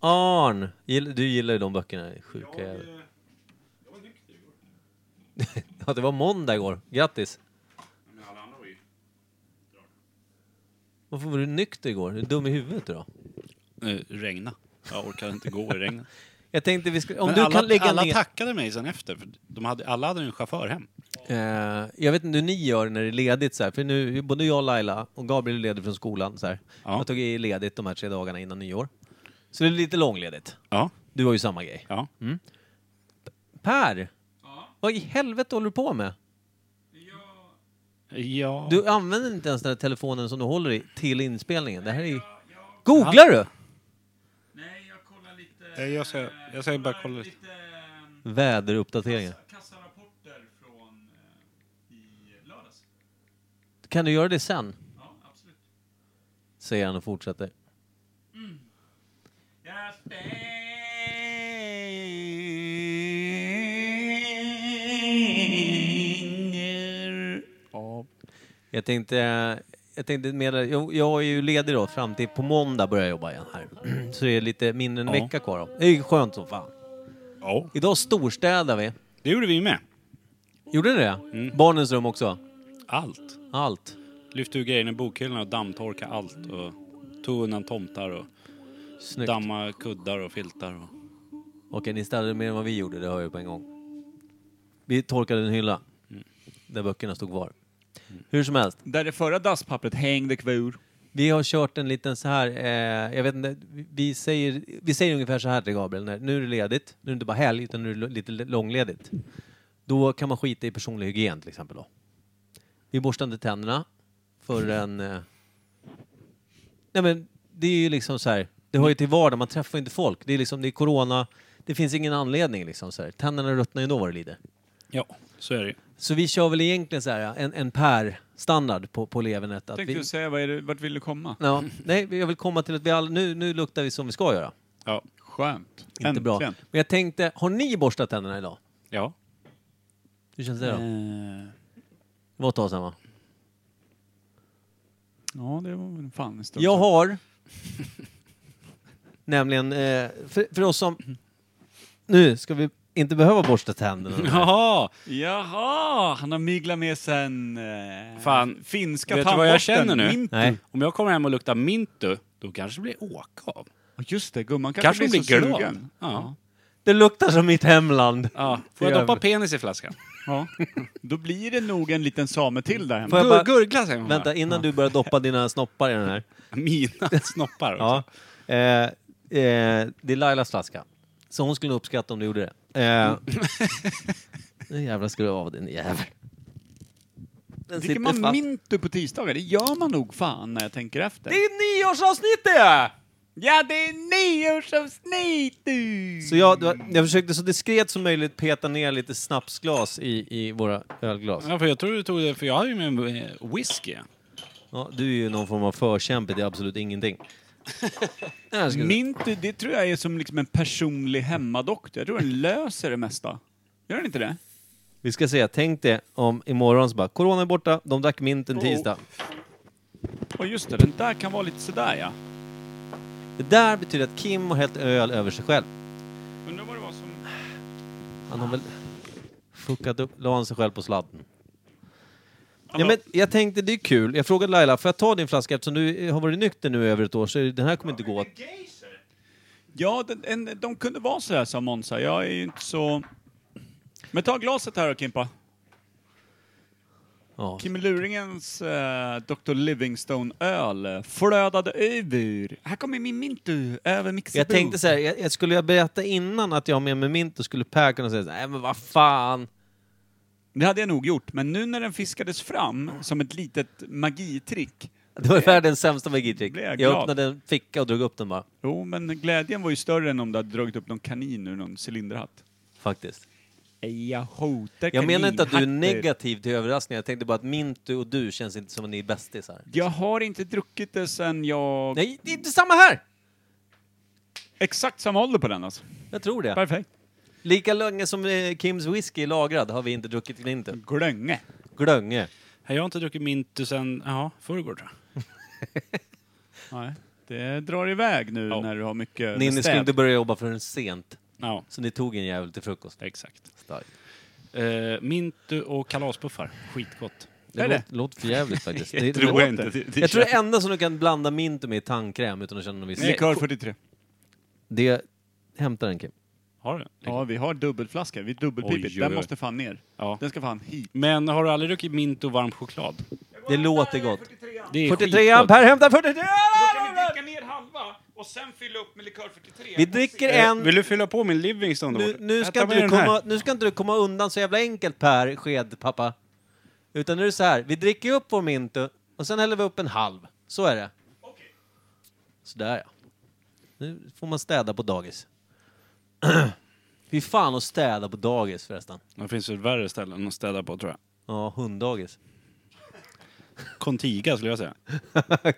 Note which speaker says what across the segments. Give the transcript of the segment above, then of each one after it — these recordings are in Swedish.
Speaker 1: Arn! Gill- Du gillar ju de böckerna. Sjuka
Speaker 2: Jag,
Speaker 1: jävel.
Speaker 2: eh, jag var nykter igår.
Speaker 1: Ja, det var måndag igår. Grattis!
Speaker 2: Men alla andra var ju...
Speaker 1: Varför var du nykter igår? Är du dum i huvudet då?
Speaker 3: Eh, regna. Jag orkar inte gå i regnet.
Speaker 1: Jag tänkte vi skulle... Om
Speaker 3: Men
Speaker 1: du
Speaker 3: alla,
Speaker 1: kan lägga
Speaker 3: alla
Speaker 1: ner...
Speaker 3: tackade mig sen efter. För de hade, alla hade en chaufför hem.
Speaker 1: Eh, jag vet inte hur ni gör när det är ledigt så här, för nu, både jag och Laila och Gabriel är ledig från skolan så här.
Speaker 3: Ja.
Speaker 1: Jag tog i ledigt de här tre dagarna innan nyår. Så det är lite långledigt.
Speaker 3: Ja.
Speaker 1: Du har ju samma grej.
Speaker 3: ja.
Speaker 1: Per!
Speaker 2: Ja,
Speaker 1: Vad i helvete håller du på med?
Speaker 2: jag,
Speaker 3: ja.
Speaker 1: Du använder inte ens den här telefonen som du håller i till inspelningen. Det här är ju... Googlar du?
Speaker 2: nej, jag kollar lite...
Speaker 3: Nej, jag ska- jag ska
Speaker 2: eh,
Speaker 3: bara
Speaker 2: kollar
Speaker 3: kolla lite.
Speaker 2: lite. eh,
Speaker 1: Väderuppdateringar.
Speaker 2: kassa- Kassarapporter från eh, i lördags.
Speaker 1: Kan du göra det sen?
Speaker 2: Ja, absolut.
Speaker 1: Säger han och fortsätter.
Speaker 2: Jag stänger...
Speaker 3: Ja.
Speaker 1: Jag tänkte, jag tänkte mer, jag, jag är ju ledig då fram till på måndag börjar jag jobba igen här. Så det är lite mindre än en
Speaker 3: Ja.
Speaker 1: vecka kvar då. Det är ju skönt som fan.
Speaker 3: ja.
Speaker 1: Idag storstädar vi.
Speaker 3: Det gjorde vi med.
Speaker 1: Gjorde ni det?
Speaker 2: Mm.
Speaker 1: Barnens rum också?
Speaker 3: Allt.
Speaker 1: Allt?
Speaker 3: Lyfte ur grejerna i bokhyllan och dammtorka allt. Och tog undan tomtar och
Speaker 1: Snyggt.
Speaker 3: damma kuddar och filtar. Och...
Speaker 1: Okej, ni städade mer än vad vi gjorde, det hör jag på en gång. Vi torkade en hylla.
Speaker 2: Mm.
Speaker 1: Där böckerna stod kvar. Hur som helst.
Speaker 4: Där det förra dasspappret hängde kvar.
Speaker 1: Vi har kört en liten så här, eh, jag vet inte, vi- vi säger, vi säger ungefär så här till Gabriel, när, nu är det ledigt, nu är det inte bara helg utan nu är det l- lite l- långledigt. Då kan man skita i personlig hygien till exempel då. Vi borstar inte tänderna förrän... Eh, nej men det är ju liksom så här, det hör ju till vardagen, man träffar inte folk. Det är liksom, det är corona, det finns ingen anledning liksom så här. Tänderna ruttnar ju då vad det lider.
Speaker 3: Ja, så är det ju.
Speaker 1: Så vi kör väl egentligen så här, en, en per-standard på, på levernet. Att
Speaker 4: Tänkte
Speaker 1: vi,
Speaker 4: du säga, vad är det, vart vill du komma?
Speaker 1: Ja,
Speaker 3: Mm.
Speaker 1: nej, jag vill komma till att vi all, nu, nu luktar vi som vi ska göra.
Speaker 3: Ja.
Speaker 4: Skönt.
Speaker 1: Inte bra. Men jag tänkte, har ni borstat tänderna idag?
Speaker 3: Ja.
Speaker 1: Hur känns det då?
Speaker 3: Eh,
Speaker 1: Det var ett tag sedan va?
Speaker 4: Ja, det var väl fan en stund.
Speaker 1: Jag har... nämligen, eh, för, för oss som... Nu ska vi inte behöva borsta tänderna.
Speaker 3: Jaha!
Speaker 4: Jaha, han har myglat med sen... Eh,
Speaker 3: Fan,
Speaker 4: finska
Speaker 3: vet du vad jag känner nu?
Speaker 4: Min...
Speaker 1: Nej.
Speaker 3: Om jag kommer hem och luktar mintu, då kanske det blir åka av.
Speaker 4: Ja, Just det, gumman kanske,
Speaker 3: Kanske,
Speaker 4: blir,
Speaker 3: blir
Speaker 4: så
Speaker 3: glad.
Speaker 4: sugen.
Speaker 3: Ja.
Speaker 1: Det luktar som mitt hemland.
Speaker 3: Ja.
Speaker 1: Det
Speaker 3: Får jag
Speaker 1: gör
Speaker 3: doppa
Speaker 1: vi.
Speaker 3: penis i flaskan?
Speaker 4: Ja. Då blir det nog en liten same till där hemma.
Speaker 1: Får jag bara-
Speaker 3: Gur- Gurgla säger hon.
Speaker 1: Vänta, innan du börjar doppa dina snoppar i den här.
Speaker 3: Mina snoppar också.
Speaker 1: Ja. Eh, eh, det är Lailas flaska. Så hon skulle uppskatta om du gjorde det. Eh, nu jävlar ska du av din jävel. Den
Speaker 4: Dricker
Speaker 1: sitter
Speaker 4: man
Speaker 1: fast.
Speaker 4: Mintu på tisdagar? Det gör man nog fan när jag tänker efter.
Speaker 1: Det är nyårsavsnittet!
Speaker 4: Ja, det är nyårsavsnitt! du.
Speaker 1: Så jag, det var- jag försökte så diskret som möjligt peta ner lite snapsglas i, i våra ölglas.
Speaker 3: Ja, för jag tror du tog det, för jag har ju med mig, eh, whisky.
Speaker 1: Ja, du är ju någon form av förkämpe till absolut ingenting. Här ska du-
Speaker 4: Mintu, det tror jag är som liksom en personlig hemmadoktor. Jag tror den löser det mesta. Gör den inte det?
Speaker 1: Vi ska se, tänk det om imorgon så bara, corona är borta, de drack mint en
Speaker 4: Oh.
Speaker 1: tisdag.
Speaker 4: Och just det, den där kan vara lite sådär ja.
Speaker 1: Det där betyder att Kim har hällt öl över sig själv.
Speaker 4: Undrar vad det var som...
Speaker 1: Han har väl fuckat upp, la han sig själv på sladden. Ja, men jag tänkte det är kul, jag frågade Laila, får jag ta din flaska eftersom du har varit nykter nu i över ett år så är det- den här kommer inte gå.
Speaker 4: Ja, den, en, de kunde vara sådär sa Monza. Jag är ju inte så... Men ta glaset här då Kimpa.
Speaker 1: Ja,
Speaker 4: Kim Luringens eh, Dr. Livingstone-öl eh, flödade över. Här kommer min Mintu över mixerbord.
Speaker 1: Jag tänkte så här, jag, jag skulle jag berätta innan att jag har med mig mint och skulle Per kunna säga så här, nej men vad fan.
Speaker 4: Det hade jag nog gjort, men nu när den fiskades fram som ett litet magitrick.
Speaker 1: Det var världens sämsta magitrick.
Speaker 4: blev jag
Speaker 1: Jag,
Speaker 4: glad.
Speaker 1: öppnade en ficka och drog upp den bara,
Speaker 4: Jo, men glädjen var ju större än om du hade dragit upp någon kanin ur någon cylinderhatt.
Speaker 1: faktiskt.
Speaker 4: Jag hotar
Speaker 1: Jag menar inte att du är negativ till överraskningar, jag tänkte bara att Mintu och du känns inte som att ni är bästisar.
Speaker 4: Jag har inte druckit det sen jag...
Speaker 1: Nej, det är inte samma här!
Speaker 4: Exakt samma ålder på den alltså.
Speaker 1: Jag tror det.
Speaker 4: Perfekt.
Speaker 1: Lika länge som eh, Kims whisky är lagrad har vi inte druckit Mintu.
Speaker 4: Glönge.
Speaker 1: Glönge.
Speaker 3: Jag har inte druckit mintu sen, ja, förrgår tror jag.
Speaker 4: Nej. det drar iväg nu
Speaker 3: Ja.
Speaker 4: när du har mycket
Speaker 1: Ninni skulle
Speaker 4: bestämt.
Speaker 1: inte börja jobba förrän sent,
Speaker 3: Ja,
Speaker 1: så ni tog en jävel till frukost.
Speaker 3: exakt.
Speaker 1: Starkt.
Speaker 3: Eh, mintu och kalaspuffar. Skitgott.
Speaker 1: Det,
Speaker 4: Är
Speaker 1: låter,
Speaker 4: det?
Speaker 1: låter för jävligt faktiskt. Det- det-
Speaker 3: tror jag inte. Det, det
Speaker 1: jag tror det
Speaker 3: känns-
Speaker 1: enda som du kan blanda mint med är tandkräm utan att känna någon viss...
Speaker 3: Nej.
Speaker 4: Likör 43.
Speaker 1: Det hämtar en Kim.
Speaker 3: Har du?
Speaker 4: Ja, vi har dubbelflaska. Vi är
Speaker 3: Oj,
Speaker 4: dubbelpipigt.
Speaker 3: oj,
Speaker 4: Den
Speaker 3: oj.
Speaker 4: måste fan ner.
Speaker 3: Ja.
Speaker 4: Den ska fan hit.
Speaker 3: Men har du aldrig druckit mint och varm choklad?
Speaker 1: Det låter gott.
Speaker 3: Det är
Speaker 1: 43
Speaker 3: skitgott.
Speaker 1: Per hämtar 43
Speaker 2: Kan vi dricka ner halva och sen fylla upp med likör 43?
Speaker 1: Vi dricker
Speaker 3: Eh,
Speaker 1: en...
Speaker 3: Vill du fylla på min Livingston då?
Speaker 1: Nu, nu,
Speaker 3: Jag
Speaker 1: ska
Speaker 3: tar
Speaker 1: inte
Speaker 3: med
Speaker 1: du
Speaker 3: den här.
Speaker 1: komma, nu ska inte du komma undan så jävla enkelt Per Skedpappa. Utan nu är det så här, vi dricker upp vår Mintu och sen häller vi upp en halv. Så är det.
Speaker 2: Okej.
Speaker 1: Sådär ja. Nu får man städa på dagis. Fy fan att städa på dagis förresten.
Speaker 3: Det finns väl värre ställen att städa på tror jag.
Speaker 1: Ja, hunddagis.
Speaker 3: Contiga skulle jag säga.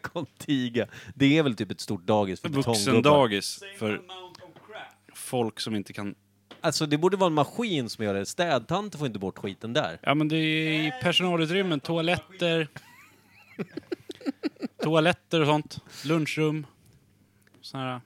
Speaker 1: Contiga. Det är väl typ ett stort dagis för betonggubbar.
Speaker 3: Vuxendagis
Speaker 2: För...
Speaker 3: för
Speaker 2: Amount of crap.
Speaker 3: folk som inte kan...
Speaker 1: Alltså det borde vara en maskin som gör det. Städtanter får inte bort skiten där.
Speaker 3: Ja men det är i personalutrymmen, toaletter... toaletter och sånt. Lunchrum. Sådana,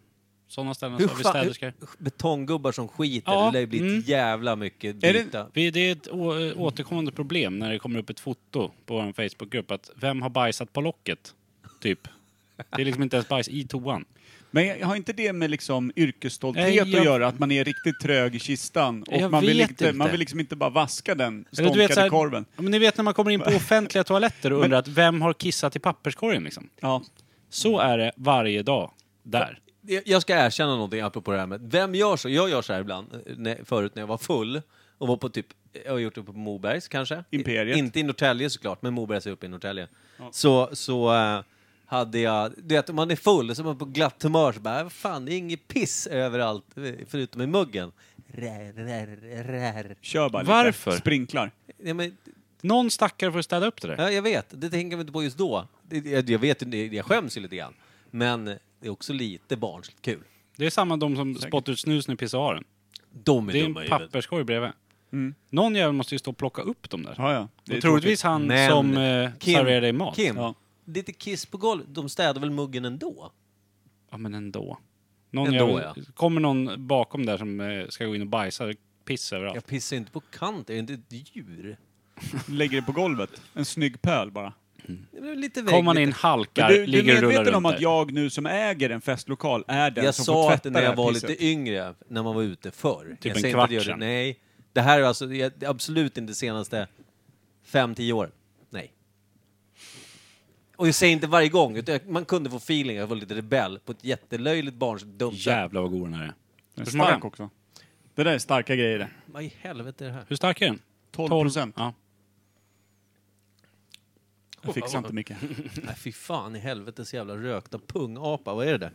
Speaker 3: sådana ställen
Speaker 1: Hur
Speaker 3: som Alltså, vi
Speaker 1: fan-
Speaker 3: städerskor.
Speaker 1: Betonggubbar som skiter,
Speaker 3: Ja,
Speaker 1: det lär ju bli
Speaker 3: mm.
Speaker 1: ett jävla mycket
Speaker 4: Är det-
Speaker 1: byta.
Speaker 3: Vi, det är ett å, återkommande problem när det kommer upp ett foto på vår Facebookgrupp att vem har bajsat på locket? Typ. Det är liksom inte ens bajs i toan.
Speaker 4: Men jag- har inte det med liksom yrkesstolthet
Speaker 3: Nej, jag-
Speaker 4: att göra? Att man är riktigt trög i kistan?
Speaker 3: Jag
Speaker 4: Och man vill,
Speaker 3: vet
Speaker 4: inte, man
Speaker 3: inte.
Speaker 4: vill liksom inte bara vaska den
Speaker 3: Eller
Speaker 4: stånkade
Speaker 3: så här-
Speaker 4: korven.
Speaker 3: Ja, Men ni vet när man kommer in på offentliga toaletter och undrar att vem har kissat i papperskorgen liksom.
Speaker 4: Ja.
Speaker 3: Så är det varje dag där.
Speaker 1: Jag- Jag ska erkänna någonting apropå det här med, vem gör så? Jag gör så här ibland, eh, när, förut när jag var full och var på typ, jag har gjort det på Mobergs kanske?
Speaker 4: Imperiet.
Speaker 1: Inte i Norrtälje såklart, men Mobergs är uppe i Norrtälje. Så, så eh, hade jag, du vet om man är full så är man på glatt humör så bara, "Vad fan det är inget piss överallt eh, förutom i muggen. Rär, rär, rär.
Speaker 4: Kör bara
Speaker 3: Varför?
Speaker 4: lite. Sprinklar.
Speaker 1: Ja, men,
Speaker 3: Någon stackare får städa upp det där.
Speaker 1: Ja, jag vet. Det tänker man inte på just då. Det- Jag, jag vet, det- jag skäms ju lite grann. Men det är också lite barnsligt kul.
Speaker 3: Det är samma de som spottar ut snus när de pissar av den.
Speaker 1: De är,
Speaker 3: Det är
Speaker 1: dumma i huvudet.
Speaker 3: en papperskorg bredvid.
Speaker 4: Mm.
Speaker 3: Någon jävel måste ju stå och plocka upp dem där.
Speaker 4: Ja, ja. Det är
Speaker 3: Och troligtvis han
Speaker 1: Men,
Speaker 3: som eh,
Speaker 1: Kim,
Speaker 3: serverar dig mat.
Speaker 1: Kim,
Speaker 4: Ja.
Speaker 1: lite kiss på golvet. De städar väl muggen ändå?
Speaker 3: Ja, men ändå. Någon
Speaker 1: Ändå,
Speaker 3: jävel, Kommer någon bakom där som eh, ska gå in och bajsa, piss överallt.
Speaker 1: Jag pissar ju inte på kant. Jag är ju inte ett djur.
Speaker 4: tråkigt. Lägger det på golvet. En snygg pöl bara.
Speaker 1: Det är lite vägg,
Speaker 3: Kommer man in,
Speaker 1: lite-
Speaker 3: halkar,
Speaker 4: Men du, du
Speaker 3: ligger
Speaker 4: är
Speaker 3: och rullar
Speaker 4: medveten
Speaker 3: runt
Speaker 4: om att
Speaker 3: där.
Speaker 4: jag nu som äger en festlokal är den
Speaker 1: Jag
Speaker 4: som får
Speaker 1: sa att
Speaker 4: tvätta
Speaker 1: när
Speaker 4: det
Speaker 1: jag
Speaker 4: här
Speaker 1: var
Speaker 4: pisset. Typ
Speaker 1: lite yngre, när man var ute förr. jag
Speaker 3: en
Speaker 1: säger inte
Speaker 3: kvart
Speaker 1: att jag gör det.
Speaker 3: sedan.
Speaker 1: Nej. Det här är alltså det är absolut inte de senaste 5-10 åren. Nej. Och jag säger inte varje gång, utan jag- man kunde få feeling, jag var lite rebell, på ett jättelöjligt barnsligt dumt sätt.
Speaker 3: Jävlar vad god den här är.
Speaker 4: Den är
Speaker 3: Hur smakar
Speaker 4: stark
Speaker 3: den?
Speaker 4: också. Det där är starka grejer det.
Speaker 1: Vad i helvete är det här?
Speaker 3: Hur stark är den?
Speaker 4: 12
Speaker 3: Tolv.
Speaker 4: procent.
Speaker 3: Ja.
Speaker 4: Jag fixar inte mycket.
Speaker 1: Nej, fy fan i helvetes jävla rökta pungapa, vad är det där?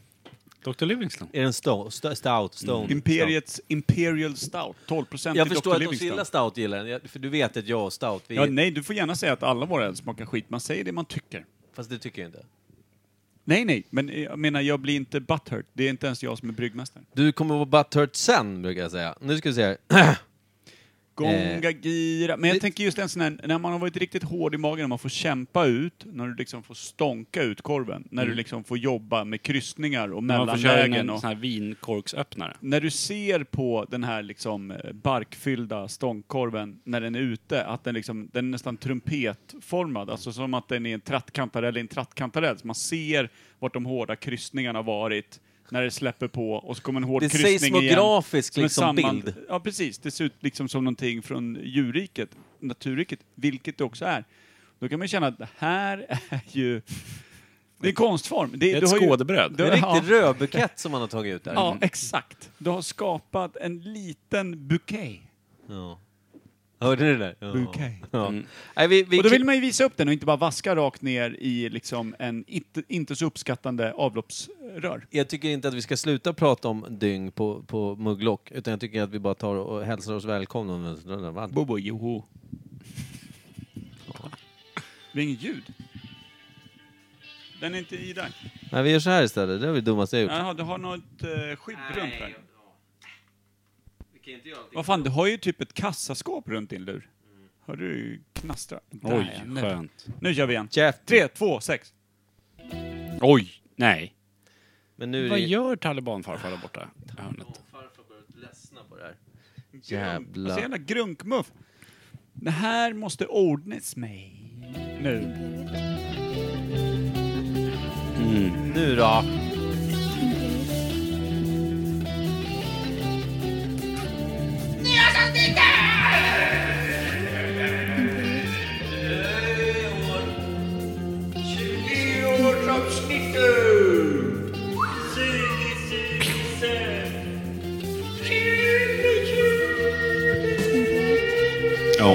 Speaker 3: Dr Livingston.
Speaker 1: Är det en sto- sto-
Speaker 4: Mm.
Speaker 1: stout? Stone?
Speaker 4: Imperiets Imperial Stout. 12 procent
Speaker 1: Jag förstår att de som gillar stout gillar den, jag- för du vet att jag och stout, vi,
Speaker 4: Ja, nej, du får gärna säga att alla våra öl smakar skit. Man säger det man tycker.
Speaker 1: fast det tycker jag inte.
Speaker 4: Nej, nej, men jag menar, jag blir inte butthurt. Det är inte ens jag som är bryggmästare.
Speaker 1: Du kommer vara butthurt sen, brukar jag säga. Nu ska vi se här.
Speaker 3: Eh.
Speaker 4: Gonga, gira. Men jag
Speaker 1: det-
Speaker 4: tänker just en sån här, när man har varit riktigt hård i magen och man får kämpa ut, när du liksom får stånka ut korven, när du liksom får jobba med kryssningar och
Speaker 3: Mm. När man får köra in en
Speaker 4: mellanlägen och...
Speaker 3: sån här vinkorksöppnare.
Speaker 4: När du ser på den här liksom eh, barkfyllda stångkorven när den är ute, att den, liksom, den är nästan trumpetformad, alltså som att den är en trattkantarell i en trattkantarell. Så man ser vart de hårda kryssningarna har varit, när det släpper på och så kommer en hård
Speaker 1: Det är
Speaker 4: kryssning igen.
Speaker 1: seismografisk
Speaker 4: Som en
Speaker 1: liksom
Speaker 4: samman-
Speaker 1: bild.
Speaker 4: Ja, precis. Det ser ut liksom som någonting från djurriket, naturriket, vilket det också är. Då kan man ju känna att det här är ju... Det är en konstform.
Speaker 3: Det är
Speaker 4: du
Speaker 3: ett
Speaker 4: har ju-
Speaker 3: skådebröd.
Speaker 1: Det är
Speaker 4: Ja.
Speaker 1: en riktig rödbukett som man har tagit ut där.
Speaker 4: Ja, exakt. Du har skapat en liten bouquet.
Speaker 1: Ja. Hörde ni det där? Ja.
Speaker 4: Bouquet.
Speaker 1: Ja. Nej, vi, vi,
Speaker 4: Mm. Och då vill man ju visa upp den och inte bara vaska rakt ner i liksom en inte, inte så uppskattande avloppsrör.
Speaker 1: Jag tycker inte att vi ska sluta prata om dyng på, på mugglock, utan jag tycker att vi bara tar och hälsar oss välkomna.
Speaker 4: Bobo, joho. Det är inget ljud. Den är inte i där.
Speaker 1: Nej, vi gör så här istället. Det är det dummaste jag gjort.
Speaker 4: Jaha, du har något eh, skydd runt där.
Speaker 1: Vi kan inte göra allting.
Speaker 4: Vad fan, du har ju typ ett kassaskåp runt din lur. Hör du knastra?
Speaker 3: Oj,
Speaker 4: Där, nu.
Speaker 3: skönt.
Speaker 4: Nu kör vi igen.
Speaker 1: Käft.
Speaker 4: Tre, två, sex.
Speaker 3: Oj! Nej.
Speaker 1: Men nu är
Speaker 3: Vad
Speaker 1: det...
Speaker 3: gör talibanfarfar där borta i hörnet?
Speaker 1: farfar börjat ledsna på det här.
Speaker 4: Jävla...
Speaker 1: Jävla...
Speaker 4: Alltså jävla grunkmuff. Det här måste ordnas med. Nu.
Speaker 1: Nu då!
Speaker 3: Ja.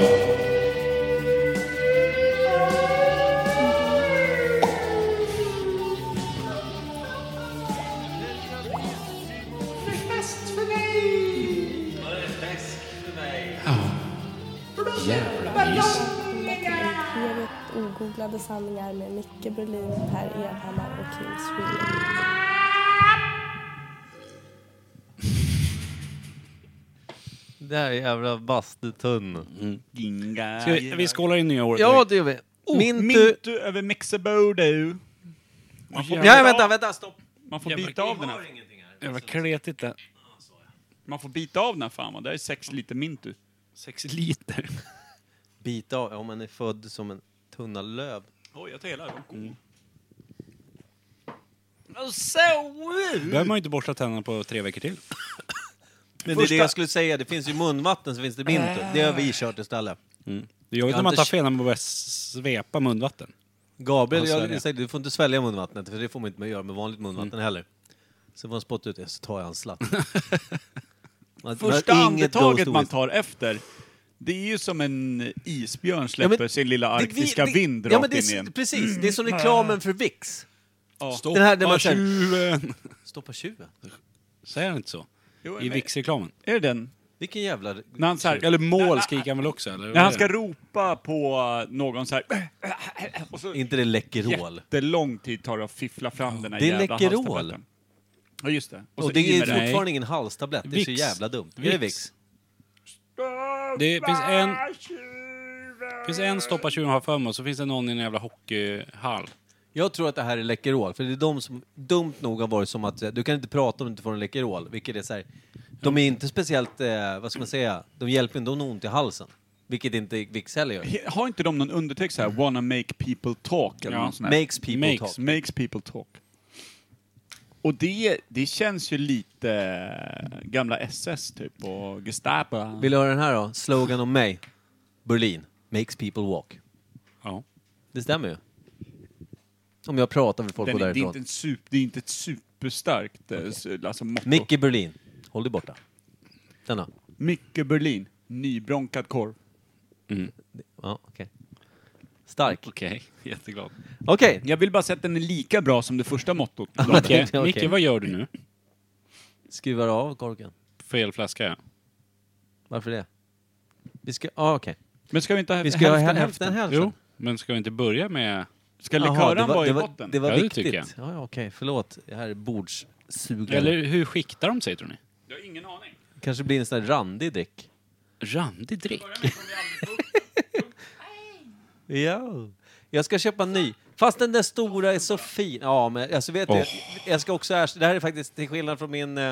Speaker 5: Jag vet ogooglade sanningar med Micke Berlin, Per Evhammar och Kim Sweden.
Speaker 1: Det här är jävla bastutunn.
Speaker 4: Inga.
Speaker 3: Ska vi, vi skålar in nya året.
Speaker 1: Ja,
Speaker 3: direkt.
Speaker 1: det gör vi.
Speaker 4: Oh,
Speaker 1: Mintu...
Speaker 4: Mintu över Mixabo du. Man får,
Speaker 1: Nej, vänta, vänta, stopp!
Speaker 4: man får bita av den här.
Speaker 1: ingenting här.
Speaker 3: Jävla kletigt det.
Speaker 4: Man får bita av den här fan va? Det här är sex liter Mintu.
Speaker 3: Sex liter.
Speaker 1: Bita av? Ja, man är född som en tunna löv.
Speaker 4: Oj, jag tar hela. den. God.
Speaker 1: Mm.
Speaker 3: behöver man ju inte borsta tänderna på tre veckor till.
Speaker 1: Men det
Speaker 4: Första-
Speaker 1: är det jag skulle säga, det finns ju munvatten så finns det mintu. Det har vi kört istället.
Speaker 3: Det är jobbigt
Speaker 1: Jag
Speaker 3: när
Speaker 1: har
Speaker 3: man
Speaker 1: inte
Speaker 3: tar
Speaker 1: k-
Speaker 3: fel när man börjar svepa munvatten.
Speaker 1: Gabriel,
Speaker 3: Ja, så är
Speaker 1: jag,
Speaker 3: det.
Speaker 1: jag säger, du får inte svälja munvattnet för det får man inte göra med vanligt munvatten heller. Så får man spotta ut det så tar jag en slatt. Man- man har
Speaker 4: Första
Speaker 1: inget
Speaker 4: andetaget
Speaker 1: ghost
Speaker 4: man
Speaker 1: whist.
Speaker 4: tar efter, det är ju som en isbjörn
Speaker 1: Ja,
Speaker 4: släpper
Speaker 1: men-
Speaker 4: sin lilla
Speaker 1: det- vi-
Speaker 4: arktiska
Speaker 1: det-
Speaker 4: vind rakt
Speaker 1: ja, men det,
Speaker 4: in Mm.
Speaker 1: är s-
Speaker 4: igen.
Speaker 1: Precis, det är som reklamen för Vicks.
Speaker 4: Ja.
Speaker 3: Stoppa
Speaker 1: Den här, den man säger-
Speaker 3: tjuven!
Speaker 1: Stoppa tjuven.
Speaker 3: Säger han inte så?
Speaker 4: Jo,
Speaker 3: I
Speaker 4: men-
Speaker 3: Vicks-reklamen?
Speaker 4: Är det den?
Speaker 1: Vilken jävla...
Speaker 4: När han, så här,
Speaker 3: Eller mål skriker han väl också? Eller?
Speaker 4: när han ska ropa på någon så här... Och så
Speaker 1: Inte det Läkerol.
Speaker 4: jättelång tid tar det att fiffla fram den här
Speaker 1: Det är
Speaker 4: jävla
Speaker 1: Läkerol.
Speaker 4: halstabletten. Ja, just det.
Speaker 1: Och
Speaker 4: så
Speaker 1: det
Speaker 4: i
Speaker 1: är
Speaker 4: med den.
Speaker 1: fortfarande ingen halstablett, det är så
Speaker 3: Vicks.
Speaker 1: jävla dumt. Är det
Speaker 3: Vicks.
Speaker 1: Vicks?
Speaker 3: Det finns en... Det finns en stoppa tjuven har jag för mig, och så finns det någon i en jävla hockeyhall.
Speaker 1: Jag tror att det här är Läkerol, för det är de som dumt nog har varit som att eh, du kan inte prata om du inte får en Läkerol, vilket är så här, de är inte speciellt, eh, vad ska man säga, de hjälper inte om ont i halsen, vilket inte Vicks heller gör.
Speaker 4: He- Har inte de någon undertext här? Wanna make people talk eller
Speaker 3: Ja.
Speaker 4: något sånt där?
Speaker 1: Makes people
Speaker 3: Makes.
Speaker 1: talk.
Speaker 4: Makes people talk. Och det, det känns ju lite eh, gamla SS typ och Gestapo.
Speaker 1: Vill du höra den här då? Slogan om mig. Berlin. Makes people walk.
Speaker 3: Ja.
Speaker 1: Det stämmer ju. Om jag pratar med folk
Speaker 4: Den,
Speaker 1: och
Speaker 4: är- det, är inte
Speaker 1: därifrån.
Speaker 4: en sup, det är inte ett superstarkt eh, s- alltså, motto.
Speaker 1: Micke Berlin. Håll dig borta. Denna.
Speaker 4: Micke Berlin, nybronkad korv.
Speaker 1: Ja, okej. Stark.
Speaker 3: Okej, jätteglad.
Speaker 1: Okej.
Speaker 4: Jag vill bara säga att den är lika bra som det första mottot.
Speaker 1: Okej,
Speaker 3: Micke, Micke, vad gör du nu?
Speaker 1: Skruvar av korken.
Speaker 3: Fel flaska, ja.
Speaker 1: Varför det? Vi ska... Ja, okej.
Speaker 4: Men ska vi inte ha
Speaker 1: Vi ska ha
Speaker 4: hälften
Speaker 1: hälften
Speaker 4: hälften?
Speaker 1: hälften. hälften.
Speaker 3: Jo, men ska vi inte börja med...
Speaker 4: Ska
Speaker 1: Jaha,
Speaker 4: likören
Speaker 1: det var-
Speaker 4: vara i
Speaker 1: det var-
Speaker 4: botten?
Speaker 1: Det var
Speaker 3: Ja, det
Speaker 1: viktigt.
Speaker 3: tycker
Speaker 1: Ja,
Speaker 3: jag.
Speaker 1: ja, okej. Förlåt. Det här är bordssugare.
Speaker 3: Eller hur skiktar de sig, tror ni?
Speaker 4: Jag har ingen aning.
Speaker 1: Kanske blir en sån här randig dryck.
Speaker 3: Randig dryck.
Speaker 1: Ja. Jag ska köpa en ny. Fast den där stora är så fin. Ja, men alltså vet du,
Speaker 3: Åh.
Speaker 1: jag ska också erkänna, det här är faktiskt till skillnad från min... Eh,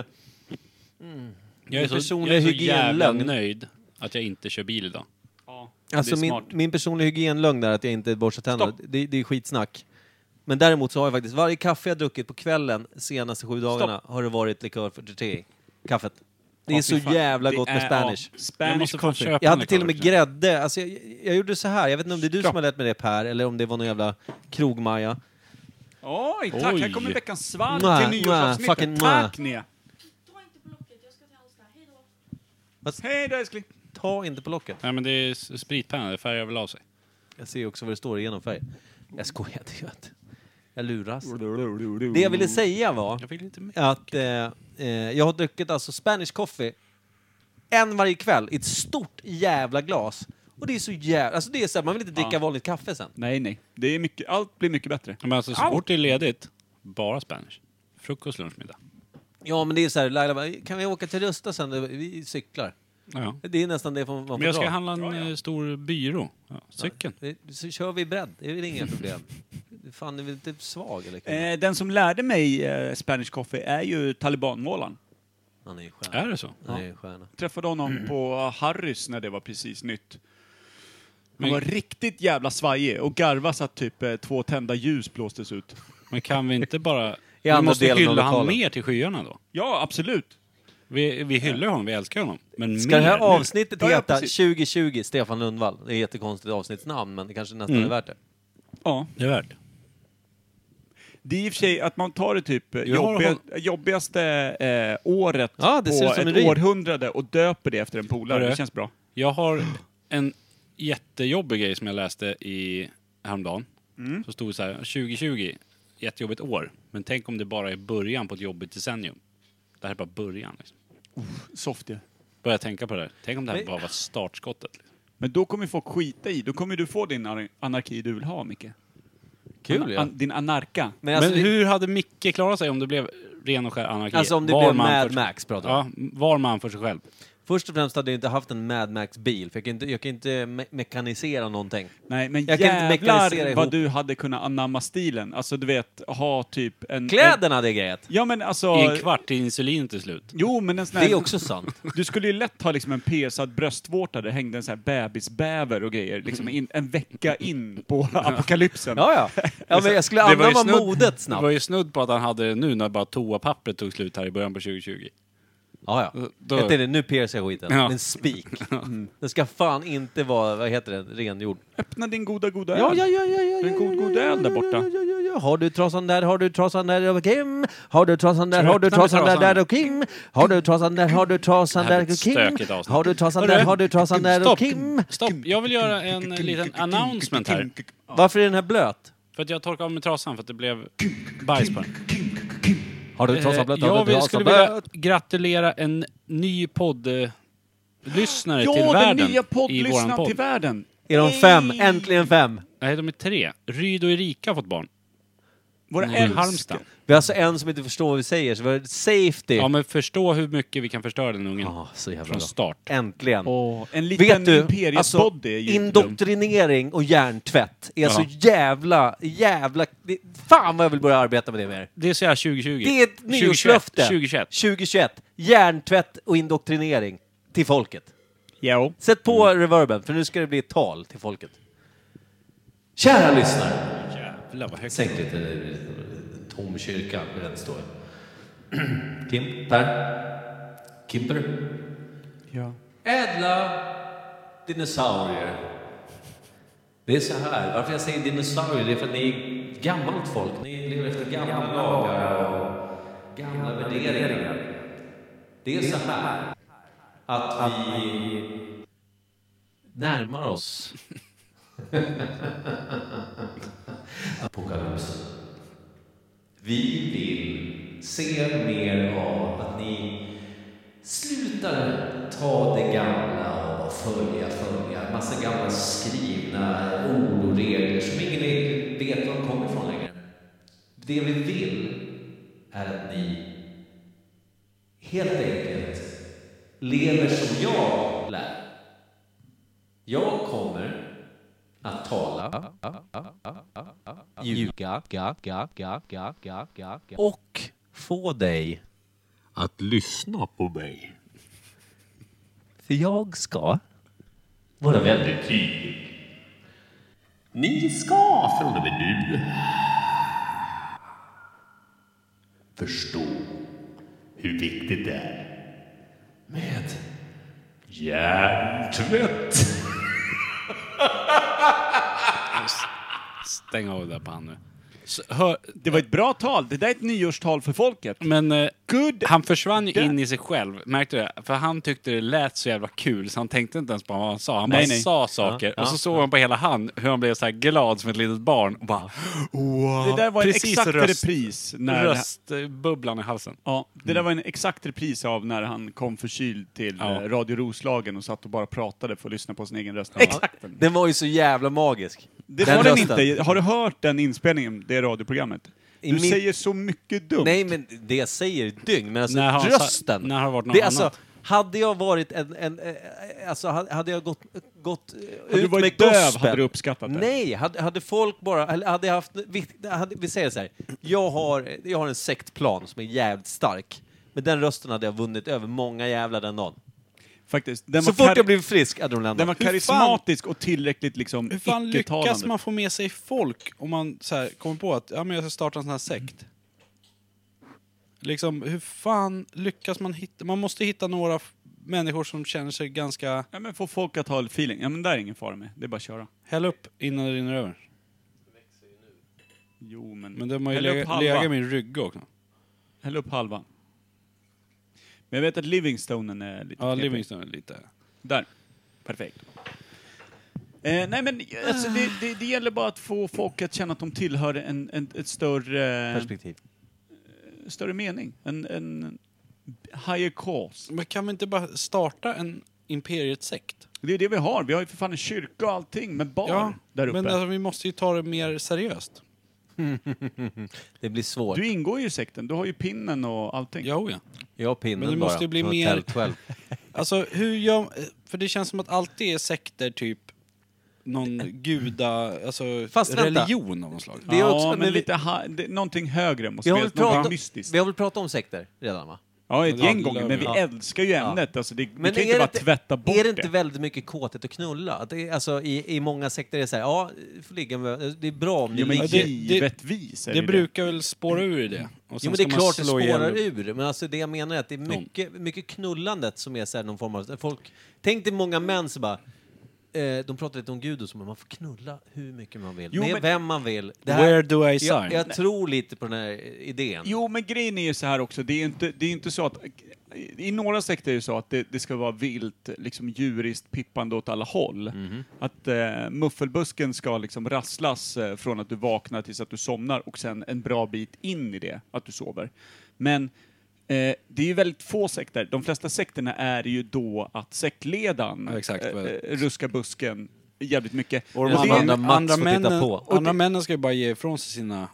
Speaker 3: Jag är så,
Speaker 1: Personlig
Speaker 3: jag är så
Speaker 1: hygienlögn.
Speaker 3: jävla nöjd att jag inte kör bil idag.
Speaker 4: Ja,
Speaker 1: alltså
Speaker 4: det är
Speaker 1: min,
Speaker 4: smart.
Speaker 1: min personliga hygienlögn där, att jag inte borstar tänderna,
Speaker 4: Stopp.
Speaker 1: det, det är skitsnack. Men däremot så har jag faktiskt, varje kaffe jag druckit på kvällen senaste sju dagarna har det varit likör 43 i kaffet. Det är
Speaker 4: Ja,
Speaker 1: så
Speaker 4: fy fan.
Speaker 1: jävla
Speaker 4: Det
Speaker 1: gott med
Speaker 4: är-
Speaker 1: Spanish.
Speaker 4: ja,
Speaker 3: Jag
Speaker 4: Spanish
Speaker 3: måste fan
Speaker 4: coffee.
Speaker 3: köpa
Speaker 1: Jag
Speaker 3: den där
Speaker 1: hade till och med
Speaker 3: korven.
Speaker 1: grädde. Alltså, jag, jag gjorde så här, jag vet inte om det är du som har lärt mig det Per, eller om det var någon jävla krogmaja.
Speaker 4: Oj, tack!
Speaker 3: Oj.
Speaker 4: Här kommer veckans svalg
Speaker 1: Mwah,
Speaker 4: till
Speaker 1: mwah,
Speaker 4: nyårsavsnittet.
Speaker 1: fucking
Speaker 4: Tack Nea! Hej då älskling!
Speaker 1: Ta inte på locket.
Speaker 3: Nej, men det är s- spritpenna, det färgar väl av sig.
Speaker 1: Jag ser också vad det står igenom färg. Jag skojar, det gör jag inte. Jag luras. Det jag ville säga var
Speaker 3: Jag vill inte med.
Speaker 1: att eh, eh, jag har druckit alltså Spanish coffee en varje kväll i ett stort jävla glas. Och det är så jävla... Alltså det är så här, man vill inte dricka
Speaker 4: Ja.
Speaker 1: vanligt kaffe sen.
Speaker 4: Nej, nej. Det är mycket, allt blir mycket bättre.
Speaker 3: Men alltså, så fort det är ledigt, bara Spanish. Frukost, lunch, middag.
Speaker 1: Ja, men det är så här, Laila bara, kan vi åka till Rusta sen? Vi cyklar.
Speaker 3: Ja.
Speaker 1: Det är nästan det man får
Speaker 3: Men jag ska
Speaker 1: dra.
Speaker 3: handla en eh, stor byrå. Ja, cykeln.
Speaker 1: Det- Så kör vi bredd, det är väl inga problem. fan är väl inte svag eller? kul?
Speaker 4: Eh, den som lärde mig eh, Spanish Coffee är ju talibanmålaren.
Speaker 1: Han är ju en stjärna.
Speaker 3: Är det så?
Speaker 1: Han är ju en stjärna.
Speaker 4: Träffade honom på Harrys när det var precis nytt. Han
Speaker 3: Men-
Speaker 4: var riktigt jävla svajig och garva så att typ eh, två tända ljus blåstes ut.
Speaker 3: Men kan vi inte bara... Vi
Speaker 1: andra
Speaker 3: måste
Speaker 1: delen av
Speaker 3: hylla han
Speaker 1: lokalen.
Speaker 3: mer till skyarna då.
Speaker 4: Ja, absolut.
Speaker 3: Vi, vi hyllar honom, vi älskar honom. Men
Speaker 1: Ska det här
Speaker 3: mer nu.
Speaker 1: avsnittet
Speaker 4: Ja, ja,
Speaker 1: heta
Speaker 4: precis.
Speaker 1: 2020 Stefan Lundvall? Det är ett jättekonstigt avsnittsnamn, men det kanske nästan är värt det.
Speaker 4: Ja.
Speaker 3: Det är värt.
Speaker 4: Det är i och för sig att man tar det typ
Speaker 3: Jag har
Speaker 4: jobbiga, jobbigaste eh, året
Speaker 1: Ja, det ser ut
Speaker 4: på
Speaker 1: som
Speaker 4: ett
Speaker 1: en rim.
Speaker 4: århundrade och döper det efter en polare.
Speaker 3: Hörru.
Speaker 4: Det känns bra.
Speaker 3: Jag har en jättejobbig grej som jag läste i häromdagen.
Speaker 1: Mm.
Speaker 3: Så stod det så här, 2020, jättejobbigt år. Men tänk om det bara är början på ett jobbigt decennium. Det här är bara början. Liksom.
Speaker 4: Soft ju.
Speaker 3: Börja tänka på det där. Tänk om det här
Speaker 1: Men-
Speaker 3: bara var startskottet. Liksom.
Speaker 4: Men då kommer ju folk skita i. Då kommer du få din anar- anarki du vill ha, Micke.
Speaker 1: Kul
Speaker 4: An-
Speaker 1: ja.
Speaker 4: an- Din anarka.
Speaker 1: Men, alltså,
Speaker 3: men
Speaker 1: det-
Speaker 3: hur hade Micke klarat sig om det blev ren och skär anarki?
Speaker 1: Alltså om det
Speaker 3: Var
Speaker 1: blev
Speaker 3: man
Speaker 1: Mad
Speaker 3: för-
Speaker 1: Max pratar vi om.
Speaker 3: Ja, var man för sig själv.
Speaker 1: Först och främst hade jag inte haft en Mad Max-bil, för jag kan inte, jag kan inte me- mekanisera någonting.
Speaker 4: Nej, men
Speaker 1: Jag kan inte mekanisera
Speaker 4: jävlar
Speaker 1: ihop.
Speaker 4: vad du hade kunnat anamma stilen. Alltså, du vet, ha typ en... En,
Speaker 1: Kläderna hade jag grejat!
Speaker 4: ja, men alltså...
Speaker 3: I en kvart till insulin till slut.
Speaker 4: Jo, men en sån här...
Speaker 1: Det är också sant.
Speaker 4: Du skulle ju lätt ha liksom en piercad bröstvårta där det hängde en sån här bebisbäver och grejer. Liksom in, en vecka in på apokalypsen.
Speaker 1: Ja, ja. ja men jag skulle
Speaker 3: Det var ju
Speaker 1: anamma
Speaker 3: snudd-
Speaker 1: modet
Speaker 3: Det var
Speaker 1: snabbt.
Speaker 3: ju snudd på att han hade det nu när bara toapappret tog slut här i början på 2020.
Speaker 1: Ja, ja.
Speaker 3: Då-
Speaker 1: Jag tänkte, nu piercar jag skiten.
Speaker 3: Ja.
Speaker 1: En spik. Den ska fan inte vara, vad heter det, rengjord.
Speaker 4: Öppna din goda, goda öl.
Speaker 1: Ja, ja, ja, ja, ja,
Speaker 4: En
Speaker 1: ja,
Speaker 4: god-
Speaker 1: ja,
Speaker 4: god
Speaker 1: ja,
Speaker 4: öl där
Speaker 1: ja,
Speaker 4: borta.
Speaker 1: Ja, ja, ja, ja. Har du trasan där, har du trasan där, och Kim? Har du trasan där,
Speaker 3: Ska vi
Speaker 1: har du
Speaker 3: öppna med
Speaker 1: trasan där,
Speaker 3: trasan?
Speaker 1: där och Kim? Har du trasan där, har du trasan
Speaker 3: Det här
Speaker 1: där
Speaker 3: blir
Speaker 1: och
Speaker 3: ett
Speaker 1: Kim?
Speaker 3: stökigt avsnitt.
Speaker 1: Har du trasan
Speaker 3: Hörru,
Speaker 1: där, har du trasan där och
Speaker 3: Stopp!
Speaker 1: Kim?
Speaker 3: Stopp! Jag vill göra en liten announcement här.
Speaker 1: Varför är den här blöt?
Speaker 3: För att jag torkade av mig trasan för att det blev bajs på den.
Speaker 1: Har du
Speaker 3: Eh,
Speaker 1: trasan blöt, har
Speaker 3: Jag
Speaker 1: du
Speaker 3: vill,
Speaker 1: trasan
Speaker 3: skulle vilja
Speaker 1: blöt?
Speaker 3: gratulera en ny podd... eh, Lyssnare
Speaker 4: Ja,
Speaker 3: till
Speaker 4: den
Speaker 3: världen
Speaker 4: nya
Speaker 3: i våran
Speaker 4: poddlyssnaren
Speaker 3: podd.
Speaker 4: till världen.
Speaker 1: Är de fem? Äntligen fem!
Speaker 3: Nej, de är tre. Ryd och Erika har fått barn.
Speaker 4: Våra
Speaker 3: I
Speaker 4: älskade.
Speaker 3: Halmstad.
Speaker 1: Vi har alltså en som inte förstår vad vi säger, så vi har safety.
Speaker 3: Ja,
Speaker 1: Ja,
Speaker 3: men förstå hur mycket vi kan förstöra den ungen.
Speaker 1: Ah, så jävla
Speaker 3: Från
Speaker 1: bra.
Speaker 3: start.
Speaker 1: Äntligen.
Speaker 4: Åh, en liten
Speaker 1: Vet du,
Speaker 4: imperiepoddy
Speaker 1: alltså,
Speaker 4: är ju inte dumt.
Speaker 1: indoktrinering och hjärntvätt är
Speaker 3: Ja.
Speaker 1: så jävla, jävla... det- Fan vad jag vill börja arbeta med det mer.
Speaker 3: Det är så här 2020.
Speaker 1: Det är ett
Speaker 3: 2021,
Speaker 1: nyårslöfte.
Speaker 3: 2021.
Speaker 1: 2021. Hjärntvätt och indoktrinering till folket.
Speaker 4: Jo.
Speaker 1: Sätt på reverben, för nu ska det bli ett tal till folket. Kära lyssnare.
Speaker 3: Jävlar vad högt.
Speaker 1: Sänk lite eh, tom kyrka, hur den står. Kim, Per, Kimper.
Speaker 4: Ja.
Speaker 1: Ädla dinosaurier. Det är så här, varför jag säger dinosaurier, det är för att ni är gammalt folk. Ni lever efter gamla lagar och gamla värderingar. Det är så här att vi närmar oss apokalypsen. Vi vill se mer av att ni slutar ta det gamla och följa, följa. Massa gamla skrivna ord och regler som ingen vet var de kommer ifrån längre. Det vi vill är att ni helt enkelt lever som jag lär. Jag kommer att tala, ljuga, ga, ga, ga, ga, ga, ga, ga. och få dig
Speaker 6: att lyssna på mig.
Speaker 1: För jag ska... Vara väldigt tydlig.
Speaker 6: Ni ska från och med nu förstå hur viktigt det är med hjärntvätt.
Speaker 3: Stäng av det där på han nu. Så, hör,
Speaker 4: Det var ett bra tal. Det där är ett nyårstal för folket.
Speaker 3: men eh,
Speaker 4: Good.
Speaker 3: han försvann ju in i sig själv, märkte du det? För han tyckte det lät så jävla kul så han tänkte inte ens på vad han sa. Han
Speaker 4: Nej,
Speaker 3: bara
Speaker 4: nej.
Speaker 3: sa saker och så såg man på hela han hur han blev så här glad som ett litet barn. Och bara, wow.
Speaker 4: Det där var en
Speaker 3: Precis
Speaker 4: exakt
Speaker 3: röst-
Speaker 4: repris. När
Speaker 3: Röstbubblan i halsen.
Speaker 4: Ja, det där var en exakt repris av när han kom förkyld till
Speaker 3: Ja.
Speaker 4: eh, Radio Roslagen och satt och bara pratade för att lyssna på sin egen röst.
Speaker 1: Den var ju så jävla magisk.
Speaker 4: Det var den inte. Har du hört den inspelningen, det radioprogrammet?
Speaker 1: I
Speaker 4: du
Speaker 1: min-
Speaker 4: säger så mycket dumt.
Speaker 1: Nej, men det jag säger är dygn. Men alltså
Speaker 3: När har han sa-
Speaker 1: rösten.
Speaker 3: när har det varit något
Speaker 1: det är alltså,
Speaker 3: annat?
Speaker 1: Hade jag varit en... en eh, alltså, hade hade jag gått, gått eh,
Speaker 4: du
Speaker 1: ut
Speaker 4: varit
Speaker 1: med
Speaker 4: döv
Speaker 1: gospel...
Speaker 4: hade du uppskattat det.
Speaker 1: Nej, hade, hade folk bara... Eller hade jag haft, vi, hade, vi säger så här, jag har, jag har en sektplan som är jävligt stark. Med den rösten hade jag vunnit över många jävlar den dagen.
Speaker 4: Faktiskt. Den
Speaker 1: Så
Speaker 4: var
Speaker 1: fort
Speaker 4: kar-
Speaker 1: jag blev frisk hade de lämnat.
Speaker 4: Den var
Speaker 3: Hur fan-
Speaker 4: karismatisk och tillräckligt liksom
Speaker 3: Hur fan lyckas
Speaker 4: icke-talande.
Speaker 3: man få med sig folk om man så här, kommer på att ja, men jag ska starta en sån här sekt? Liksom, hur fan lyckas man hitta... Man måste hitta några f- människor som känner sig ganska...
Speaker 4: Ja, men få folk att ha lite feeling. Ja, men där är ingen fara med. Det är bara att köra.
Speaker 3: Häll upp innan det rinner över.
Speaker 4: Jo, men...
Speaker 3: Men de har ju
Speaker 4: Häll upp
Speaker 3: lega-
Speaker 4: halva.
Speaker 3: legat i min rygg också.
Speaker 4: Häll upp halva. Men jag vet att Livingstonen är lite
Speaker 3: Ja,
Speaker 4: knepig.
Speaker 3: Livingston är lite...
Speaker 4: Där. Perfekt. Eh, nej men alltså, det, det, det gäller bara att få folk att känna att de tillhör en, en ett större,
Speaker 1: Perspektiv.
Speaker 4: större mening. En, en higher cause.
Speaker 3: Men kan vi inte bara starta en Imperiet-sekt?
Speaker 4: Det är det vi har. Vi har ju för fan en kyrka och allting med barn där uppe.
Speaker 3: men alltså, vi måste ju ta det mer seriöst.
Speaker 1: Det blir svårt.
Speaker 4: Du ingår ju i sekten. Du har ju pinnen och allting.
Speaker 3: Jo, ja.
Speaker 1: Jag har pinnen
Speaker 3: Men det
Speaker 1: bara.
Speaker 3: måste ju bli
Speaker 1: från
Speaker 3: mer-
Speaker 1: Hotel 12.
Speaker 3: Alltså hur gör... För det känns som att alltid är sekter typ någon guda, alltså
Speaker 1: Fast vänta.
Speaker 3: religion av något slag.
Speaker 1: Det är
Speaker 4: ja,
Speaker 1: också-
Speaker 4: men,
Speaker 1: men vi-
Speaker 4: lite ha, det, någonting högre måste
Speaker 1: Vi har, väl
Speaker 4: finnas, någonting
Speaker 1: pratat,
Speaker 4: mystiskt.
Speaker 1: vi har väl pratat om sekter redan va?
Speaker 4: Ja, ett
Speaker 3: Ja,
Speaker 4: gäng
Speaker 3: det
Speaker 4: gånger,
Speaker 3: lär
Speaker 4: men
Speaker 3: vi.
Speaker 4: vi
Speaker 1: Ja.
Speaker 4: älskar ju ämnet. Alltså, det, vi
Speaker 1: Men
Speaker 4: kan
Speaker 1: är
Speaker 4: inte bara
Speaker 1: det inte-
Speaker 4: tvätta bort
Speaker 1: är det inte väldigt mycket kåthet att knulla? Att det, är- alltså, i, I många sekter är det så här, ja, får ligga med, det är bra om ni
Speaker 4: Jo, men
Speaker 1: ligger.
Speaker 3: det-
Speaker 4: givetvis är det,
Speaker 3: Det brukar väl spåra ur i det. Och sen
Speaker 1: Jo, men det är
Speaker 3: ska man
Speaker 1: klart det
Speaker 3: slå ihjäl-
Speaker 1: spårar ur, men alltså det jag menar är att det är mycket, mycket knullandet som är så här någon form av... Folk, tänk dig många män som bara... Eh, de pratar lite om Gud och så, men man får knulla hur mycket man vill,
Speaker 4: Jo,
Speaker 1: med
Speaker 4: men-
Speaker 1: vem man vill. Det
Speaker 3: Where do I
Speaker 1: jag,
Speaker 3: sign?
Speaker 1: jag tror lite på den här idén.
Speaker 4: Jo, men grejen är ju så här också, det är ju inte, det är inte så att... I några sekter är det så att det, det ska vara vilt, liksom djuriskt pippande åt alla håll. Att eh, muffelbusken ska liksom rasslas eh, från att du vaknar tills att du somnar och sen en bra bit in i det, att du sover. Men eh, det är ju väldigt få sekter. De flesta sekterna är ju då att sektledaren
Speaker 3: Ja, exakt.
Speaker 4: eh, eh, ruskar busken jävligt mycket.
Speaker 1: Och de
Speaker 4: det-
Speaker 1: andra-
Speaker 3: andra,
Speaker 1: Mats
Speaker 3: andra,
Speaker 1: får titta
Speaker 3: männen,
Speaker 1: på.
Speaker 3: andra männen ska ju bara ge ifrån sig sina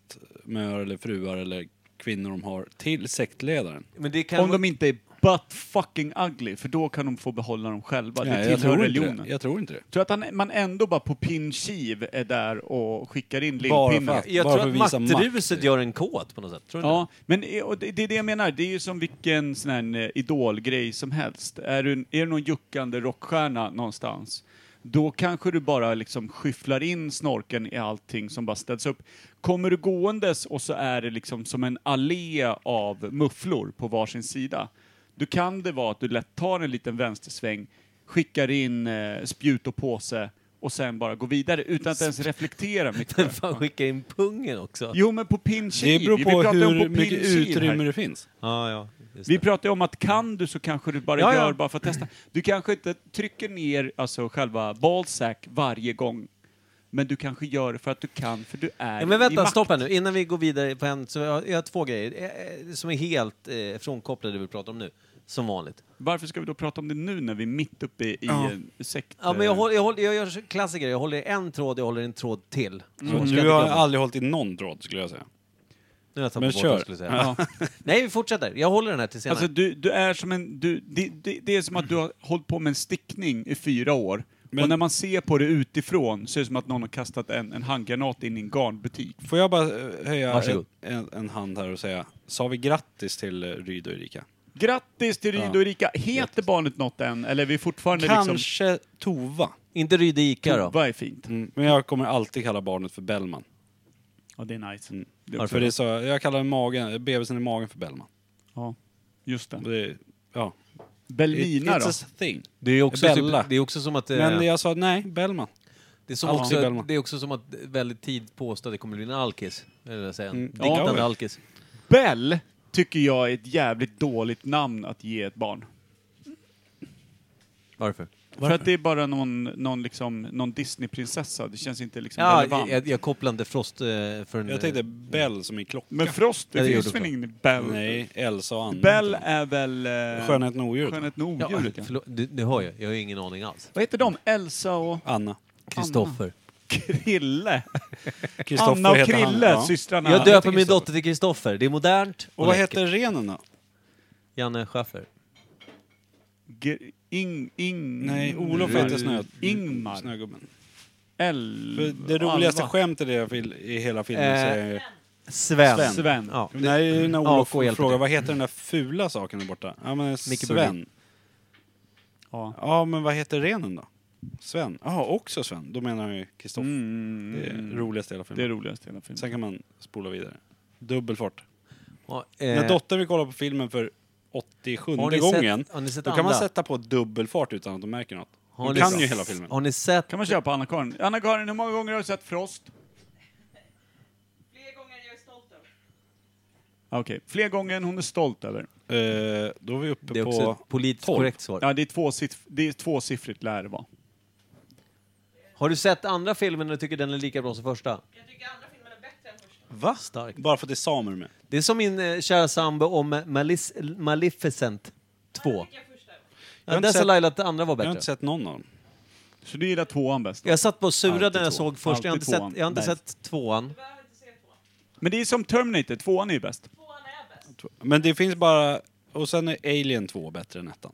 Speaker 3: fästmör eller fruar eller kvinnor de har till sektledaren.
Speaker 1: Men det kan
Speaker 4: Om de inte är butt fucking ugly, för då kan de få behålla dem själva.
Speaker 3: Nej,
Speaker 4: det
Speaker 3: jag,
Speaker 4: tillhör
Speaker 3: tror
Speaker 4: religionen.
Speaker 3: inte det. jag tror inte det.
Speaker 4: Tror att han, man ändå bara på pin kiv är där och skickar in
Speaker 3: Bara för
Speaker 4: lillpinnen?
Speaker 3: att-
Speaker 1: jag tror
Speaker 3: bara för
Speaker 1: att
Speaker 3: att visa
Speaker 1: maktruset
Speaker 3: makt.
Speaker 1: gör en kåt på något sätt. Tror du
Speaker 4: Ja, men i- och det, det är det jag menar. Det är ju som vilken sån här eh, idolgrej som helst. Är du, en- är du någon juckande rockstjärna någonstans, då kanske du bara liksom skyfflar in snorken i allting som bara ställs upp. Kommer du gåendes och så är det liksom som en allé av mufflor på varsin sida, då kan det vara att du lätt tar en liten vänstersväng, skickar in eh, spjut och påse och sen bara går vidare utan att ens reflektera
Speaker 1: inte?
Speaker 4: mycket.
Speaker 1: Fan, skicka in pungen också.
Speaker 4: Jo, men på pin kiv.
Speaker 3: Det beror
Speaker 4: Vi
Speaker 3: på Mm.
Speaker 4: pratar ju om
Speaker 3: hur
Speaker 4: pin
Speaker 3: mycket
Speaker 4: kiv här.
Speaker 3: utrymme det finns.
Speaker 1: Ja, ja. just
Speaker 4: Vi
Speaker 1: det.
Speaker 4: pratar ju om att kan du så kanske du bara
Speaker 1: Ja, ja.
Speaker 4: gör bara för att testa. Du kanske inte trycker ner alltså, själva ballsack varje gång. Men du kanske gör det för att du kan, för du är
Speaker 1: Ja, men
Speaker 4: i
Speaker 1: vänta,
Speaker 4: makt.
Speaker 1: stoppa nu. Innan vi går vidare på en, så jag, har- jag har två grejer eh, eh, som är helt eh, frånkopplade det vi pratar om nu. Som vanligt.
Speaker 4: Varför ska vi då prata om det nu när vi är mitt uppe i, i en sekt? eh,
Speaker 1: Ja,
Speaker 3: Eh.
Speaker 1: men jag, håller, jag, håller, jag gör klassiker. Jag håller i en tråd, jag håller i en tråd till. Så ska jag inte
Speaker 3: Du Mm. har
Speaker 1: glömma.
Speaker 3: aldrig hållit i någon tråd skulle jag säga.
Speaker 1: Nu har jag tappat
Speaker 3: Men
Speaker 1: bort
Speaker 3: kör.
Speaker 1: vad jag skulle säga.
Speaker 4: Ja.
Speaker 1: Nej, vi fortsätter. Jag håller den här till senare.
Speaker 4: Alltså du, du är som en... Du, det, det, det är som att du har hållit på med en stickning i fyra år.
Speaker 3: Men-
Speaker 4: Och när man ser på det utifrån så är det som att någon har kastat en, en handgranat in i en garnbutik.
Speaker 3: Får jag bara eh, höja
Speaker 1: Varsågod.
Speaker 3: en, en, en hand här och säga, sa vi grattis till eh, Ryd och Erika?
Speaker 4: Grattis till Rido
Speaker 3: Ja.
Speaker 4: och Erika! Heter barnet något än? Eller är vi fortfarande liksom...
Speaker 3: Kanske Tova. Mm,
Speaker 1: inte Ryd i Ica då.
Speaker 4: Vad är fint?
Speaker 3: Men jag kommer alltid kalla barnet för Bellman.
Speaker 4: Ja, det är nice. Mm. Det är
Speaker 3: För
Speaker 4: också-
Speaker 3: det är så, jag kallar magen, bebisen i magen för Bellman.
Speaker 4: Ja, just det.
Speaker 3: Och Det, är- ja. It-
Speaker 4: Belmina
Speaker 3: It's
Speaker 4: då?
Speaker 3: a thing.
Speaker 1: Det är ju också,
Speaker 3: Bella.
Speaker 1: typ, det är också som att... eh,
Speaker 3: Men jag sa nej, Bellman.
Speaker 1: det, är som
Speaker 3: Ja.
Speaker 1: också,
Speaker 3: Bellman.
Speaker 1: det är också som att väldigt tid påstå att det kommer bli en alkis. Eller säga en
Speaker 3: Mm.
Speaker 1: diktande
Speaker 3: Ja.
Speaker 1: alkis.
Speaker 4: Bell tycker jag är ett jävligt dåligt namn att ge ett barn.
Speaker 1: Varför?
Speaker 4: För att det är bara någon, någon, liksom, någon Disney-prinsessa. Det känns inte liksom
Speaker 1: Ja,
Speaker 4: relevant.
Speaker 1: jag, jag kopplar inte Frost eh, för en...
Speaker 3: Jag tänkte Bell som i klocka.
Speaker 4: Men Frost, det
Speaker 1: Ja, det gjorde
Speaker 4: finns väl
Speaker 1: du.
Speaker 4: ingen Bell?
Speaker 3: Nej, Elsa och Anna.
Speaker 4: Bell är väl... Eh,
Speaker 3: Skönheten och odjuret.
Speaker 4: Skönheten och
Speaker 1: ja,
Speaker 4: odjuret, ja.
Speaker 1: förlåt, du, du hör ju. Jag har ju ingen aning alls.
Speaker 4: Vad heter de? Elsa och
Speaker 3: Anna.
Speaker 1: Kristoffer.
Speaker 4: Krille?
Speaker 3: Kristoffer
Speaker 4: Anna och
Speaker 3: heter han,
Speaker 4: Krille,
Speaker 3: ja.
Speaker 4: systrarna.
Speaker 1: Jag döper min
Speaker 4: Kristoffer.
Speaker 1: dotter till Kristoffer. Det är modernt
Speaker 3: Och vad
Speaker 1: läckert.
Speaker 3: heter renen då?
Speaker 1: Janne Schaffer.
Speaker 4: Ger- Ing, ing,
Speaker 3: Nej, Olof heter Snö...
Speaker 4: Ingmar.
Speaker 3: Snögubben.
Speaker 4: El,
Speaker 3: För det roligaste
Speaker 4: Alva.
Speaker 3: skämtet i, den här fil- i hela filmen
Speaker 1: Eh,
Speaker 3: så är...
Speaker 1: Sven.
Speaker 4: Sven.
Speaker 1: Ja, det-
Speaker 3: Nej, när Olof
Speaker 1: AK hjälper
Speaker 3: frågar
Speaker 1: till.
Speaker 3: vad heter den där fula saken där borta? Ja men
Speaker 1: Burling.
Speaker 3: Sven.
Speaker 4: Ja.
Speaker 3: Ja men vad heter renen då? Sven. Ja också Sven. Då menar han ju Kristoffer.
Speaker 4: Mm,
Speaker 3: Det är roligaste i hela
Speaker 4: det är
Speaker 3: filmen.
Speaker 4: roligast i hela filmen.
Speaker 3: Sen kan man spola vidare. Dubbel fart.
Speaker 1: Ja,
Speaker 3: När
Speaker 1: eh,
Speaker 3: dotter vill kolla på filmen för 87
Speaker 1: har ni
Speaker 3: gången,
Speaker 1: sett- har ni sett
Speaker 3: då kan man
Speaker 1: andra?
Speaker 3: sätta på dubbel fart utan att de märker något.
Speaker 1: har
Speaker 3: De
Speaker 1: ni
Speaker 3: kan
Speaker 1: s-
Speaker 3: ju hela filmen.
Speaker 1: Har ni sett
Speaker 4: Kan man köpa Anna-Karin? Anna-Karin, hur många gånger har du sett Frost?
Speaker 7: Fler gånger än jag är stolt över.
Speaker 4: Ah, Okej, fler gånger än hon är stolt över.
Speaker 3: Eh, då är vi uppe
Speaker 1: Det är också
Speaker 3: på...
Speaker 1: ett politiskt
Speaker 3: 12.
Speaker 1: korrekt svar.
Speaker 4: Ja, det är, tvåsiff- det är tvåsiffrigt lär det vara.
Speaker 1: Har du sett andra filmen och tycker den är lika bra som första?
Speaker 7: Jag tycker andra filmen är bättre än första.
Speaker 1: Va? Starkt.
Speaker 3: Bara för att det är samer med.
Speaker 1: Det är som min eh, kära sambo om Malis- Maleficent 2.
Speaker 7: Vilken första?
Speaker 1: Ja,
Speaker 3: inte
Speaker 1: där sa
Speaker 3: sett-
Speaker 1: Laila att det andra var
Speaker 3: Jag har
Speaker 1: bättre.
Speaker 3: inte sett någon av dem.
Speaker 4: Så du gillar tvåan bäst? då?
Speaker 1: Jag satt på och surade
Speaker 4: Alltid
Speaker 1: när jag
Speaker 4: två.
Speaker 1: såg först. Jag har inte,
Speaker 4: Alltid tvåan.
Speaker 1: sett, jag har inte
Speaker 4: Nej.
Speaker 1: sett tvåan.
Speaker 7: Jag behöver inte se tvåan.
Speaker 4: Men det är som Terminator, tvåan är ju bäst.
Speaker 7: Tvåan är bäst.
Speaker 3: Men det finns bara... Och sen är Alien 2 bättre än ettan.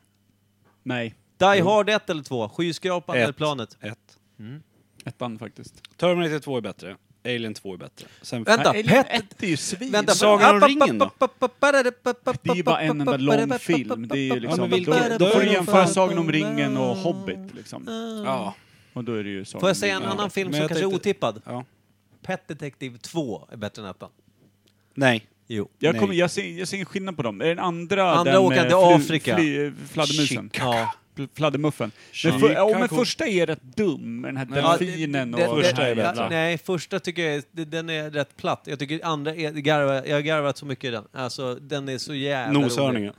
Speaker 4: Nej,
Speaker 1: Die Hard 1 eller 2? Skyskrapan eller
Speaker 3: Ett.
Speaker 1: planet?
Speaker 3: Ett.
Speaker 4: ettan faktiskt.
Speaker 3: Terminator 2 är bättre. Alien 2 är bättre. Sen
Speaker 1: Vänta,
Speaker 4: Nej,
Speaker 1: Pet-
Speaker 4: Alien 1 är ju svin.
Speaker 1: Vänta,
Speaker 3: Sagan om ringen då?
Speaker 4: Det är ju bara en enda lång film. Det är ju liksom,
Speaker 3: Ja, men vilken-
Speaker 4: då, då får du jämföra Sagan om ringen och Hobbit liksom.
Speaker 3: Ja.
Speaker 4: Och då är det ju Sagan
Speaker 1: Får
Speaker 4: om
Speaker 1: jag säga en
Speaker 4: ringen.
Speaker 1: annan film
Speaker 3: Men
Speaker 1: som
Speaker 3: jag
Speaker 1: kanske är
Speaker 3: tänkte-
Speaker 1: otippad?
Speaker 3: ja.
Speaker 1: Pet Detective 2 är bättre än ettan.
Speaker 3: Nej.
Speaker 1: Jo.
Speaker 4: Jag,
Speaker 3: Nej.
Speaker 4: kommer, jag, ser, jag ser ingen skillnad på dem. Är Den andra,
Speaker 1: Andra
Speaker 4: den
Speaker 1: åker
Speaker 4: eh,
Speaker 1: till
Speaker 4: flu-
Speaker 1: Afrika.
Speaker 4: fly- fladdermusen.
Speaker 1: Ja.
Speaker 4: Fl- Fladdermuffen. Men,
Speaker 3: Chicago.
Speaker 4: för, ja, men första är rätt dum, med den här delfinen och...
Speaker 1: den- den-
Speaker 3: Första är
Speaker 1: ja,
Speaker 3: bättre.
Speaker 1: Nej, första tycker jag är, det- den är rätt platt. Jag tycker andra är, garva, jag har garvat så mycket i den. Alltså, den är så jävla rolig.
Speaker 3: Noshörningen.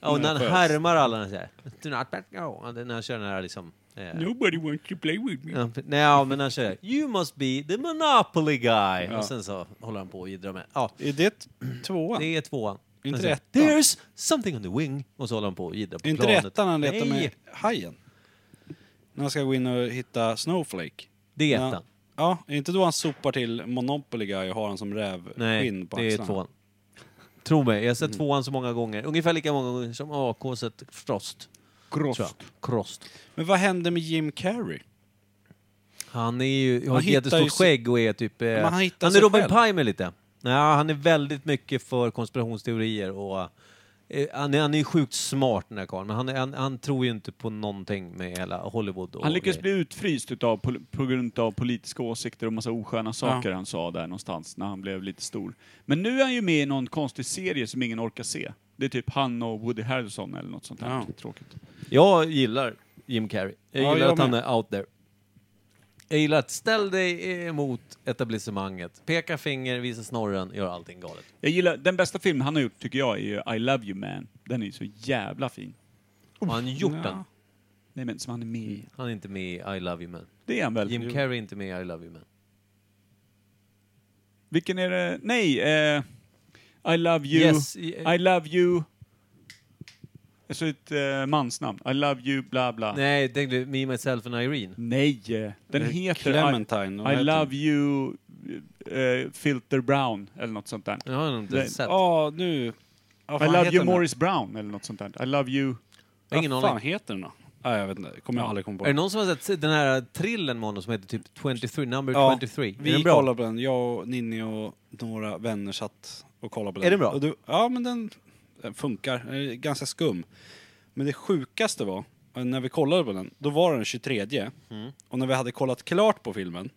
Speaker 1: Ja, och när han
Speaker 3: Sköts.
Speaker 1: härmar alla den såhär. Do not let go. Ja, det- När han kör den här liksom... Eh,
Speaker 3: Nobody wants to play with me.
Speaker 1: ja, nej, ja, men han kör You must be the Monopoly guy. Och sen så håller han på och jiddrar med. Ja,
Speaker 3: Är det tvåan?
Speaker 1: det är tvåan.
Speaker 3: Inte
Speaker 1: Han säger,
Speaker 3: ettan.
Speaker 1: There's something on the wing. Och så håller han på och jiddrar på
Speaker 3: Är inte det
Speaker 1: planet.
Speaker 3: ettan han letar
Speaker 1: Nej,
Speaker 3: med hajen? När han ska gå in och hitta Snowflake?
Speaker 1: det är
Speaker 3: Ja.
Speaker 1: ettan.
Speaker 3: Ja, är inte då han sopar till Monopoly Guy och har han som
Speaker 1: Nej,
Speaker 3: rävskinn på
Speaker 1: det är
Speaker 3: axlarna? Mm.
Speaker 1: tvåan. Tro mig, jag har sett tvåan så många gånger. Ungefär lika många gånger som AK sett Frost.
Speaker 4: Cross.
Speaker 1: tror jag. Crost.
Speaker 3: Men vad hände med Jim Carrey?
Speaker 1: Han är ju, har
Speaker 3: Han
Speaker 1: ett
Speaker 3: hittar ju
Speaker 1: jättestort
Speaker 3: sig-
Speaker 1: skägg och är typ... eh,
Speaker 3: Men han
Speaker 1: han,
Speaker 3: hittar
Speaker 1: är
Speaker 3: sig
Speaker 1: Robin
Speaker 3: själv.
Speaker 1: Pimer lite. Ja, han är väldigt mycket för konspirationsteorier och... eh, Han är, han är ju sjukt smart den här karln, men han, är- han, han tror ju inte på någonting med hela Hollywood och
Speaker 4: Han lyckades
Speaker 1: grejer.
Speaker 4: bli utfryst utav, pol- på grund av politiska åsikter och massa osköna saker han sa där någonstans när han blev lite stor. Men nu är han ju med i någon konstig serie som ingen orkar se. Det är typ han och Woody Harrelson eller något sånt där.
Speaker 3: Ja.
Speaker 4: Tråkigt.
Speaker 1: Jag gillar Jim Carrey. Jag
Speaker 3: Ja,
Speaker 1: gillar
Speaker 3: jag
Speaker 1: att han
Speaker 3: med.
Speaker 1: är out there. Jag gillar att ställ dig emot etablissemanget. Peka finger, visa snorren, gör allting galet.
Speaker 4: Jag gillar, den bästa filmen han har gjort tycker jag är ju I Love You Man. Den är ju så jävla fin.
Speaker 1: Har han gjort den?
Speaker 4: Nej men som han är med i.
Speaker 1: Han är inte med i I Love You Man.
Speaker 4: Det är han väl?
Speaker 1: Jim Carrey är inte med i I Love You Man.
Speaker 4: Vilken är det? Nej, eh, I Love You.
Speaker 1: Yes, i-
Speaker 3: Eh,
Speaker 4: I Love You. Alltså ett eh, mansnamn. I Love You bla bla.
Speaker 1: Nej, jag tänkte Me, Myself and Irene.
Speaker 4: Nej, eh, den heter
Speaker 3: Clementine, vad
Speaker 4: I, I
Speaker 3: heter
Speaker 4: love you eh, filter brown eller något sånt där.
Speaker 1: Jag har nog inte
Speaker 4: Nej,
Speaker 1: sett.
Speaker 3: Ja, nu... Ja,
Speaker 4: I
Speaker 3: Eh, fan,
Speaker 4: love
Speaker 3: heter
Speaker 4: you
Speaker 3: den då?
Speaker 4: Morris brown eller något sånt där. I love you...
Speaker 1: Jag har ingen
Speaker 3: Vad fan
Speaker 1: aning.
Speaker 3: heter den då? Nej, jag vet inte. Kommer jag aldrig komma på.
Speaker 1: Är det någon som har sett den här trillen med honom som heter typ 23, number
Speaker 3: Ja,
Speaker 1: 23? är
Speaker 3: Vi
Speaker 1: den bra?
Speaker 3: kollade på den. Jag och Ninni och några vänner satt och kollade på den.
Speaker 1: Är den bra?
Speaker 3: Och du, ja, men den, den funkar. Den är ganska skum. Men det sjukaste var, eh, när vi kollade på den, då var den 23.
Speaker 1: Mm.
Speaker 3: Och när vi hade kollat klart på filmen,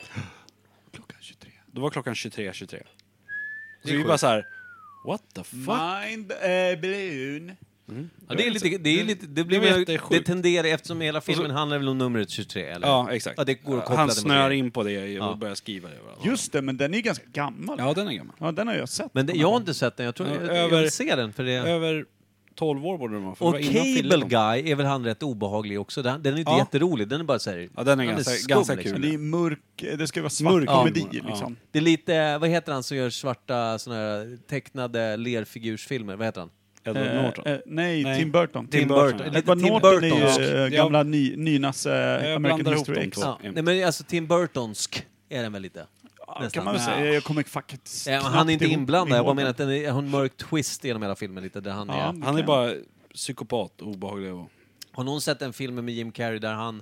Speaker 4: Klockan 23.
Speaker 3: då var klockan 23.23. 23. Så vi bara så här, what the fuck?
Speaker 4: Mind eh, blown.
Speaker 1: Ja, det, är lite, det, är lite, det
Speaker 3: Det var
Speaker 1: blir det,
Speaker 3: jättesjukt.
Speaker 1: det tenderar, eftersom hela filmen handlar väl om numret 23, eller?
Speaker 3: Ja, exakt.
Speaker 1: Ja, det går att koppla
Speaker 3: Han
Speaker 1: det mot
Speaker 3: snör
Speaker 1: det.
Speaker 3: in på det och
Speaker 1: Ja.
Speaker 3: börjar skriva det. överallt.
Speaker 4: Just det, men den är ju ganska gammal. Ja.
Speaker 3: Ja, den är gammal.
Speaker 4: den har jag sett.
Speaker 1: Men det, jag har inte sett den, jag tror
Speaker 3: Ja,
Speaker 1: jag, jag
Speaker 3: över-
Speaker 1: vill se den för det...
Speaker 3: Över 12 år borde den vara. för det
Speaker 1: Och
Speaker 3: var innan Fille
Speaker 1: Cable
Speaker 3: kom.
Speaker 1: Guy är väl han rätt obehaglig också? Den, den är inte
Speaker 3: Ja.
Speaker 1: jätterolig, den är bara såhär...
Speaker 3: Ja, den är ganska- ganska kul.
Speaker 4: Men Liksom, det är mörk, eh, det ska vara svart
Speaker 3: Mörk
Speaker 4: komedi
Speaker 3: humor, ja.
Speaker 4: liksom.
Speaker 1: Det är lite, vad heter han som gör svarta såna här tecknade lerfigursfilmer? Vad heter han?
Speaker 3: Edward Norton.
Speaker 4: Eh, eh, nej,
Speaker 3: Nej.
Speaker 4: Tim Burton.
Speaker 1: Tim Burton. Lite
Speaker 4: Edward
Speaker 1: Tim
Speaker 4: Norton
Speaker 1: Burton,
Speaker 4: är ju
Speaker 1: ja.
Speaker 4: eh,
Speaker 3: Jag-
Speaker 4: gamla ny, nynas eh,
Speaker 3: Jag
Speaker 4: American
Speaker 3: blandar ihop
Speaker 4: History
Speaker 3: dem
Speaker 4: X.
Speaker 3: två.
Speaker 1: Ja.
Speaker 3: Mm.
Speaker 1: Nej men alltså Tim Burtonsk är den väl lite?
Speaker 4: Ehm. Ja,
Speaker 1: Nästan.
Speaker 4: kan man väl säga. Jag kommer faktiskt
Speaker 1: Ja, men
Speaker 4: knappt
Speaker 1: han är inte
Speaker 4: ihop-
Speaker 1: inblandad, jag bara
Speaker 4: ihåg
Speaker 1: menar
Speaker 4: den.
Speaker 1: att den är, har en mörk twist genom hela filmen lite, där han
Speaker 4: Ja.
Speaker 1: är...
Speaker 3: Han är
Speaker 4: Okej.
Speaker 3: bara psykopat och obehaglig och
Speaker 1: Har någon sett den filmen med Jim Carrey där han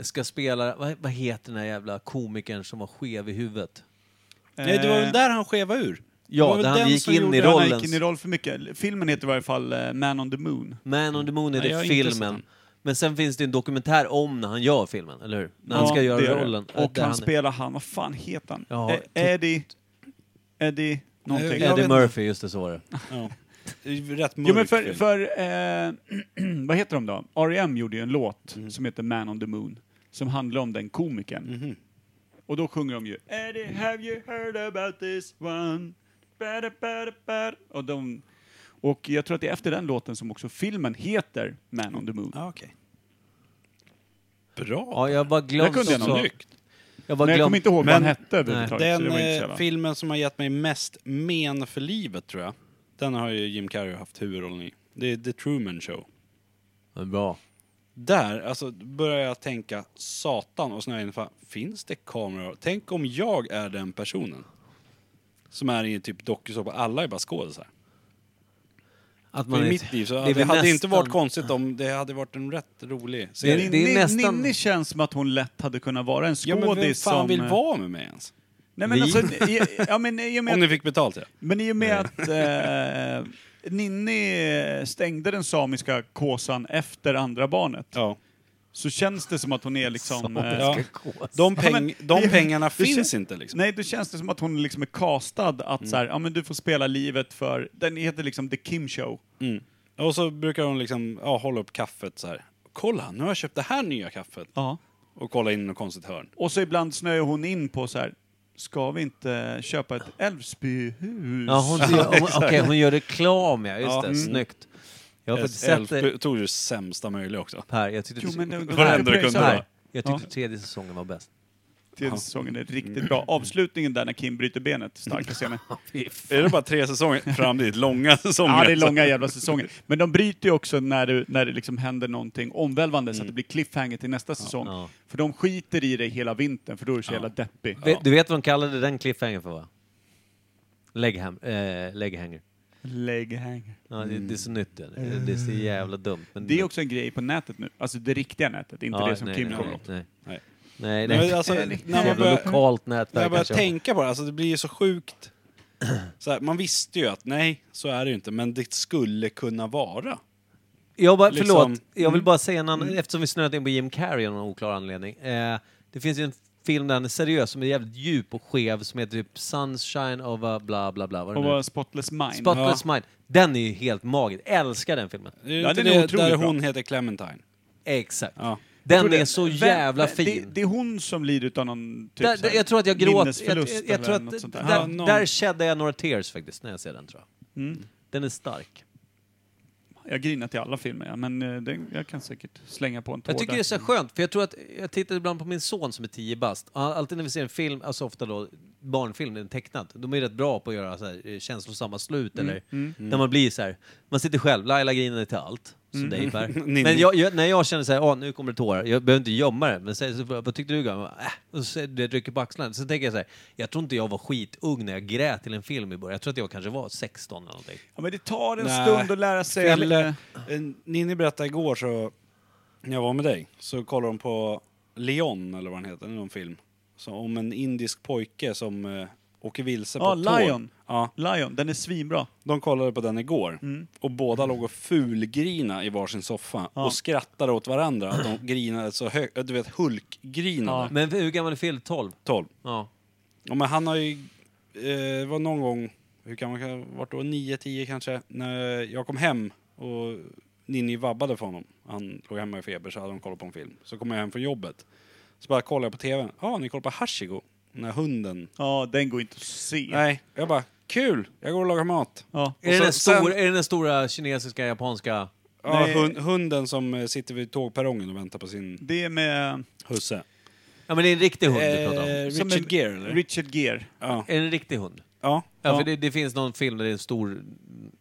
Speaker 1: ska spela, vad, vad heter den här jävla komikern som var skev i huvudet?
Speaker 3: Nej, det var väl där han skevade ur?
Speaker 1: Ja,
Speaker 3: Det var väl
Speaker 1: där han
Speaker 3: den
Speaker 1: gick
Speaker 3: som
Speaker 1: in i
Speaker 3: gjorde-
Speaker 1: rollen.
Speaker 4: Eh, Han gick in i roll för mycket. Filmen heter i varje fall eh, Man on the Moon.
Speaker 1: Man on the Moon är
Speaker 3: Nej, jag har
Speaker 1: det
Speaker 3: inte sett
Speaker 1: filmen.
Speaker 3: den.
Speaker 1: Men sen finns det en dokumentär om när han gör filmen, eller hur? När han ska
Speaker 4: Ja,
Speaker 1: göra
Speaker 4: det gör det.
Speaker 1: rollen.
Speaker 4: Och
Speaker 1: Där
Speaker 4: han spelar han, vad fan heter han?
Speaker 1: Ja,
Speaker 4: Eh, Eddie... Eddie... Någonting.
Speaker 3: typ. jag
Speaker 1: Eddie
Speaker 3: vet
Speaker 1: Murphy, just det så var det.
Speaker 3: Ja. Det är Rätt mörk
Speaker 4: Jo men för,
Speaker 3: film.
Speaker 4: för eh, vad heter de då? R.E.M. gjorde ju en låt
Speaker 3: Mm.
Speaker 4: som heter Man on the Moon, som handlar om den komikern.
Speaker 3: Mhm.
Speaker 4: Och då sjunger de ju Eddie, have you heard about this one? Bada, bada, bada. Och, de, och jag tror att det är efter den låten som också filmen heter Man on the Moon.
Speaker 3: Ja, okej. Bra.
Speaker 1: Ja, jag bara
Speaker 4: Där
Speaker 1: glömt
Speaker 4: kunde jag
Speaker 1: också-
Speaker 4: någon lykt.
Speaker 1: Jag bara
Speaker 4: Men jag
Speaker 1: glömt-
Speaker 4: kommer inte ihåg vad
Speaker 3: Men
Speaker 4: han hette överhuvudtaget. så
Speaker 3: Den
Speaker 4: det var inte så
Speaker 3: eh,
Speaker 4: jävla-
Speaker 3: filmen som har gett mig mest men för livet, tror jag. Den har ju Jim Carrey haft huvudrollen i. Det är The Truman Show.
Speaker 1: Ja, Bra.
Speaker 3: Där, alltså, börjar jag tänka satan och snöa in. fan, Finns det kameror? Tänk om jag är den personen. Som är i en typ dokusåpa. Alla är bara skådisar.
Speaker 1: Att
Speaker 3: För I
Speaker 1: är-
Speaker 3: mitt liv så
Speaker 1: är
Speaker 3: hade det
Speaker 1: väl
Speaker 3: hade inte
Speaker 1: nästan-
Speaker 3: varit konstigt om det hade varit en rätt rolig
Speaker 1: Det är-
Speaker 3: serie.
Speaker 1: det är
Speaker 4: Ninni-
Speaker 1: nästan-
Speaker 4: Ninni känns som att hon lätt hade kunnat vara en
Speaker 3: Ja,
Speaker 4: skådis
Speaker 3: men vem
Speaker 4: som...
Speaker 3: fan vill vara med mig ens?
Speaker 4: Nej, men
Speaker 1: Vi?
Speaker 4: alltså, i- ja, men, i och med
Speaker 3: Om ni
Speaker 4: att
Speaker 3: fick betalt, ja.
Speaker 4: Men i och med att eh, Ninni stängde den samiska kåsan efter andra barnet
Speaker 3: ja.
Speaker 4: så känns det som att hon är liksom... eh,
Speaker 3: Ja. De,
Speaker 4: Ja,
Speaker 3: peng,
Speaker 4: men
Speaker 3: de
Speaker 4: det-
Speaker 3: pengarna
Speaker 4: det
Speaker 3: finns
Speaker 4: kän-
Speaker 3: inte liksom.
Speaker 4: Nej, då känns det som att hon liksom är castad att så här, ja men du får spela livet för... Den heter liksom The Kim Show.
Speaker 3: Mm. Och så brukar de liksom, ja, hålla upp kaffet så här. Kolla, nu har jag köpt det här nya kaffet.
Speaker 4: Ja.
Speaker 3: Och kolla in i något konstigt hörn.
Speaker 4: Och så ibland snöar hon in på så här, ska vi inte köpa ett Älvsbyhus?
Speaker 1: Ja, hon, gör- hon, okej, hon gör reklam, ja. Just
Speaker 3: Ja.
Speaker 1: det,
Speaker 3: Mm.
Speaker 1: snyggt. Jag har faktiskt sett
Speaker 3: Älvsby
Speaker 1: det,
Speaker 3: tog ju det sämsta möjliga också.
Speaker 1: Per. Jag tyckte,
Speaker 4: Jo, men det-
Speaker 3: Vad händer det kunde
Speaker 1: per,
Speaker 3: vara?
Speaker 1: jag tyckte
Speaker 4: Ja.
Speaker 1: tredje säsongen var bäst.
Speaker 4: Tredje säsongen är riktigt bra. Avslutningen där när Kim bryter benet, starka scener.
Speaker 3: Är det bara tre säsonger fram dit? Långa säsonger? Alltså,
Speaker 4: Ja, det är långa jävla säsonger. Men de bryter ju också när det, när det liksom händer någonting omvälvande så att det blir cliffhanger till nästa säsong.
Speaker 1: Mm. Ja.
Speaker 4: För de skiter i det hela vintern för då är det så jävla deppig.
Speaker 1: Vet- Du vet vad de kallade den cliffhanger för, va? Legham, eh, leghanger.
Speaker 4: Leghanger.
Speaker 1: Ja, det, det är så nytt. Det, det är så jävla dumt. Men
Speaker 4: Mm. Det är också en grej på nätet nu. Alltså det riktiga nätet, inte
Speaker 1: Ja,
Speaker 4: det som
Speaker 1: nej,
Speaker 4: Kim
Speaker 1: nej,
Speaker 4: kommer
Speaker 1: nej,
Speaker 4: åt.
Speaker 1: nej.
Speaker 3: Nej.
Speaker 1: Nej,
Speaker 3: Men
Speaker 1: nej.
Speaker 3: alltså, när man
Speaker 1: Jävla
Speaker 3: börjar-
Speaker 1: lokalt nätverk.
Speaker 3: Jag börjar
Speaker 1: kanske.
Speaker 3: tänka på det, alltså det blir ju så sjukt. Så här, man visste ju att nej, så är det ju inte, men det skulle kunna vara.
Speaker 1: Jag bara,
Speaker 3: Liksom-
Speaker 1: förlåt, jag
Speaker 4: mm.
Speaker 1: vill bara säga en annan, eftersom vi snöat in på Jim Carrey av någon oklar anledning. Eh, det finns ju en film där han är seriös, som är jävligt djup och skev, som heter typ Sunshine of a bla bla bla. Vad det
Speaker 4: Och
Speaker 1: nu är.
Speaker 4: var Spotless Mind.
Speaker 1: Spotless Mind. Den är ju helt magisk. Älskar den filmen.
Speaker 3: Är det
Speaker 4: Ja,
Speaker 3: inte
Speaker 4: den är
Speaker 3: det
Speaker 4: otroligt
Speaker 3: där
Speaker 4: bra.
Speaker 3: hon heter Clementine?
Speaker 1: Exakt.
Speaker 3: Ja.
Speaker 4: Jag
Speaker 1: Den
Speaker 4: tror det-
Speaker 1: är så
Speaker 4: vem-
Speaker 1: jävla
Speaker 4: det-
Speaker 1: fin.
Speaker 4: Det, är hon som lider utav någon typ
Speaker 1: där,
Speaker 4: så här
Speaker 1: jag tror att jag gråter. Jag,
Speaker 4: minnesförlust
Speaker 1: jag, jag tror
Speaker 4: eller något
Speaker 1: att
Speaker 4: sånt där.
Speaker 1: där,
Speaker 3: Ja, någon-
Speaker 1: där kedde jag några tears faktiskt, när jag ser den tror jag.
Speaker 4: Mm.
Speaker 1: Den är stark.
Speaker 4: Jag grinar till alla filmer, ja, men eh, den, jag kan säkert slänga på en tår
Speaker 1: Jag tycker
Speaker 4: där.
Speaker 1: det är så skönt, för jag tror att jag tittar ibland på min son som är 10 bast. Och han- Alltid när vi ser en film, alltså ofta då barnfilm, den är tecknad, de är rätt bra på att göra så här, eh, känslosamma slut eller när man blir så här, man sitter själv, Laila grinade till allt. Som dig Per.
Speaker 3: Ninni.
Speaker 1: Men jag, jag, när jag känner så här, ah, nu kommer det tårar, jag behöver inte gömma det, men säg så, vad tyckte du? Gabriel? Äh, och så, jag rycker på axlarna. Sen tänker jag så här, jag tror inte jag var skitung när jag grät till en film i början. Jag tror att jag kanske var 16 eller någonting.
Speaker 4: Ja, men det tar en
Speaker 3: Nej.
Speaker 4: stund att lära sig.
Speaker 3: Eller, eh, Ninni berättade igår så, när jag var med dig, så kollade hon på Leon eller vad han heter, någon film. Så om en indisk pojke som eh, åker vilse på
Speaker 4: Ja,
Speaker 3: ett tåg.
Speaker 4: Lion.
Speaker 3: Ja,
Speaker 4: Lion, den är svinbra.
Speaker 3: de kollade på den igår.
Speaker 1: Mm.
Speaker 3: Och båda låg och fulgrina i varsin soffa och skrattade åt varandra. Att de grinade så högt, du vet Hulk-grinade.
Speaker 1: Men hur gammal är Phil? 12?
Speaker 3: 12.
Speaker 1: Ja.
Speaker 3: Ja, men han har ju... eh, Det var någon gång, hur kan man kan- vart då, 9-10 kanske, när jag kom hem och Ninni vabbade för honom. Han låg hemma i feber så hade de kollat på en film. Så kom jag hem från jobbet. Så bara kollade jag på tvn. Ja, ah, ni kollar på Hashigo. Den här hunden.
Speaker 4: Ja, den går inte att se.
Speaker 3: Nej, jag bara, kul! Jag går och lagar mat.
Speaker 4: Ja.
Speaker 1: Är det,
Speaker 3: så
Speaker 1: den stora,
Speaker 3: sen-
Speaker 1: är det den stora kinesiska, japanska?
Speaker 3: Ja,
Speaker 4: Nej.
Speaker 3: hund, hunden som eh, sitter vid tågperrongen och väntar på sin
Speaker 4: Det är med...
Speaker 3: husse.
Speaker 1: Ja men det är en riktig hund du pratar om.
Speaker 3: Eh,
Speaker 4: som
Speaker 3: Richard
Speaker 4: en-
Speaker 3: Gere, eller?
Speaker 4: Richard Gere.
Speaker 3: ja.
Speaker 1: Är det en riktig hund?
Speaker 3: ja.
Speaker 1: Ja,
Speaker 4: Ja.
Speaker 1: för det, det finns någon film där det är en stor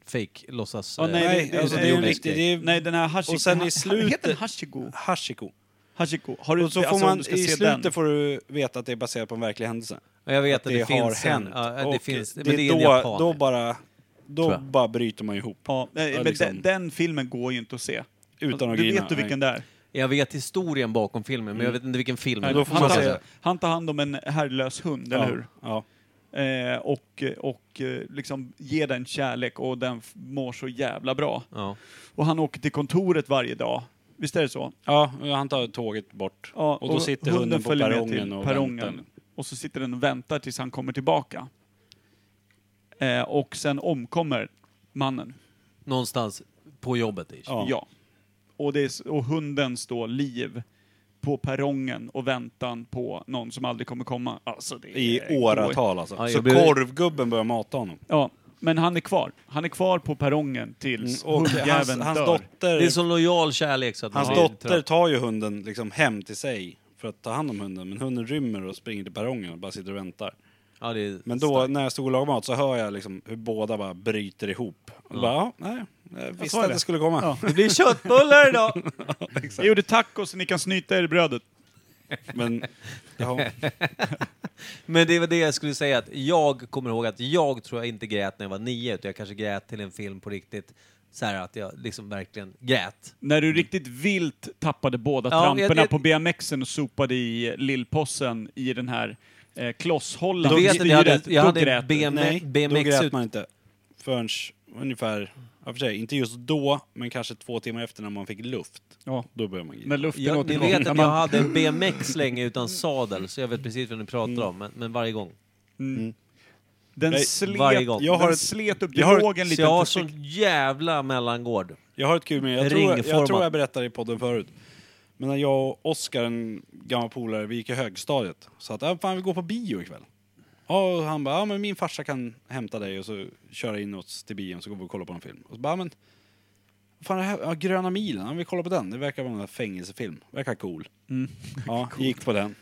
Speaker 1: fake låtsas...
Speaker 4: Ja,
Speaker 1: eh,
Speaker 4: nej, det-
Speaker 3: Nej,
Speaker 4: det-
Speaker 3: alltså
Speaker 4: det-
Speaker 3: det är ju
Speaker 4: det-
Speaker 3: riktigt. Det är
Speaker 4: Nej, den här Hashiko.
Speaker 3: Och sen i
Speaker 4: Ha-
Speaker 3: slutet-
Speaker 4: Heter den Hashiko?
Speaker 3: Hashiko.
Speaker 4: Hashiko. Har du,
Speaker 3: Och så får
Speaker 4: alltså, om
Speaker 3: man,
Speaker 4: du
Speaker 3: i
Speaker 4: ska se
Speaker 3: slutet
Speaker 4: den.
Speaker 3: får du veta att det är baserat på en verklig händelse.
Speaker 1: Ja, jag vet att
Speaker 3: Att
Speaker 1: det,
Speaker 3: det, har
Speaker 1: finns
Speaker 3: hänt.
Speaker 1: en. Ja, det
Speaker 3: Och
Speaker 1: finns,
Speaker 3: det
Speaker 1: men det är en
Speaker 3: då,
Speaker 1: japan.
Speaker 3: då bara,
Speaker 1: Tror
Speaker 3: då
Speaker 1: jag.
Speaker 3: bara bryter man ihop.
Speaker 4: Ja, nej,
Speaker 3: Ja,
Speaker 4: men
Speaker 3: liksom.
Speaker 4: den, den filmen går ju inte att se. Alltså,
Speaker 3: Utan att
Speaker 4: Du
Speaker 3: grina.
Speaker 4: vet du vilken det är?
Speaker 1: Jag vet historien bakom filmen, men jag vet inte vilken film.
Speaker 3: Nej,
Speaker 1: det är.
Speaker 3: Mm. då får man
Speaker 4: han,
Speaker 3: säga
Speaker 4: tar,
Speaker 3: det.
Speaker 4: han tar hand om en herrelös hund,
Speaker 3: ja.
Speaker 4: eller hur?
Speaker 3: Ja.
Speaker 4: Eh, och och eh, liksom ger den kärlek och den f- mår så jävla bra.
Speaker 1: Ja.
Speaker 4: Och han åker till kontoret varje dag. Visst är det så?
Speaker 3: ja, han tar tåget bort.
Speaker 4: Ja,
Speaker 3: och då sitter hunden på
Speaker 4: följer med
Speaker 3: perrongen och
Speaker 4: till
Speaker 3: väntar.
Speaker 4: Och så sitter den och väntar tills han kommer tillbaka. Eh, och sen omkommer mannen.
Speaker 1: Någonstans på jobbet. ish.
Speaker 3: Ja.
Speaker 4: Ja. Och, det är, s- och hunden står liv på perrongen och väntan på någon som aldrig kommer komma. Alltså det är,
Speaker 3: I åratal alltså.
Speaker 1: Ja, jag
Speaker 3: så
Speaker 1: blir-
Speaker 3: korvgubben börjar mata honom.
Speaker 4: Ja, men han är kvar. Han är kvar på perrongen tills
Speaker 3: Mm, Och hans,
Speaker 4: hundjäveln
Speaker 3: hans
Speaker 4: dör.
Speaker 3: dotter,
Speaker 1: Det är så lojal kärlek så att
Speaker 3: hans
Speaker 1: man blir
Speaker 3: dotter
Speaker 1: trött.
Speaker 3: tar ju hunden liksom hem till sig för att ta hand om hunden. Men hunden rymmer och springer till perrongen och bara sitter och väntar.
Speaker 1: Ja, det är
Speaker 3: Men då när jag stod och lagade mat så hör jag liksom hur båda bara bryter ihop. Och bara, ja, nej, jag visste
Speaker 4: sa
Speaker 3: att
Speaker 4: det.
Speaker 3: det skulle komma.
Speaker 4: Ja.
Speaker 1: Det blir köttbullar idag!
Speaker 4: Jag gjorde tacos så ni kan snyta er i brödet.
Speaker 3: Men, ja.
Speaker 1: Men det var det jag skulle säga, att jag kommer ihåg att jag tror jag inte grät när jag var nio, utan jag kanske grät till en film på riktigt. Så här att jag liksom verkligen grät.
Speaker 4: När du riktigt vilt tappade båda
Speaker 1: Ja,
Speaker 4: tramporna
Speaker 1: jag- jag-
Speaker 4: på BMXen och sopade i eh, lillpossen i den här eh, klosshållan.
Speaker 1: Du vet
Speaker 4: vid
Speaker 1: att jag hade-
Speaker 4: styret,
Speaker 1: jag
Speaker 4: då
Speaker 1: hade
Speaker 4: grät du.
Speaker 1: BM
Speaker 3: nej,
Speaker 1: BMX
Speaker 3: då grät
Speaker 1: ut.
Speaker 3: man inte. Förrän ungefär, ja, för sig, inte just då, men kanske två timmar efter när man fick luft.
Speaker 4: Ja.
Speaker 3: Då började man grina.
Speaker 4: När luften
Speaker 1: Jag, ni
Speaker 4: återkom.
Speaker 1: vet att
Speaker 4: Man-
Speaker 1: jag hade en BMX länge utan sadel, så jag vet precis vad ni pratar
Speaker 3: Mm.
Speaker 1: om, men, men varje gång.
Speaker 4: Den
Speaker 3: Nej,
Speaker 4: slet,
Speaker 1: varje gång.
Speaker 3: Jag
Speaker 4: Jag har
Speaker 3: har
Speaker 4: den
Speaker 3: ett-
Speaker 4: slet upp
Speaker 3: jag har ett-
Speaker 4: dialogen
Speaker 1: Så
Speaker 4: lite.
Speaker 1: jag har
Speaker 4: testik-
Speaker 1: sån jävla mellangård.
Speaker 3: Jag har ett kul minne. Jag tror, jag
Speaker 1: Ringformat.
Speaker 3: tror jag berättade i podden förut. Men när jag och Oskar, en gammal polare, vi gick i högstadiet. Så att, "Ah, fan vi går på bio ikväll. Ja, och han bara, ja men min farsa kan hämta dig och så köra in oss till bion så går vi och kollar på en film. Och så bara, "Ja, men fan det här, ja, Gröna milen, ja, vi kollar på den. Det verkar vara en fängelsefilm. Verkar cool.
Speaker 1: Mm.
Speaker 3: Ja, gick på den.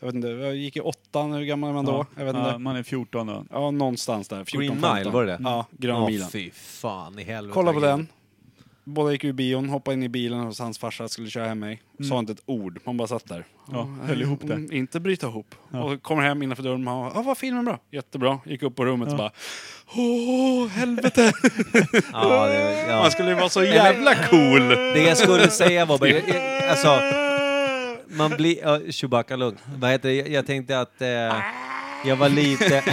Speaker 3: Jag vet inte, jag gick i åttan, hur gammal är man då? Jag vet inte.
Speaker 4: Ja, man är 14 då.
Speaker 3: Ja, någonstans där. 14,
Speaker 1: Green Mile,
Speaker 3: 15.
Speaker 1: var det det?
Speaker 3: Ja, Gröna
Speaker 1: Ja,
Speaker 3: milen.
Speaker 1: fy fan i helvete.
Speaker 3: Kolla på den. Båda gick ur bion, hoppade in i bilen hos hans farsa, skulle köra hem mig. Sa inte ett ord, man bara satt där.
Speaker 4: Mm. Ja, höll ihop det.
Speaker 3: Mm, Inte bryta ihop. Och kommer hem innanför dörren, man bara, ah, var filmen bra? Jättebra. Gick upp på rummet så bara, åh helvete!
Speaker 1: Ja, det, ja.
Speaker 3: Man skulle ju vara så jävla cool!
Speaker 1: Det jag skulle säga var bara, jag- jag- alltså, man blir, ja, Chewbacca lugn. Vad heter det? Jag, jag tänkte att eh, jag var lite...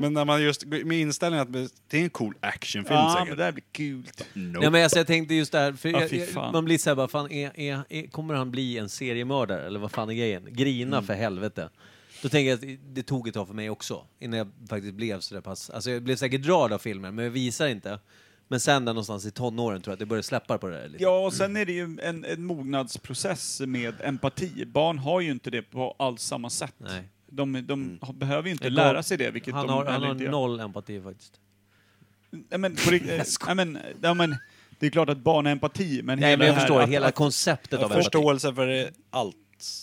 Speaker 3: Men när man just, går- med inställningen att det är en cool actionfilm
Speaker 4: Ja, men
Speaker 3: säkert.
Speaker 4: det här blir kul.
Speaker 1: Nej men alltså, jag tänkte just där, för
Speaker 4: Ja,
Speaker 1: jag,
Speaker 4: fy
Speaker 1: jag,
Speaker 4: fan.
Speaker 1: man blir såhär, vad fan, är, är, är, kommer han bli en seriemördare eller vad fan är grejen? Grina
Speaker 4: Mm.
Speaker 1: för helvete. Då tänker jag att det tog ett tag för mig också, innan jag faktiskt blev så där pass, alltså jag blev säkert rörd av filmen, men jag visar inte. Men sen där någonstans i tonåren tror jag att jag började släppa på det där lite.
Speaker 4: Ja, och sen är det ju en, en mognadsprocess med empati. Barn har ju inte det på alls samma sätt.
Speaker 1: Nej.
Speaker 4: De, de har- behöver ju inte
Speaker 1: Jag kom-
Speaker 4: lära sig det, vilket
Speaker 1: Han
Speaker 4: de
Speaker 1: har, han
Speaker 4: heller
Speaker 1: har
Speaker 4: inte gör.
Speaker 1: noll empati faktiskt.
Speaker 4: Nej, men, på, rikt- eh, nej, men, ja, men, det är klart att barn har empati, men
Speaker 1: Nej
Speaker 4: hela
Speaker 1: men jag
Speaker 4: det här
Speaker 1: förstår,
Speaker 4: att,
Speaker 1: hela
Speaker 4: att,
Speaker 1: konceptet av empati.
Speaker 3: Förståelse för det- allt.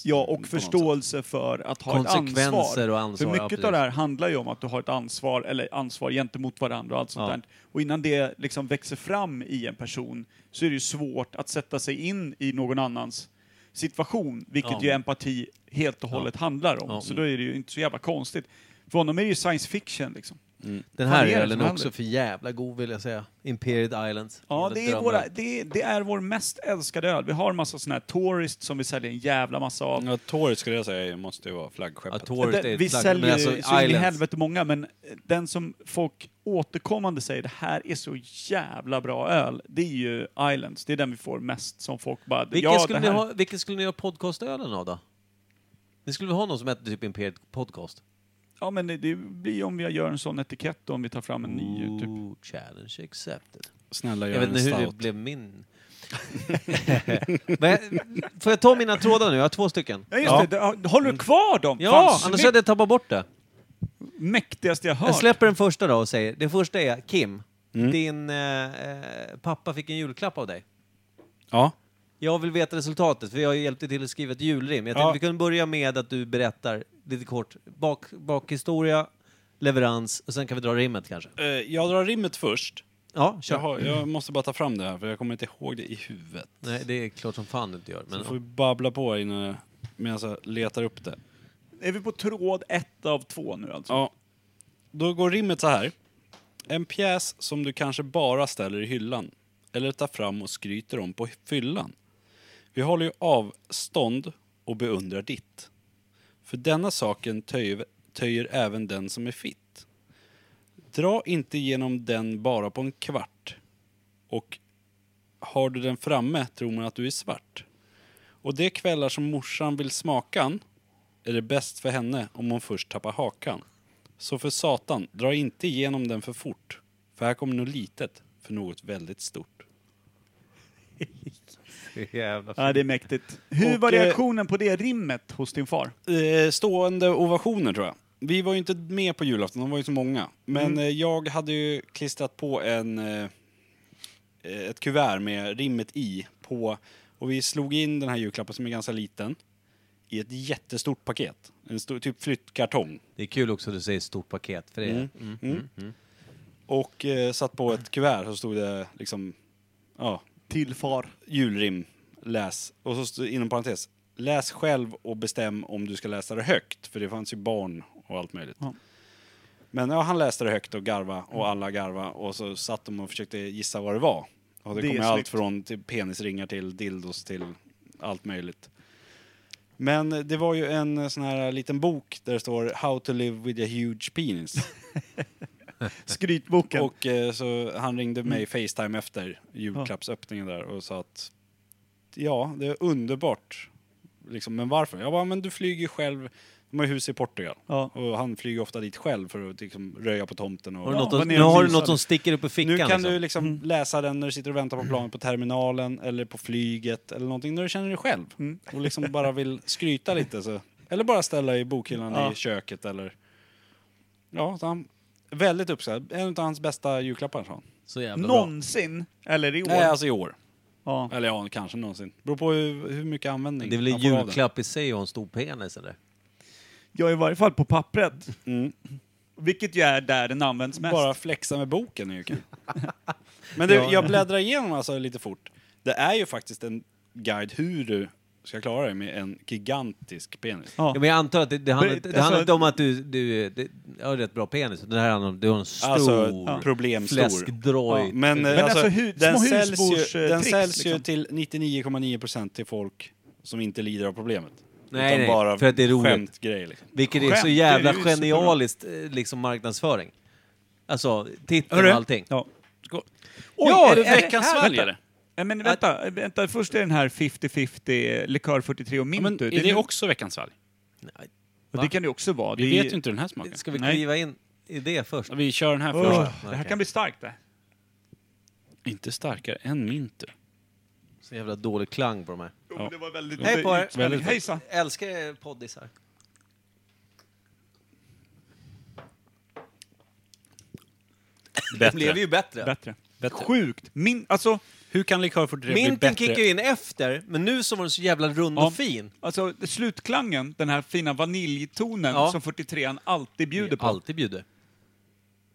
Speaker 4: Ja,
Speaker 3: På
Speaker 4: och
Speaker 3: något
Speaker 4: förståelse för att ha ett
Speaker 1: Konsekvenser
Speaker 4: ansvar.
Speaker 1: och ansvar, ja,
Speaker 4: för mycket
Speaker 1: precis.
Speaker 4: av det här handlar ju om att du har ett ansvar, eller ansvar gentemot varandra och allt sånt
Speaker 1: Ja.
Speaker 4: där. Och innan det liksom växer fram i en person så är det ju svårt att sätta sig in i någon annans situation, vilket
Speaker 1: Ja.
Speaker 4: ju empati helt och hållet handlar om.
Speaker 1: Ja.
Speaker 4: Så då är det ju inte så jävla konstigt. För honom är det ju science fiction liksom.
Speaker 1: Den
Speaker 4: Vad
Speaker 1: här
Speaker 4: är det
Speaker 1: ölen
Speaker 4: som
Speaker 1: är
Speaker 4: händer?
Speaker 1: också för jävla god vill jag säga. Imperial Islands.
Speaker 4: Ja,
Speaker 1: Jävla
Speaker 4: det är,
Speaker 1: drömöl.
Speaker 4: våra, det, är, det är vår mest älskade öl. Vi har en massa såna här Tourist som vi säljer en jävla massa av.
Speaker 3: Ja, Torret skulle jag säga måste ju vara
Speaker 1: Ja,
Speaker 3: flaggskeppet.
Speaker 1: Torus
Speaker 4: Den-
Speaker 1: är ett
Speaker 4: vi
Speaker 1: flagg-
Speaker 4: säljer
Speaker 1: men alltså,
Speaker 4: ju så in i
Speaker 1: Islands.
Speaker 4: helvete många, men eh, den som folk återkommande säger det här är så jävla bra öl, det är ju Islands. Det är den vi får mest som folk bara...
Speaker 1: Vilken,
Speaker 4: ja,
Speaker 1: skulle
Speaker 4: det
Speaker 1: ni
Speaker 4: här,
Speaker 1: ha, vilken skulle ni ha podcastölen av då? Ni skulle väl ha någon som hette typ Imperial Podcast?
Speaker 4: Ja, men det, det blir ju om jag gör en sån etikett då, om vi tar fram en ny. Typ.
Speaker 1: Ooh, challenge accepted.
Speaker 3: Snälla
Speaker 1: Jag
Speaker 3: gör
Speaker 1: vet
Speaker 3: en
Speaker 1: inte hur det
Speaker 3: stout.
Speaker 1: blev min... Men jag, får jag ta mina trådar nu? Jag har två stycken.
Speaker 4: Ja, Mm. just det. det. Håller du kvar dem?
Speaker 1: Ja,
Speaker 4: Fan,
Speaker 1: annars
Speaker 4: snyggt.
Speaker 1: hade jag tappat bort det.
Speaker 4: Mäktigaste jag hört.
Speaker 1: Jag släpper den första då och säger, den första är Kim,
Speaker 4: Mm.
Speaker 1: din eh, eh, pappa fick en julklapp av dig.
Speaker 3: Ja.
Speaker 1: Jag vill veta resultatet, för jag hjälpte till att skriva ett julrim. Jag tänkte
Speaker 3: Ja.
Speaker 1: vi kunde börja med att du berättar lite kort bak, bakhistoria, leverans och sen kan vi dra rimmet kanske.
Speaker 3: Eh, Jag drar rimmet först.
Speaker 1: Ja, kör.
Speaker 3: Jag, har, jag måste bara ta fram det här för jag kommer inte ihåg det i huvudet.
Speaker 1: Nej, det är klart som fan du inte gör.
Speaker 3: Så får vi
Speaker 1: Men,
Speaker 3: babbla på innan jag, medan jag letar upp det.
Speaker 4: Är vi på tråd ett av två nu alltså?
Speaker 3: Ja. Då går rimmet så här. En pjäs som du kanske bara ställer i hyllan eller tar fram och skryter om på fyllan. Vi håller ju avstånd och beundrar ditt. För denna saken töjer, töjer även den som är fitt. Dra inte genom den bara på en kvart. Och har du den framme tror man att du är svart. Och de kvällar som morsan vill smakan är det bäst för henne om hon först tappar hakan. Så för satan, dra inte igenom den för fort. För här kommer något litet för något väldigt stort.
Speaker 1: Jävla
Speaker 4: Ja, det är mäktigt. Hur
Speaker 3: Och,
Speaker 4: var
Speaker 3: eh,
Speaker 4: reaktionen på det rimmet hos din far?
Speaker 3: Eh, stående ovationer tror jag. Vi var ju inte med på julafton, de var ju så många. Men eh, jag hade ju klistrat på en, eh, ett kuvert med rimmet i på och vi slog in den här julklappen som är ganska liten i ett jättestort paket. En stor, typ flyttkartong.
Speaker 1: Det är kul också att du säger stort paket, för det är... Mm.
Speaker 3: Och eh, satt på ett kuvert så stod det liksom, ja,
Speaker 4: Till far.
Speaker 3: julrim, läs. Och så stod- inom parentes, läs själv och bestäm om du ska läsa det högt. För det fanns ju barn och allt möjligt.
Speaker 4: Ja.
Speaker 3: Men ja, han läste det högt och garva och alla garva och så satt de och försökte gissa vad det var. Och det,
Speaker 4: Det är
Speaker 3: kom ju allt
Speaker 4: snyggt.
Speaker 3: från till penisringar till dildos till allt möjligt. Men eh, det var ju en eh, sån här liten bok där det står How to live with a huge penis.
Speaker 4: Skrytboken.
Speaker 3: Och eh, så han ringde
Speaker 1: Mm.
Speaker 3: mig Facetime efter julklappsöppningen där och sa att ja, det är underbart. Liksom, men varför? Jag bara, men du flyger ju själv. De har ju hus i Portugal.
Speaker 4: Ja.
Speaker 3: Och han flyger ofta dit själv för att liksom, röja på tomten. Och,
Speaker 1: Har du något,
Speaker 4: vad
Speaker 1: att-
Speaker 4: ni
Speaker 1: nu har du
Speaker 4: visade.
Speaker 1: något som sticker upp i fickan
Speaker 3: nu kan
Speaker 1: liksom. Mm.
Speaker 3: du liksom läsa den när du sitter och väntar på planet på terminalen eller på flyget eller någonting när du känner dig själv.
Speaker 1: Mm.
Speaker 3: Och liksom bara vill skryta lite. Så. Eller bara ställa i bokhyllan
Speaker 4: Ja.
Speaker 3: i köket eller... Ja, så han, väldigt uppskattad. En av hans bästa julklappar sa han.
Speaker 1: Så jävla bra.
Speaker 4: Någonsin? Eller i år?
Speaker 3: Nej, alltså i år.
Speaker 4: ja.
Speaker 3: Eller ja, kanske någonsin. Beror på hur, hur mycket användning
Speaker 1: Det är väl en
Speaker 3: han får av den.
Speaker 1: julklapp i sig att ha en stor penis eller?
Speaker 4: ja, i varje fall på pappret. Vilket ju är där den används mest.
Speaker 3: Mm. Bara flexa med boken är ju kul. Men du, jag bläddrar igenom alltså lite fort. Det är ju faktiskt en guide hur du ska klara dig med en gigantisk penis.
Speaker 1: Ja, men jag antar att det, det, handlar,
Speaker 4: Men,
Speaker 1: inte- det
Speaker 4: alltså-
Speaker 1: handlar inte om att du, du, det, jag har rätt bra penis. Det här handlar om du har en stor
Speaker 3: Alltså, ja. problemstor.
Speaker 1: fläskdroj.
Speaker 4: Ja,
Speaker 3: Men, eh,
Speaker 4: Men
Speaker 3: alltså,
Speaker 4: alltså, hu-
Speaker 3: den
Speaker 4: små
Speaker 3: säljs
Speaker 4: husbors,
Speaker 3: ju,
Speaker 4: eh,
Speaker 3: den
Speaker 4: tricks,
Speaker 3: säljs ju
Speaker 4: liksom.
Speaker 3: till 99,9% till folk som inte lider av problemet.
Speaker 1: Nej,
Speaker 3: Utan
Speaker 1: nej,
Speaker 3: bara
Speaker 1: för att det är roligt.
Speaker 3: skämtgrej liksom.
Speaker 1: Vilket är så
Speaker 4: Skämt,
Speaker 1: jävla
Speaker 4: det är ju superbra.
Speaker 1: genialiskt eh, liksom marknadsföring. Alltså, titeln
Speaker 4: Hörru.
Speaker 1: och allting.
Speaker 4: Ja.
Speaker 3: Oj,
Speaker 4: Ja,
Speaker 3: är det
Speaker 4: är det
Speaker 3: veckans
Speaker 4: här?
Speaker 3: sväljare?
Speaker 4: Nej, men vänta, eh, vänta, först är den här 50-50 eh, Likör 43 och
Speaker 3: Ja,
Speaker 4: Mintu.
Speaker 3: men är det också veckans svalg?
Speaker 4: och det kan det också vara.
Speaker 3: Vi
Speaker 4: det är-
Speaker 3: vet ju inte hur den här smaken.
Speaker 1: Ska vi
Speaker 4: Nej.
Speaker 1: kliva in i det först?
Speaker 3: Vi kör den här
Speaker 4: Åh,
Speaker 3: först.
Speaker 4: det här
Speaker 1: Okej.
Speaker 4: kan bli starkt det.
Speaker 3: Inte starkare än Mintu.
Speaker 1: Så jävla dålig klang på de här.
Speaker 4: Jo,
Speaker 3: Ja.
Speaker 4: Det var väldigt...
Speaker 1: Hej på er.
Speaker 3: Väldigt-
Speaker 4: Hejsan!
Speaker 1: Älskar er poddisar. Det blev ju bättre.
Speaker 4: Bättre. Sjukt! Min, alltså,
Speaker 3: Hur kan likör 43 bli
Speaker 1: Minten
Speaker 3: bättre?
Speaker 1: kickar ju in efter, men nu så var den så jävla rund
Speaker 4: Ja.
Speaker 1: och fin.
Speaker 4: alltså slutklangen, den här fina vaniljtonen
Speaker 1: Ja.
Speaker 4: som 43an alltid bjuder på.
Speaker 1: Alltid bjuder.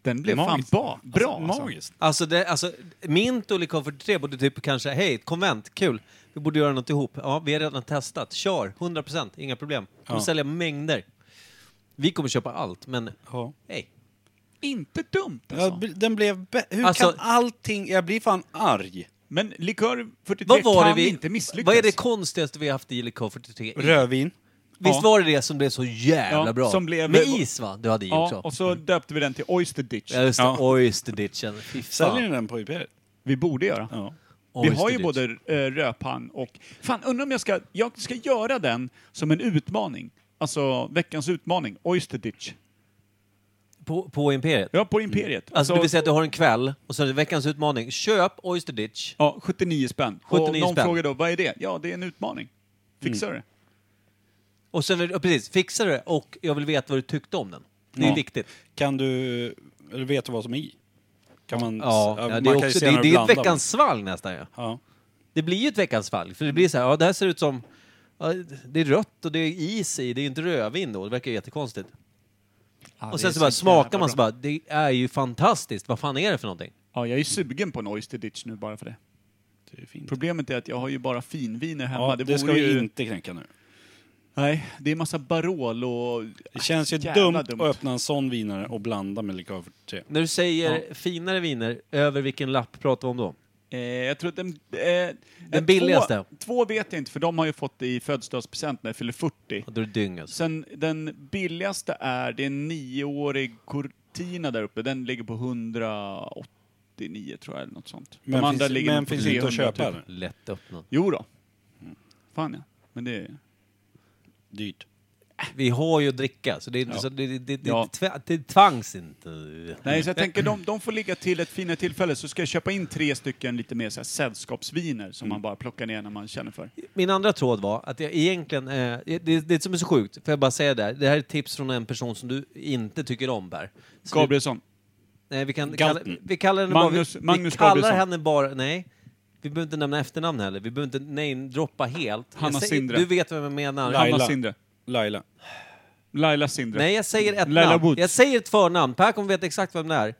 Speaker 4: Den blev
Speaker 3: Magiskt.
Speaker 4: fan ba, bra
Speaker 3: alltså,
Speaker 4: alltså.
Speaker 3: magiskt.
Speaker 1: Alltså, det, alltså Mint och Likör 43 borde typ kanske, hej, ett konvent, kul. Vi borde göra något ihop. Ja, vi har redan testat. Kör, 100%, inga problem. Kommer
Speaker 3: Ja.
Speaker 1: sälja mängder. Vi kommer köpa allt, men
Speaker 3: Ja.
Speaker 1: hej.
Speaker 4: Inte dumt alltså.
Speaker 3: Ja, den blev bä- Hur
Speaker 1: Alltså-
Speaker 3: kan allting... Jag blir fan arg.
Speaker 4: Men likör 43
Speaker 1: Vad var
Speaker 4: kan
Speaker 1: det vi,
Speaker 4: inte misslyckas.
Speaker 1: Vad är det konstigaste vi har haft i Likör 43?
Speaker 3: Rödvin.
Speaker 1: E? Visst
Speaker 4: Ja.
Speaker 1: var det det som blev så jävla
Speaker 4: Ja,
Speaker 1: bra?
Speaker 4: som blev-
Speaker 1: Med is va? Du hade i
Speaker 4: Ja,
Speaker 1: också?
Speaker 4: och så döpte vi den till Oyster Ditch.
Speaker 1: Ja, just det.
Speaker 3: Ja.
Speaker 1: Oysterditchen. Fy
Speaker 3: Säljer
Speaker 1: fan.
Speaker 3: ni den på IPR?
Speaker 4: Vi borde göra.
Speaker 3: Ja.
Speaker 4: Vi har ju
Speaker 1: Oysterditch.
Speaker 4: både eh, rödpann och... Fan, undrar om jag ska... Jag ska göra den som en utmaning. Alltså veckans utmaning, Oyster Ditch.
Speaker 1: På, på Imperiet?
Speaker 4: Ja, på Imperiet.
Speaker 1: Alltså det vill säga att du har en kväll och så är det veckans utmaning. Köp Oysterditch.
Speaker 4: Ja, 79 spänn.
Speaker 1: 79
Speaker 4: och någon
Speaker 1: spänn.
Speaker 4: frågar då, vad är det? Ja, det är en utmaning. Fixar
Speaker 3: Mm.
Speaker 4: du det?
Speaker 1: Och sen, är det- ja, precis, fixa det och jag vill veta vad du tyckte om den. Det är
Speaker 3: Ja.
Speaker 1: viktigt.
Speaker 3: Kan du... Eller vet du vad som är i? Kan man...
Speaker 1: Ja,
Speaker 3: man
Speaker 1: det är,
Speaker 3: kan ju
Speaker 1: också, det,
Speaker 3: senare
Speaker 1: är- det är ett
Speaker 3: blanda, men-
Speaker 1: veckans svalg nästan ja.
Speaker 3: Ja.
Speaker 1: Det blir ju ett veckans svalg. För det blir så här, ja det här ser ut som... Ja, det är rött och det är is i, det är ju inte rödvin då. Det verkar ju jättekonstigt. och sen så bara smakar man så bara, det är ju fantastiskt. Vad fan är det för någonting?
Speaker 4: Ja, jag är sugen på en Oyster Ditch nu bara för det.
Speaker 3: Det är fint.
Speaker 4: Problemet är att jag har ju bara finviner hemma.
Speaker 3: Ja, det,
Speaker 4: vore
Speaker 3: ska vi Ah,
Speaker 4: ju...
Speaker 3: inte kränka nu.
Speaker 4: Nej, det är massa Barol och...
Speaker 3: Det känns ju
Speaker 4: Jävla
Speaker 3: dumt, att öppna en sån vinare och blanda med likör 43.
Speaker 1: När du säger finare viner, över vilken lapp pratar vi om då?
Speaker 4: Eh, jag tror att den... Eh,
Speaker 1: Den billigaste.
Speaker 4: Två, två vet jag inte, för de har ju fått det i födelsedagspresent när jag fyller 40.
Speaker 1: Och då är det dyng alltså.
Speaker 4: Sen den billigaste är, det är en nioårig Cortina där uppe. Den ligger på 189 tror jag, eller något sånt.
Speaker 3: Men finns- men
Speaker 4: nog på
Speaker 3: finns det inte att
Speaker 4: 300
Speaker 3: köpa, eller? Mm.
Speaker 1: Lätt öppnad.
Speaker 4: Jo då. Fan ja. Men det är...
Speaker 3: Dyrt.
Speaker 1: Vi har ju att dricka, så det, är- så det, det, det, det,
Speaker 4: Ja.
Speaker 1: tv- det tvangs inte.
Speaker 4: Nej, så jag tänker de, de får ligga till ett finare tillfälle så ska jag köpa in tre stycken lite mer så här sällskapsviner som
Speaker 3: Mm.
Speaker 4: man bara plockar ner när man känner för.
Speaker 1: Min andra tråd var att jag egentligen, eh, det, det som är så sjukt, får jag bara säga det här, det här är ett tips från en person som du inte tycker om Per. Så vi-
Speaker 4: Gabrielsson.
Speaker 1: Nej, vi, kan, kalla,
Speaker 3: Galten.
Speaker 1: vi kallar henne
Speaker 4: Magnus-
Speaker 1: bara... Vi,
Speaker 4: Magnus
Speaker 1: vi kallar
Speaker 4: Gabrielsson.
Speaker 1: henne bara... Nej. Vi behöver inte nämna efternamn heller. Vi behöver inte namedroppa helt. Jag
Speaker 4: Hanna
Speaker 1: säger-
Speaker 4: Sindre.
Speaker 1: Du vet vem jag menar.
Speaker 3: Laila.
Speaker 4: Hanna Sindre.
Speaker 3: Laila.
Speaker 4: Laila Sindre.
Speaker 1: Nej, jag säger ett
Speaker 4: Laila
Speaker 1: namn.
Speaker 4: Woods.
Speaker 1: Jag säger ett förnamn. Per kommer veta exakt vem det är.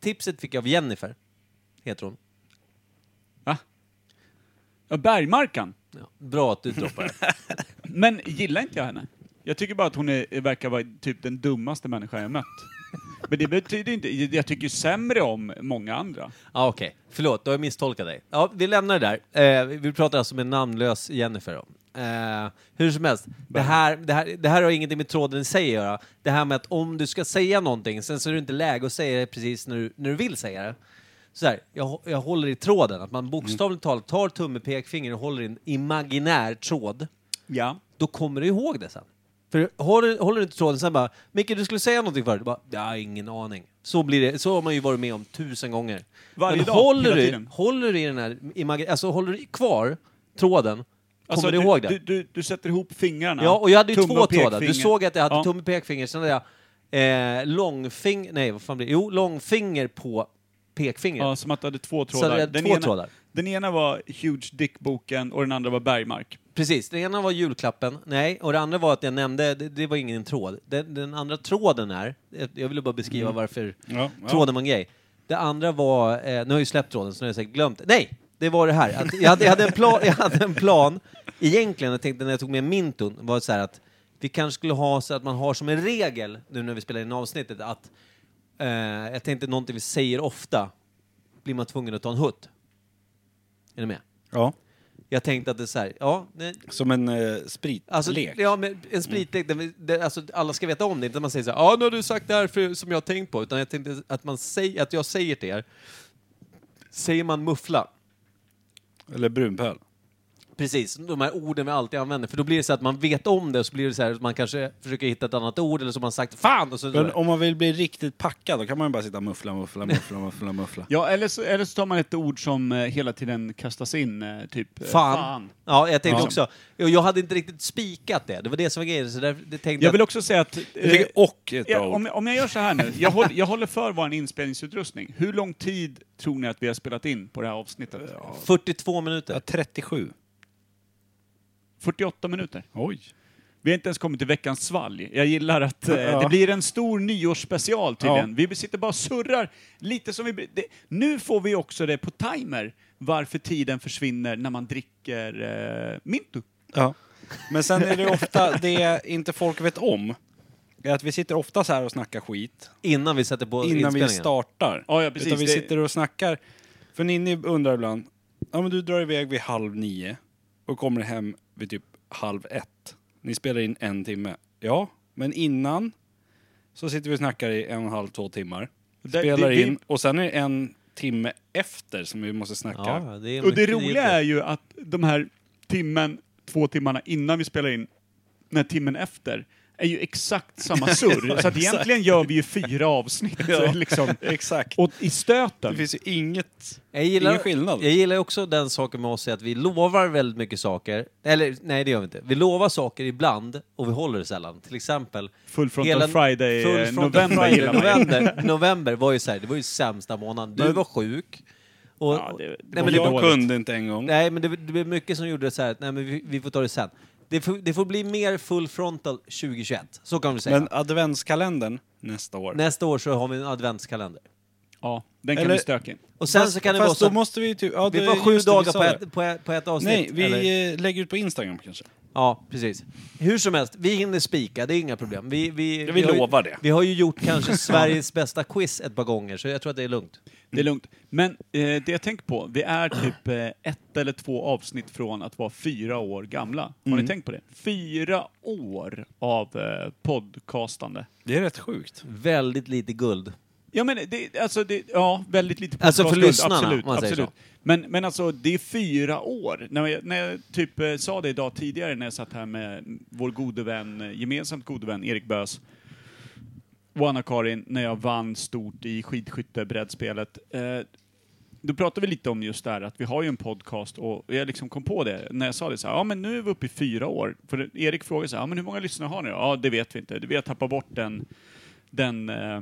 Speaker 1: Tipset fick jag av Jennifer, heter hon.
Speaker 4: Va? Ja, Bergmarkan.
Speaker 1: Ja, bra att du droppar det.
Speaker 4: Men gillar inte jag henne. Jag tycker bara att hon är, verkar vara typ den dummaste människan jag mött. Men det betyder inte... Jag tycker ju sämre om många andra.
Speaker 1: Ja, Okej, förlåt. Då har jag misstolkat dig. Ja, vi lämnar det där. Eh, vi pratar alltså med en namnlös Jennifer om. Eh, hur som helst, det här, det, här, det här har ingenting med tråden i sig att göra. Det här med att om du ska säga någonting, sen så är det inte läge att säga det precis när du, när du vill säga det. Så här, jag, hå- jag håller i tråden, att man bokstavligt talat tar tumme, pekfinger och håller i en imaginär tråd.
Speaker 4: Ja.
Speaker 1: då kommer du ihåg det sen. För håller, håller du inte tråden sen bara, Micke du skulle säga någonting förut, Du bara, jag har ingen aning. Så blir det, så har man ju varit med om tusen gånger.
Speaker 4: Varje
Speaker 1: Men
Speaker 4: dag,
Speaker 1: håller
Speaker 4: hela
Speaker 1: du,
Speaker 4: tiden.
Speaker 1: håller du i den här, imag- alltså håller du kvar tråden, kommer
Speaker 4: Alltså,
Speaker 1: du
Speaker 4: du,
Speaker 1: ihåg det?
Speaker 4: Du, du, du sätter ihop fingrarna.
Speaker 1: ja, och jag hade ju
Speaker 4: Tumme
Speaker 1: två
Speaker 4: och
Speaker 1: trådar. Du
Speaker 4: pekfinger.
Speaker 1: såg att jag hade
Speaker 4: Ja.
Speaker 1: tumme och pekfinger, sen hade jag eh, långfinger, nej vad fan blir det? Jo, långfinger på pekfingret.
Speaker 4: Ja, som att du hade två
Speaker 1: Så
Speaker 4: trådar.
Speaker 1: hade jag två
Speaker 4: ena,
Speaker 1: trådar.
Speaker 4: Den ena var Huge Dick-boken och den andra var Bergmark.
Speaker 1: Precis, det ena var julklappen, nej, och det andra var att jag nämnde, det, det var ingen tråd. Den, den andra tråden är, jag ville bara beskriva varför
Speaker 3: Mm. Ja, ja.
Speaker 1: tråden var en grej. Det andra var, eh, nu har jag ju släppt tråden så nu har jag säkert glömt det. Nej! Det var det här. Att jag, hade, jag, hade en plan, jag hade en plan, egentligen, jag tänkte när jag tog med Mintun, var så här att vi kanske skulle ha så att man har som en regel, nu när vi spelar in avsnittet, att eh, jag tänkte någonting vi säger ofta, blir man tvungen att ta en hutt. Är ni med?
Speaker 3: Ja.
Speaker 1: Jag tänkte att det är så här, ja, nej,
Speaker 3: Som en eh, spritlek.
Speaker 1: Alltså, ja, men en spritlek där, vi- där alltså, alla ska veta om det. Inte att man säger så här, ja nu har du sagt det här för, som jag har tänkt på. Utan jag tänkte att, man säger, att jag säger till er, säger man muffla,
Speaker 3: Eller brunpöl.
Speaker 1: precis, de här orden vi alltid använder. För då blir det så att man vet om det och så blir det så här att man kanske försöker hitta ett annat ord eller som man sagt fan och så
Speaker 3: Men om man vill bli riktigt packad då kan man ju bara sitta och muffla, muffla, muffla, muffla, muffla.
Speaker 4: Ja, eller så, eller så tar man ett ord som eh, hela tiden kastas in, eh, typ eh,
Speaker 1: Fan. Ja, jag tänkte
Speaker 4: Ja.
Speaker 1: också. Jag, jag hade inte riktigt spikat det. Det var det som var grejen. Så där, det tänkte
Speaker 4: Jag
Speaker 1: jag
Speaker 4: vill också säga att... eh,
Speaker 3: Jag tycker och är ett
Speaker 4: ja,
Speaker 3: bra ord.
Speaker 4: om, om jag gör så här nu, jag, håll, jag håller för vår inspelningsutrustning. Hur lång tid tror ni att vi har spelat in på det här avsnittet?
Speaker 1: 42 minuter.
Speaker 3: Ja, 37.
Speaker 4: 48 minuter.
Speaker 3: Oj.
Speaker 4: Vi har inte ens kommit till veckans svalg. Jag gillar att eh,
Speaker 3: Ja.
Speaker 4: det blir en stor nyårsspecial tydligen.
Speaker 3: Ja.
Speaker 4: Vi sitter bara och surrar lite som vi... Det, nu får vi också det på timer, varför tiden försvinner när man dricker eh, Mintu.
Speaker 3: Ja. Men sen är det ju ofta det inte folk vet om. Är att vi sitter ofta så här och snackar skit
Speaker 1: Innan vi sätter på
Speaker 3: innan vi
Speaker 1: inspelningen.
Speaker 3: startar.
Speaker 4: Ja, ja, precis.
Speaker 3: Utan vi
Speaker 4: Det-
Speaker 3: sitter och snackar. För Ninni undrar ibland, ja men du drar iväg vid halv nio och kommer hem vid typ halv ett. Ni spelar in en timme. Ja, men innan så sitter vi och snackar i en och en halv, två timmar.
Speaker 4: Det-
Speaker 3: spelar
Speaker 4: det- det-
Speaker 3: in och sen är det en timme efter som vi måste snacka.
Speaker 1: Ja, det är
Speaker 4: Och det
Speaker 1: mycket-
Speaker 4: roliga är ju att de här timmen, två timmarna innan vi spelar in, den här timmen efter, är ju exakt samma surr. Så att egentligen gör vi ju fyra avsnitt. liksom.
Speaker 3: Exakt.
Speaker 4: Och i
Speaker 3: Det
Speaker 4: stöten.
Speaker 3: finns ju inget,
Speaker 1: Jag gillar,
Speaker 3: ingen skillnad.
Speaker 1: Jag gillar också den saken med oss är att vi lovar väldigt mycket saker. Eller nej, det gör vi inte. Vi lovar saker ibland och vi håller det sällan. Till exempel...
Speaker 4: Full Frontal Friday, eh,
Speaker 1: Full Frontal
Speaker 4: november
Speaker 1: Friday,
Speaker 4: gillar man ju.
Speaker 1: november, november var ju så här, det var ju sämsta månaden. Du var sjuk. Och,
Speaker 4: Ja, det- det
Speaker 1: nej,
Speaker 4: var
Speaker 1: men
Speaker 4: ju
Speaker 1: det,
Speaker 3: jag
Speaker 4: dåligt.
Speaker 3: kunde inte en gång.
Speaker 1: nej, men det, det blev mycket som gjorde så här att nej, men vi, vi får ta det sen. Det får, det får bli mer Full Frontal 2021, så kan vi säga.
Speaker 3: Men adventskalendern nästa år.
Speaker 1: Nästa år så har vi en adventskalender.
Speaker 4: Ja, den kan
Speaker 3: Eller-
Speaker 4: bli stökig.
Speaker 1: Och sen
Speaker 3: fast,
Speaker 1: så kan det
Speaker 3: fast
Speaker 1: vara så
Speaker 3: då
Speaker 1: att
Speaker 3: måste vi ju typ... Ja,
Speaker 1: vi
Speaker 3: det-
Speaker 1: får sju
Speaker 3: just det, vi
Speaker 1: dagar
Speaker 3: sa
Speaker 1: på
Speaker 3: det.
Speaker 1: ett, på, ett, på ett avsnitt.
Speaker 3: Nej, vi
Speaker 1: eller?
Speaker 3: eh, lägger ut på Instagram kanske.
Speaker 1: Ja, precis. Hur som helst, vi hinner spika, det är inga problem. Vi, vi,
Speaker 3: vi
Speaker 1: har ju-
Speaker 3: lovar det.
Speaker 1: Vi har ju gjort kanske Sveriges bästa quiz ett par gånger, så jag tror att det är lugnt.
Speaker 4: Det
Speaker 3: Mm.
Speaker 4: är lugnt. Men eh, det jag tänker på, vi är typ eh, ett eller två avsnitt från att vara fyra år gamla. Har
Speaker 3: Mm.
Speaker 4: ni tänkt på det? Fyra år av eh, podcastande.
Speaker 3: Det är rätt sjukt.
Speaker 1: Väldigt lite guld.
Speaker 4: Ja, men det, alltså det, ja, väldigt lite
Speaker 1: Alltså för
Speaker 4: podcastguld,
Speaker 1: lyssnarna,
Speaker 4: absolut,
Speaker 1: om man säger
Speaker 4: absolut. Men, men alltså, det är fyra år. När jag, när jag typ eh, sa det idag tidigare när jag satt här med vår gode vän, eh, gemensamt gode vän Erik Bös och Anna-Karin, när jag vann stort i skidskyttebrädspelet. Eh, då pratade vi lite om just det här att vi har ju en podcast och jag liksom kom på det när jag sa det så här, ja men nu är vi uppe i fyra år. För Erik frågade så här, ja men hur många lyssnare har ni då? Ja det vet vi inte, vi har tappat bort den, den eh,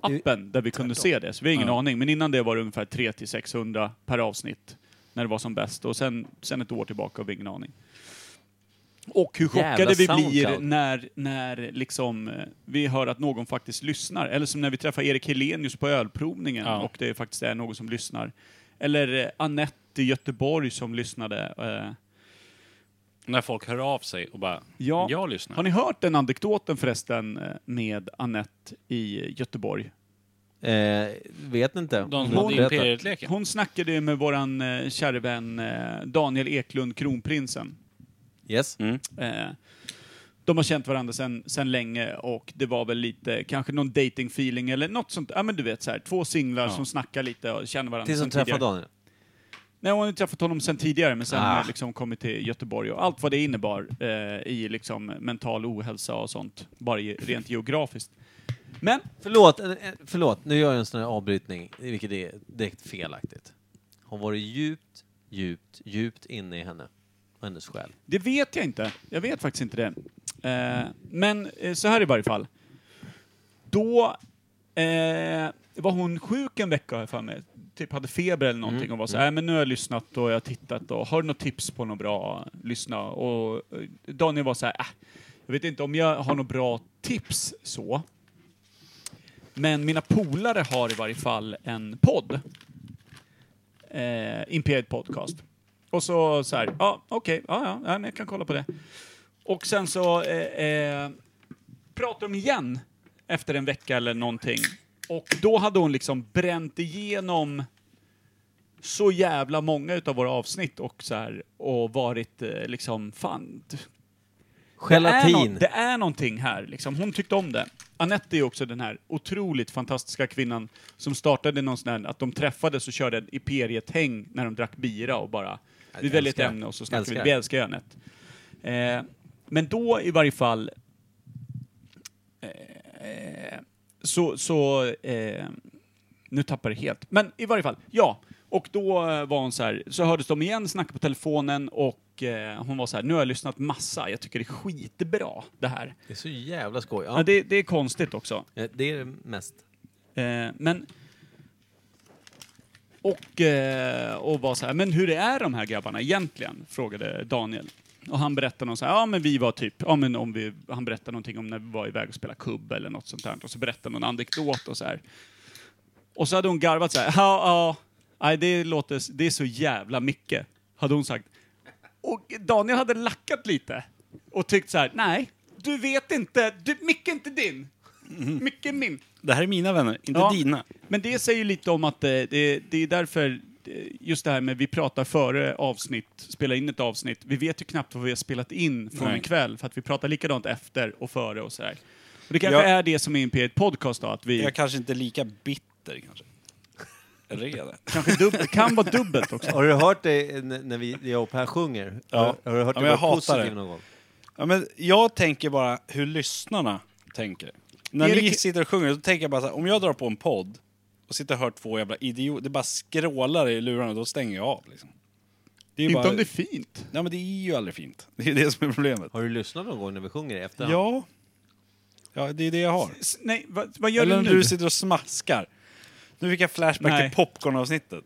Speaker 4: appen där vi kunde se det, så vi har ingen aning. Men innan det var det ungefär 3 till 600 per avsnitt när det var som bäst och sen, sen ett år tillbaka har vi ingen aning. Och hur
Speaker 1: Jävla
Speaker 4: chockade vi blir
Speaker 1: Soundcloud.
Speaker 4: när, när liksom, eh, vi hör att någon faktiskt lyssnar. Eller som när vi träffar Erik Helenius på ölprovningen
Speaker 3: Ja.
Speaker 4: och det faktiskt är någon som lyssnar. Eller eh, Anette i Göteborg som lyssnade. Eh,
Speaker 3: När folk hör av sig och bara,
Speaker 4: Ja.
Speaker 3: jag lyssnar.
Speaker 4: har ni hört den anekdoten förresten eh, med Anette i Göteborg?
Speaker 1: Eh, vet inte.
Speaker 3: De som hade
Speaker 1: Berätta.
Speaker 3: Imperiet-leken.
Speaker 4: Hon snackade ju med våran eh, käre vän eh, Daniel Eklund, kronprinsen.
Speaker 1: Yes.
Speaker 3: Mm.
Speaker 4: Eh, de har känt varandra sedan sen länge och det var väl lite, kanske någon dating feeling eller något sånt. Ja men du vet så här, två singlar som snackar lite och känner varandra
Speaker 1: Tills
Speaker 4: sen
Speaker 1: de träffar
Speaker 4: tidigare.
Speaker 1: Daniel.
Speaker 4: Nej, hon har ju träffat honom sen tidigare, men sen
Speaker 1: Ah.
Speaker 4: har liksom kommit till Göteborg och allt vad det innebar eh, i liksom mental ohälsa och sånt, bara ge- rent geografiskt. Men
Speaker 1: Förlåt, eh, eh, förlåt, nu gör jag en sån här avbrytning, vilket är direkt felaktigt. Hon var djupt, djupt, djupt inne i henne och hennes själ.
Speaker 4: det vet jag inte. Jag vet faktiskt inte det. Eh, men eh, så här i varje fall. Då eh, var hon sjuk en vecka har jag för mig. Typ hade feber eller någonting och var så här, "Nej, men nu har jag lyssnat och jag har tittat och har du något tips på något bra? Lyssna. Och eh, Daniel var så här, äh, jag vet inte om jag har något bra tips så. Men mina polare har i varje fall en podd. Eh, Imperiet Podcast. Och så så här, ja okej, ja, ja, ja, men jag kan kolla på det. Och sen så eh, eh, pratade de igen efter en vecka eller någonting. Och då hade hon liksom bränt igenom så jävla många utav våra avsnitt och så här och varit eh, liksom fan, d- det är,
Speaker 1: Gelatin.
Speaker 4: nå- det är någonting här, liksom. hon tyckte om det. Anette är ju också den här otroligt fantastiska kvinnan som startade någon sån här, att de träffades och körde en Iperiet-häng när de drack bira och bara, vi
Speaker 1: jag
Speaker 4: väljer ett
Speaker 1: älskar det.
Speaker 4: ämne och så snackar vi,
Speaker 1: Älskar
Speaker 4: vi
Speaker 1: det.
Speaker 4: älskar ju Anette. Eh, men då i varje fall eh, så, så eh, nu tappar det helt. Men i varje fall, ja. Och då eh, var hon så här, så hördes de igen, snackade på telefonen och eh, hon var så här, nu har jag lyssnat massa, jag tycker det är skitbra det här.
Speaker 1: Det är så jävla skoj.
Speaker 4: Ja.
Speaker 1: Ja,
Speaker 4: det, det är konstigt också.
Speaker 1: eh, det är det mest.
Speaker 4: Eh, men... Och, eh, och var så här, men hur är de här grabbarna egentligen? Frågade Daniel. Och han berättade någon så här, ja men vi var typ, ja men om vi, han berättade någonting om när vi var iväg och spelade kubb eller något sånt där. Och så berättade någon anekdot och så här. Och så hade hon garvat så här, ja, ja, nej det låter, det är så jävla mycket. Hade hon sagt. Och Daniel hade lackat lite. Och tyckt så här, nej, du vet inte, du, mycket är inte din. Mycket är min.
Speaker 3: Det här är mina vänner, inte
Speaker 4: Ja.
Speaker 3: dina.
Speaker 4: Men det säger ju lite om att eh, det, det är därför eh, just det här med vi pratar före avsnitt, spelar in ett avsnitt. Vi vet ju knappt vad vi har spelat in från
Speaker 3: Nej.
Speaker 4: en kväll för att vi pratar likadant efter och före och sådär. Och det kanske
Speaker 3: Jag-
Speaker 4: är det som är Imperiet Podcast då, att vi
Speaker 3: Jag kanske inte är lika bitter kanske. Eller är jag det?
Speaker 4: kanske dubb- kan vara dubbelt också.
Speaker 1: Har du hört det eh, n- när vi, jag och Per sjunger?
Speaker 3: Ja.
Speaker 1: Har, har du hört
Speaker 3: Ja,
Speaker 1: det
Speaker 3: men jag
Speaker 1: vara
Speaker 3: hatar
Speaker 1: positiv
Speaker 3: det.
Speaker 1: någon gång?
Speaker 3: Ja, men jag tänker bara hur lyssnarna tänker. När ni
Speaker 4: Erik-
Speaker 3: sitter och sjunger, då tänker jag bara så här, om jag drar på en podd och sitter och hör två jävla idioter, det bara skrålar i lurarna, då stänger jag av. Liksom. Det är ju
Speaker 4: Inte
Speaker 3: bara,
Speaker 4: om det är fint.
Speaker 3: Nej, men det är ju aldrig fint. Det är det som är problemet.
Speaker 1: Har du lyssnat någon gång när vi sjunger i efterhand?
Speaker 3: Ja. ja, det är det jag har.
Speaker 4: S- nej, vad, vad gör
Speaker 3: Eller
Speaker 4: du
Speaker 3: när
Speaker 4: nu?
Speaker 3: du sitter och smaskar. Nu fick jag flashback
Speaker 4: Nej.
Speaker 3: till popcornavsnittet.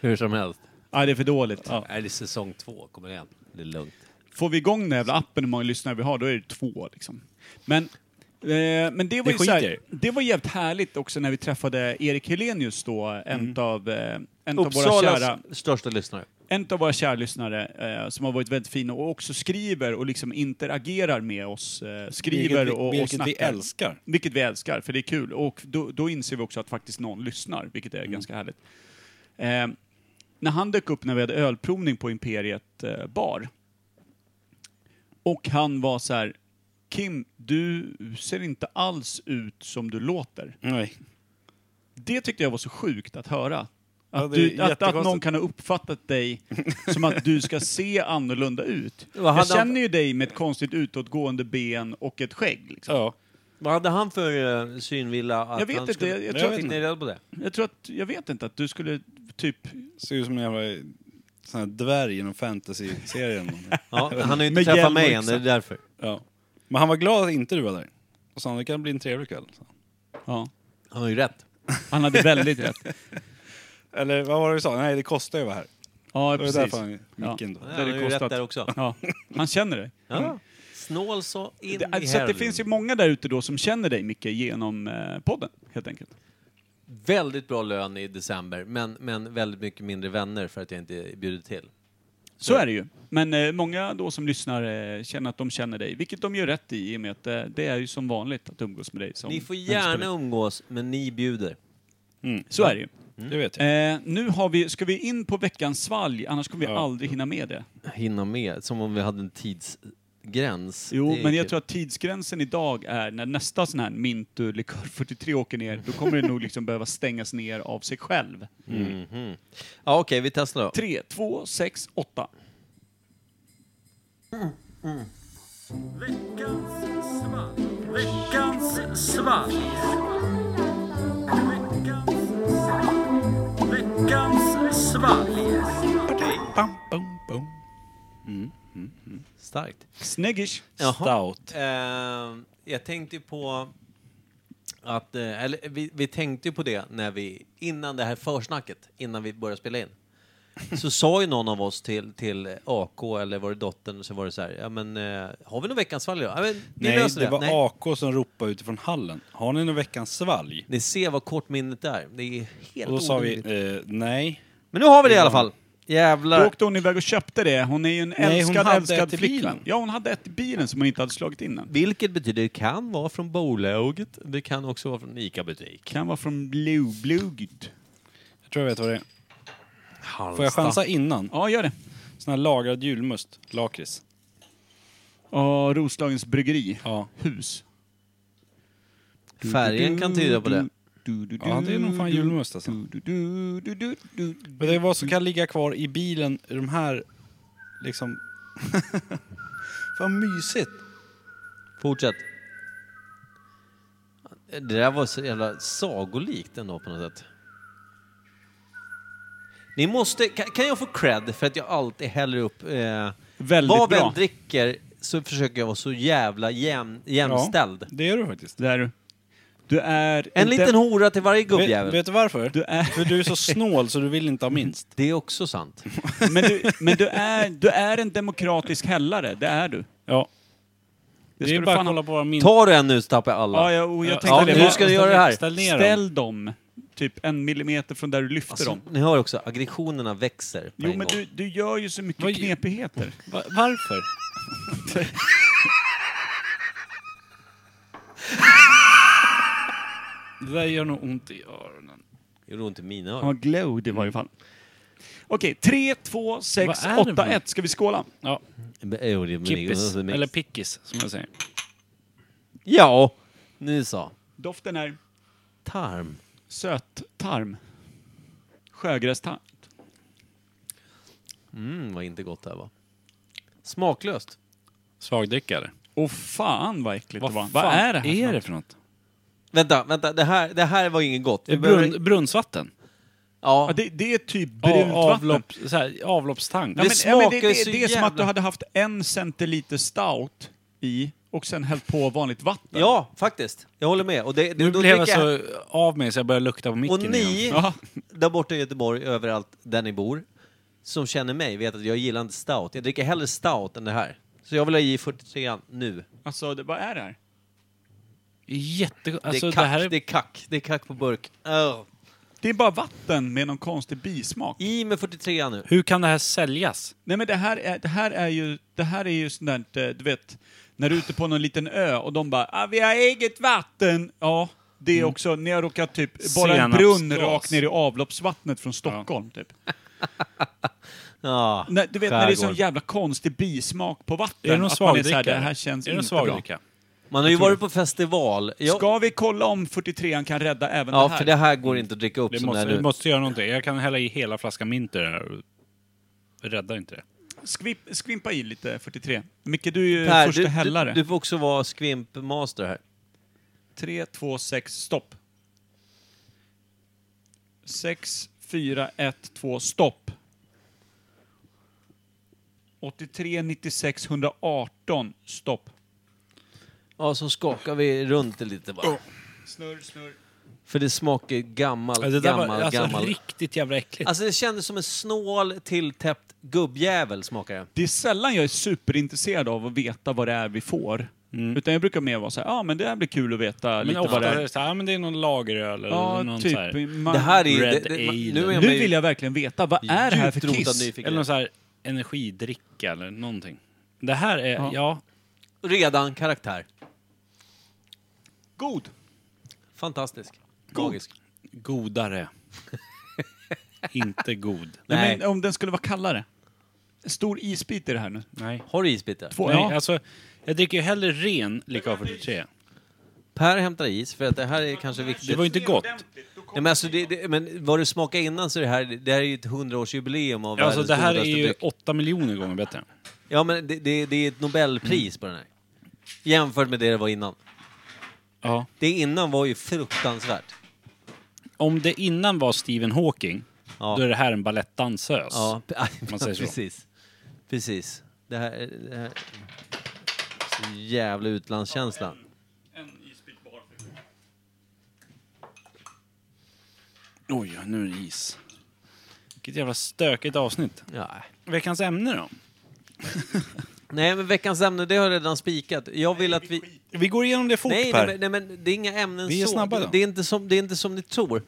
Speaker 1: Hur som helst.
Speaker 4: Nej, det är för dåligt.
Speaker 1: Är det säsong två? Kommer igen. Det är lugnt.
Speaker 4: Får vi igång den jävla appen hur många lyssnare vi har, då är det två liksom. Men Eh, men det var,
Speaker 3: Det
Speaker 4: ju så här,
Speaker 3: skiter.
Speaker 4: det var jävligt härligt också när vi träffade Erik Helenius då,
Speaker 3: Mm.
Speaker 4: en av eh, en av våra
Speaker 1: Uppsalas
Speaker 4: kära,
Speaker 1: största lyssnare.
Speaker 4: en av våra kära lyssnare eh, som har varit väldigt fin och också skriver och liksom interagerar med oss. Eh, skriver
Speaker 3: Vilket vi-
Speaker 4: och, och
Speaker 3: vilket
Speaker 4: snackar.
Speaker 3: vi älskar.
Speaker 4: Vilket vi älskar, för det är kul. Och då, då inser vi också att faktiskt någon lyssnar, vilket är
Speaker 3: Mm.
Speaker 4: ganska härligt. Eh, när han dök upp när vi hade ölprovning på Imperiet eh, bar. Och han var så här, Kim, du ser inte alls ut som du låter.
Speaker 3: Nej.
Speaker 4: Det tyckte jag var så sjukt att höra. Att,
Speaker 3: Ja, det är
Speaker 4: du, att, att
Speaker 3: jättekonstigt.
Speaker 4: någon kan ha uppfattat dig som att du ska se annorlunda ut.
Speaker 1: Vad hade
Speaker 4: Jag
Speaker 1: han-
Speaker 4: känner ju dig med ett konstigt utåtgående ben och ett skägg. Liksom.
Speaker 3: Ja.
Speaker 1: Vad hade han för eh, synvilla? Att
Speaker 4: Jag vet
Speaker 1: han
Speaker 4: inte, jag- jag tror
Speaker 1: Fick
Speaker 4: att-
Speaker 1: ni reda på det?
Speaker 4: Jag tror att, jag vet inte, att du skulle typ...
Speaker 3: Ser ut som en jävla sån här dvärg i någon fantasy-serie eller någonting.
Speaker 1: Ja, han har ju inte
Speaker 4: Med hjälm
Speaker 1: träffat
Speaker 4: och
Speaker 1: mig än,
Speaker 4: yxa.
Speaker 1: det är därför.
Speaker 3: Ja. Men han var glad att inte du var där. Och sa han, det kan bli en trevlig kväll. sa han.
Speaker 4: Ja.
Speaker 1: Han har ju rätt.
Speaker 4: Han hade väldigt rätt.
Speaker 3: Eller vad var det du sa? Nej, det kostar ju att vara här.
Speaker 4: Ja,
Speaker 3: Det var
Speaker 4: precis.
Speaker 3: därför han micken
Speaker 1: Ja,
Speaker 3: då.
Speaker 4: Det
Speaker 1: Han
Speaker 4: hade
Speaker 1: har ju
Speaker 4: kostat.
Speaker 1: rätt där också.
Speaker 4: Ja, han känner dig.
Speaker 1: Ja. Snål så in i
Speaker 4: Det, alltså att det
Speaker 1: helvete.
Speaker 4: finns ju många där ute då som känner dig, Micke, genom eh, podden, helt enkelt.
Speaker 1: Väldigt bra lön i december, men, men väldigt mycket mindre vänner för att jag inte bjudit till.
Speaker 4: Så är det ju. Men eh, många då som lyssnar eh, känner att de känner dig, vilket de gör rätt i i och med att eh, det är ju som vanligt att umgås med dig. Som
Speaker 1: Ni får
Speaker 4: vänsterparti.
Speaker 1: gärna umgås, men ni bjuder.
Speaker 4: Mm. Så är det ju.
Speaker 3: Det vet jag.
Speaker 4: Eh, nu har vi, ska vi in på veckans svalg, annars kommer vi aldrig hinna med det.
Speaker 1: Hinna med, som om vi hade en tidsgräns.
Speaker 4: Jo,
Speaker 1: Det är
Speaker 4: men jag
Speaker 1: kul.
Speaker 4: tror att tidsgränsen idag är när nästa sån här Mintu Likör 43 åker ner, då kommer det nog liksom behöva stängas ner av sig själv.
Speaker 1: Ja, okej, vi testar då.
Speaker 4: 3, 2, 6, 8.
Speaker 3: Bam, bam, bam.
Speaker 1: Starkt.
Speaker 4: Snyggish.
Speaker 1: Mm.
Speaker 3: Stout.
Speaker 1: Eh, jag tänkte ju på att, eh, eller vi, vi tänkte ju på det när vi, innan det här försnacket, innan vi började spela in. Så sa ju någon av oss till, till AK eller var det dottern, så var det så här, ja men eh, har vi någon veckans fall idag? Ja, men, vi
Speaker 3: Nej,
Speaker 1: löser
Speaker 3: det var
Speaker 1: Nej.
Speaker 3: AK som ropade utifrån hallen. Har ni någon veckans svalg?
Speaker 1: Ni ser vad kort minnet är. Det är helt
Speaker 3: Och då sa vi,
Speaker 1: orimligt.
Speaker 3: eh, nej.
Speaker 1: Men nu har vi det i alla fall. Jävlar.
Speaker 4: Då åkte hon iväg och köpte det. Hon är ju en
Speaker 3: hon
Speaker 4: älskad,
Speaker 3: hade
Speaker 4: älskad
Speaker 3: ett i
Speaker 4: flickvän.
Speaker 3: bilen.
Speaker 4: Ja, hon hade ett i bilen som hon inte hade slagit in än.
Speaker 1: Vilket betyder det kan vara från bolaget, det kan också vara från en ICA-butik.
Speaker 4: Kan vara från Blue Bluegud.
Speaker 3: Jag tror jag vet vad det är. Får jag chansa innan?
Speaker 4: Ja, gör det.
Speaker 3: Sån här lagrad julmust. Lakrits.
Speaker 4: Och Roslagens bryggeri.
Speaker 3: Ja.
Speaker 4: Hus.
Speaker 1: Färgen kan tyda på det.
Speaker 4: Du, du, du,
Speaker 3: Ja, det är nog fan
Speaker 4: du,
Speaker 3: julmust alltså.
Speaker 4: du, du, du, du, du, du.
Speaker 3: Men det är vad som kan ligga kvar i bilen, i de här liksom... Fan mysigt!
Speaker 1: Fortsätt. Det där var så jävla sagolikt ändå på något sätt. Ni måste, kan, kan jag få cred för att jag alltid häller upp... Eh,
Speaker 4: Väldigt
Speaker 1: vad
Speaker 4: bra.
Speaker 1: jag än dricker så försöker jag vara så jävla jäm, jämställd.
Speaker 3: det är du faktiskt.
Speaker 4: Där du. Du är...
Speaker 1: En liten hora till varje
Speaker 3: Vet,
Speaker 1: gubbjävel.
Speaker 3: vet du varför?
Speaker 4: Du är-
Speaker 3: För du är så snål så du vill inte ha minst.
Speaker 1: Det är också sant.
Speaker 4: Men, du, men du, är, du är en demokratisk hällare, det är du.
Speaker 3: Ja. Det,
Speaker 4: Det ska
Speaker 3: är
Speaker 4: du
Speaker 3: bara
Speaker 4: fan
Speaker 3: att
Speaker 4: ha.
Speaker 3: kolla på våra minst.
Speaker 1: Tar du en nu så tappar jag alla.
Speaker 4: Ja, jag, och jag tänkte
Speaker 1: Ja,
Speaker 4: det.
Speaker 1: hur
Speaker 4: Bara
Speaker 1: ska du göra det här?
Speaker 3: Ställ ner dem.
Speaker 4: Ställ dem typ en millimeter från där du lyfter
Speaker 1: Alltså,
Speaker 4: dem.
Speaker 1: ni hör också, aggressionerna växer på
Speaker 4: Jo,
Speaker 1: en
Speaker 4: men
Speaker 1: gång.
Speaker 4: du, du gör ju så mycket
Speaker 3: Vad-
Speaker 4: knepigheter.
Speaker 3: Va- Varför? det där gör nog ont i öronen.
Speaker 1: Det gjorde ont i mina
Speaker 4: Han var
Speaker 1: öron.
Speaker 4: glowed i varje fall. Okej, 3, 2, 6,
Speaker 3: Vad är det för
Speaker 4: 8,
Speaker 3: något?
Speaker 4: 1. Ska vi skåla?
Speaker 3: Ja,
Speaker 1: Jo, det- men-
Speaker 3: kippis.
Speaker 1: men-
Speaker 3: Eller pickis, som jag säger.
Speaker 1: Ja, ni sa.
Speaker 4: Doften är
Speaker 1: Tarm.
Speaker 4: söttarm. Sjögrästarm.
Speaker 1: Mm, vad inte gott det här var. Smaklöst.
Speaker 3: Svagdrickare.
Speaker 4: Åh fan vad äckligt det var.
Speaker 3: fan
Speaker 4: Vad är det här?
Speaker 3: är
Speaker 4: för
Speaker 3: det
Speaker 4: något?
Speaker 3: för något?
Speaker 1: Vänta, vänta, det här, det här var inget gott.
Speaker 3: Det är
Speaker 1: Vi behöver-
Speaker 3: brunn, brunnsvatten.
Speaker 4: Ja,
Speaker 1: Ja,
Speaker 4: det, det är typ
Speaker 3: Av,
Speaker 4: brunt vatten.
Speaker 3: avlopp, så här, avloppstank.
Speaker 4: Ja, men,
Speaker 1: Det
Speaker 4: ja, men det,
Speaker 1: smakar
Speaker 4: det,
Speaker 1: så
Speaker 4: det är som
Speaker 1: jävla-
Speaker 4: att du hade haft en centiliter stout i och sen hällt på vanligt vatten.
Speaker 1: ja, faktiskt. Jag håller med. Och, det, det,
Speaker 3: Nu
Speaker 1: då
Speaker 3: blev jag
Speaker 1: dricker jag-
Speaker 3: så av mig så jag började lukta på micken
Speaker 1: och ni,
Speaker 3: igen.
Speaker 4: Ja.
Speaker 1: där borta i Göteborg, överallt där ni bor, som känner mig vet att jag gillar inte stout. Jag dricker hellre stout än det här. Så jag vill ha i 43 nu.
Speaker 4: Alltså, det, vad är det här?
Speaker 3: Jätte...
Speaker 1: det, är
Speaker 3: Alltså, det,
Speaker 1: kack, det,
Speaker 3: här är...
Speaker 1: är kack, det är kack på burk. Ugh.
Speaker 4: Det är bara vatten med någon konstig bismak.
Speaker 1: I med 43 nu.
Speaker 3: Hur kan det här säljas?
Speaker 4: Nej men det här är, det här är ju, det här är ju sånt där, eh, du vet, när du är ute på någon liten ö och de bara ah, vi har eget vatten. Ja, det är också, ni har råkat typ bara en
Speaker 3: Senapsgas.
Speaker 4: brunn rakt ner i avloppsvattnet från Stockholm typ.
Speaker 1: Ja,
Speaker 4: När, du vet när det är sån
Speaker 1: skärgård.
Speaker 4: jävla konstig bismak på vatten.
Speaker 3: Är det någon
Speaker 4: att man är så
Speaker 3: svagdricka?
Speaker 4: här, Det
Speaker 3: eller?
Speaker 4: här känns
Speaker 3: är det någon
Speaker 4: inte bra.
Speaker 3: svagdricka?
Speaker 1: Man har ju varit på festival. Ja,
Speaker 4: Ska vi kolla om 43an kan rädda även
Speaker 1: ja
Speaker 4: det här?
Speaker 1: för det här går inte att dricka upp
Speaker 3: Det
Speaker 1: som
Speaker 3: måste,
Speaker 1: det är
Speaker 3: vi
Speaker 1: nu.
Speaker 3: måste göra någonting. Jag kan hälla i hela flaskan minter här. Räddar inte det.
Speaker 4: Skvip, skvimpa i lite 43. Micke, du är ju
Speaker 1: Per,
Speaker 4: första
Speaker 1: du,
Speaker 4: hällare.
Speaker 1: du, du får också vara skvimpmaster här.
Speaker 4: 3, 2, 6, stopp. 6, 4, 1, 2, stopp. 83, 96, 118, stopp.
Speaker 1: Ja, så skakar vi runt det lite
Speaker 3: Oh.
Speaker 1: bara.
Speaker 4: Snurr, snurr.
Speaker 1: För det smakar ju gammal,
Speaker 3: Ja, det där
Speaker 1: gammal,
Speaker 3: var alltså,
Speaker 1: gammal.
Speaker 3: riktigt jävla äckligt.
Speaker 1: Alltså det kändes som en snål tilltäppt gubbjävel smakar det.
Speaker 4: Det är sällan jag är superintresserad av att veta vad det är vi får. Utan jag brukar mer vara så här, ja ah, men det här blir kul att veta
Speaker 3: Mm. men
Speaker 4: lite
Speaker 3: ofta
Speaker 4: vad det
Speaker 3: är
Speaker 4: är.
Speaker 3: det så här, "Ah, men det är någon lageröl eller
Speaker 4: Ja,
Speaker 3: någon
Speaker 4: typ.
Speaker 3: så här.
Speaker 4: Man,
Speaker 1: Det här är ju... Det,
Speaker 3: Red
Speaker 1: det, man-
Speaker 3: Ale.
Speaker 1: nu är man
Speaker 4: nu
Speaker 1: ju
Speaker 4: vill jag verkligen veta, vad är det här för
Speaker 1: djupt rotad
Speaker 4: kiss?
Speaker 1: nyfiken.
Speaker 3: Eller någon så här energidricka eller någonting. Det här är, ja.
Speaker 1: Redan karaktär.
Speaker 4: God!
Speaker 1: Fantastisk. Magisk.
Speaker 3: godare. inte god.
Speaker 4: Nej.
Speaker 1: Nej.
Speaker 4: Men om den skulle vara kallare. Stor isbit i det här nu.
Speaker 3: Nej.
Speaker 1: Har du isbitar?
Speaker 4: Två,
Speaker 3: Nej,
Speaker 4: ja.
Speaker 3: alltså, jag dricker ju hellre ren Likör 43.
Speaker 1: Per hämtar is, för att det här är kanske viktigt.
Speaker 3: Det var ju inte gott.
Speaker 1: Nej, men, alltså, det, det, men vad du smakade innan så är det här, det här är ju ett hundraårsjubileum av
Speaker 3: Alltså,
Speaker 1: världens
Speaker 3: det här är
Speaker 1: godaste
Speaker 3: ju
Speaker 1: dryck.
Speaker 3: 8 miljoner gånger bättre.
Speaker 1: Ja, men det, det, det är ett nobelpris på den här. Jämfört med det det var innan.
Speaker 3: Ja.
Speaker 1: Det innan var ju fruktansvärt.
Speaker 3: Om det innan var Stephen Hawking,
Speaker 1: Ja.
Speaker 3: då är det här en balettdansös.
Speaker 1: Ja, p-
Speaker 3: man säger så.
Speaker 1: precis. Precis. Det här, är- det här... Så jävla utlandskänslan.
Speaker 2: En isbit bar.
Speaker 3: Oj, nu är det is. Vilket jävla stökigt avsnitt.
Speaker 1: Ja.
Speaker 3: Veckans ämne då?
Speaker 1: Nej, men veckans ämne, det har jag redan spikat. Jag vill att vi...
Speaker 3: Vi går igenom det fort
Speaker 1: Nej,
Speaker 3: Per.
Speaker 1: nej, men- nej, men det är inga ämnen
Speaker 3: Vi är
Speaker 1: så.
Speaker 3: snabba då.
Speaker 1: Det är inte som, det är inte som ni tror.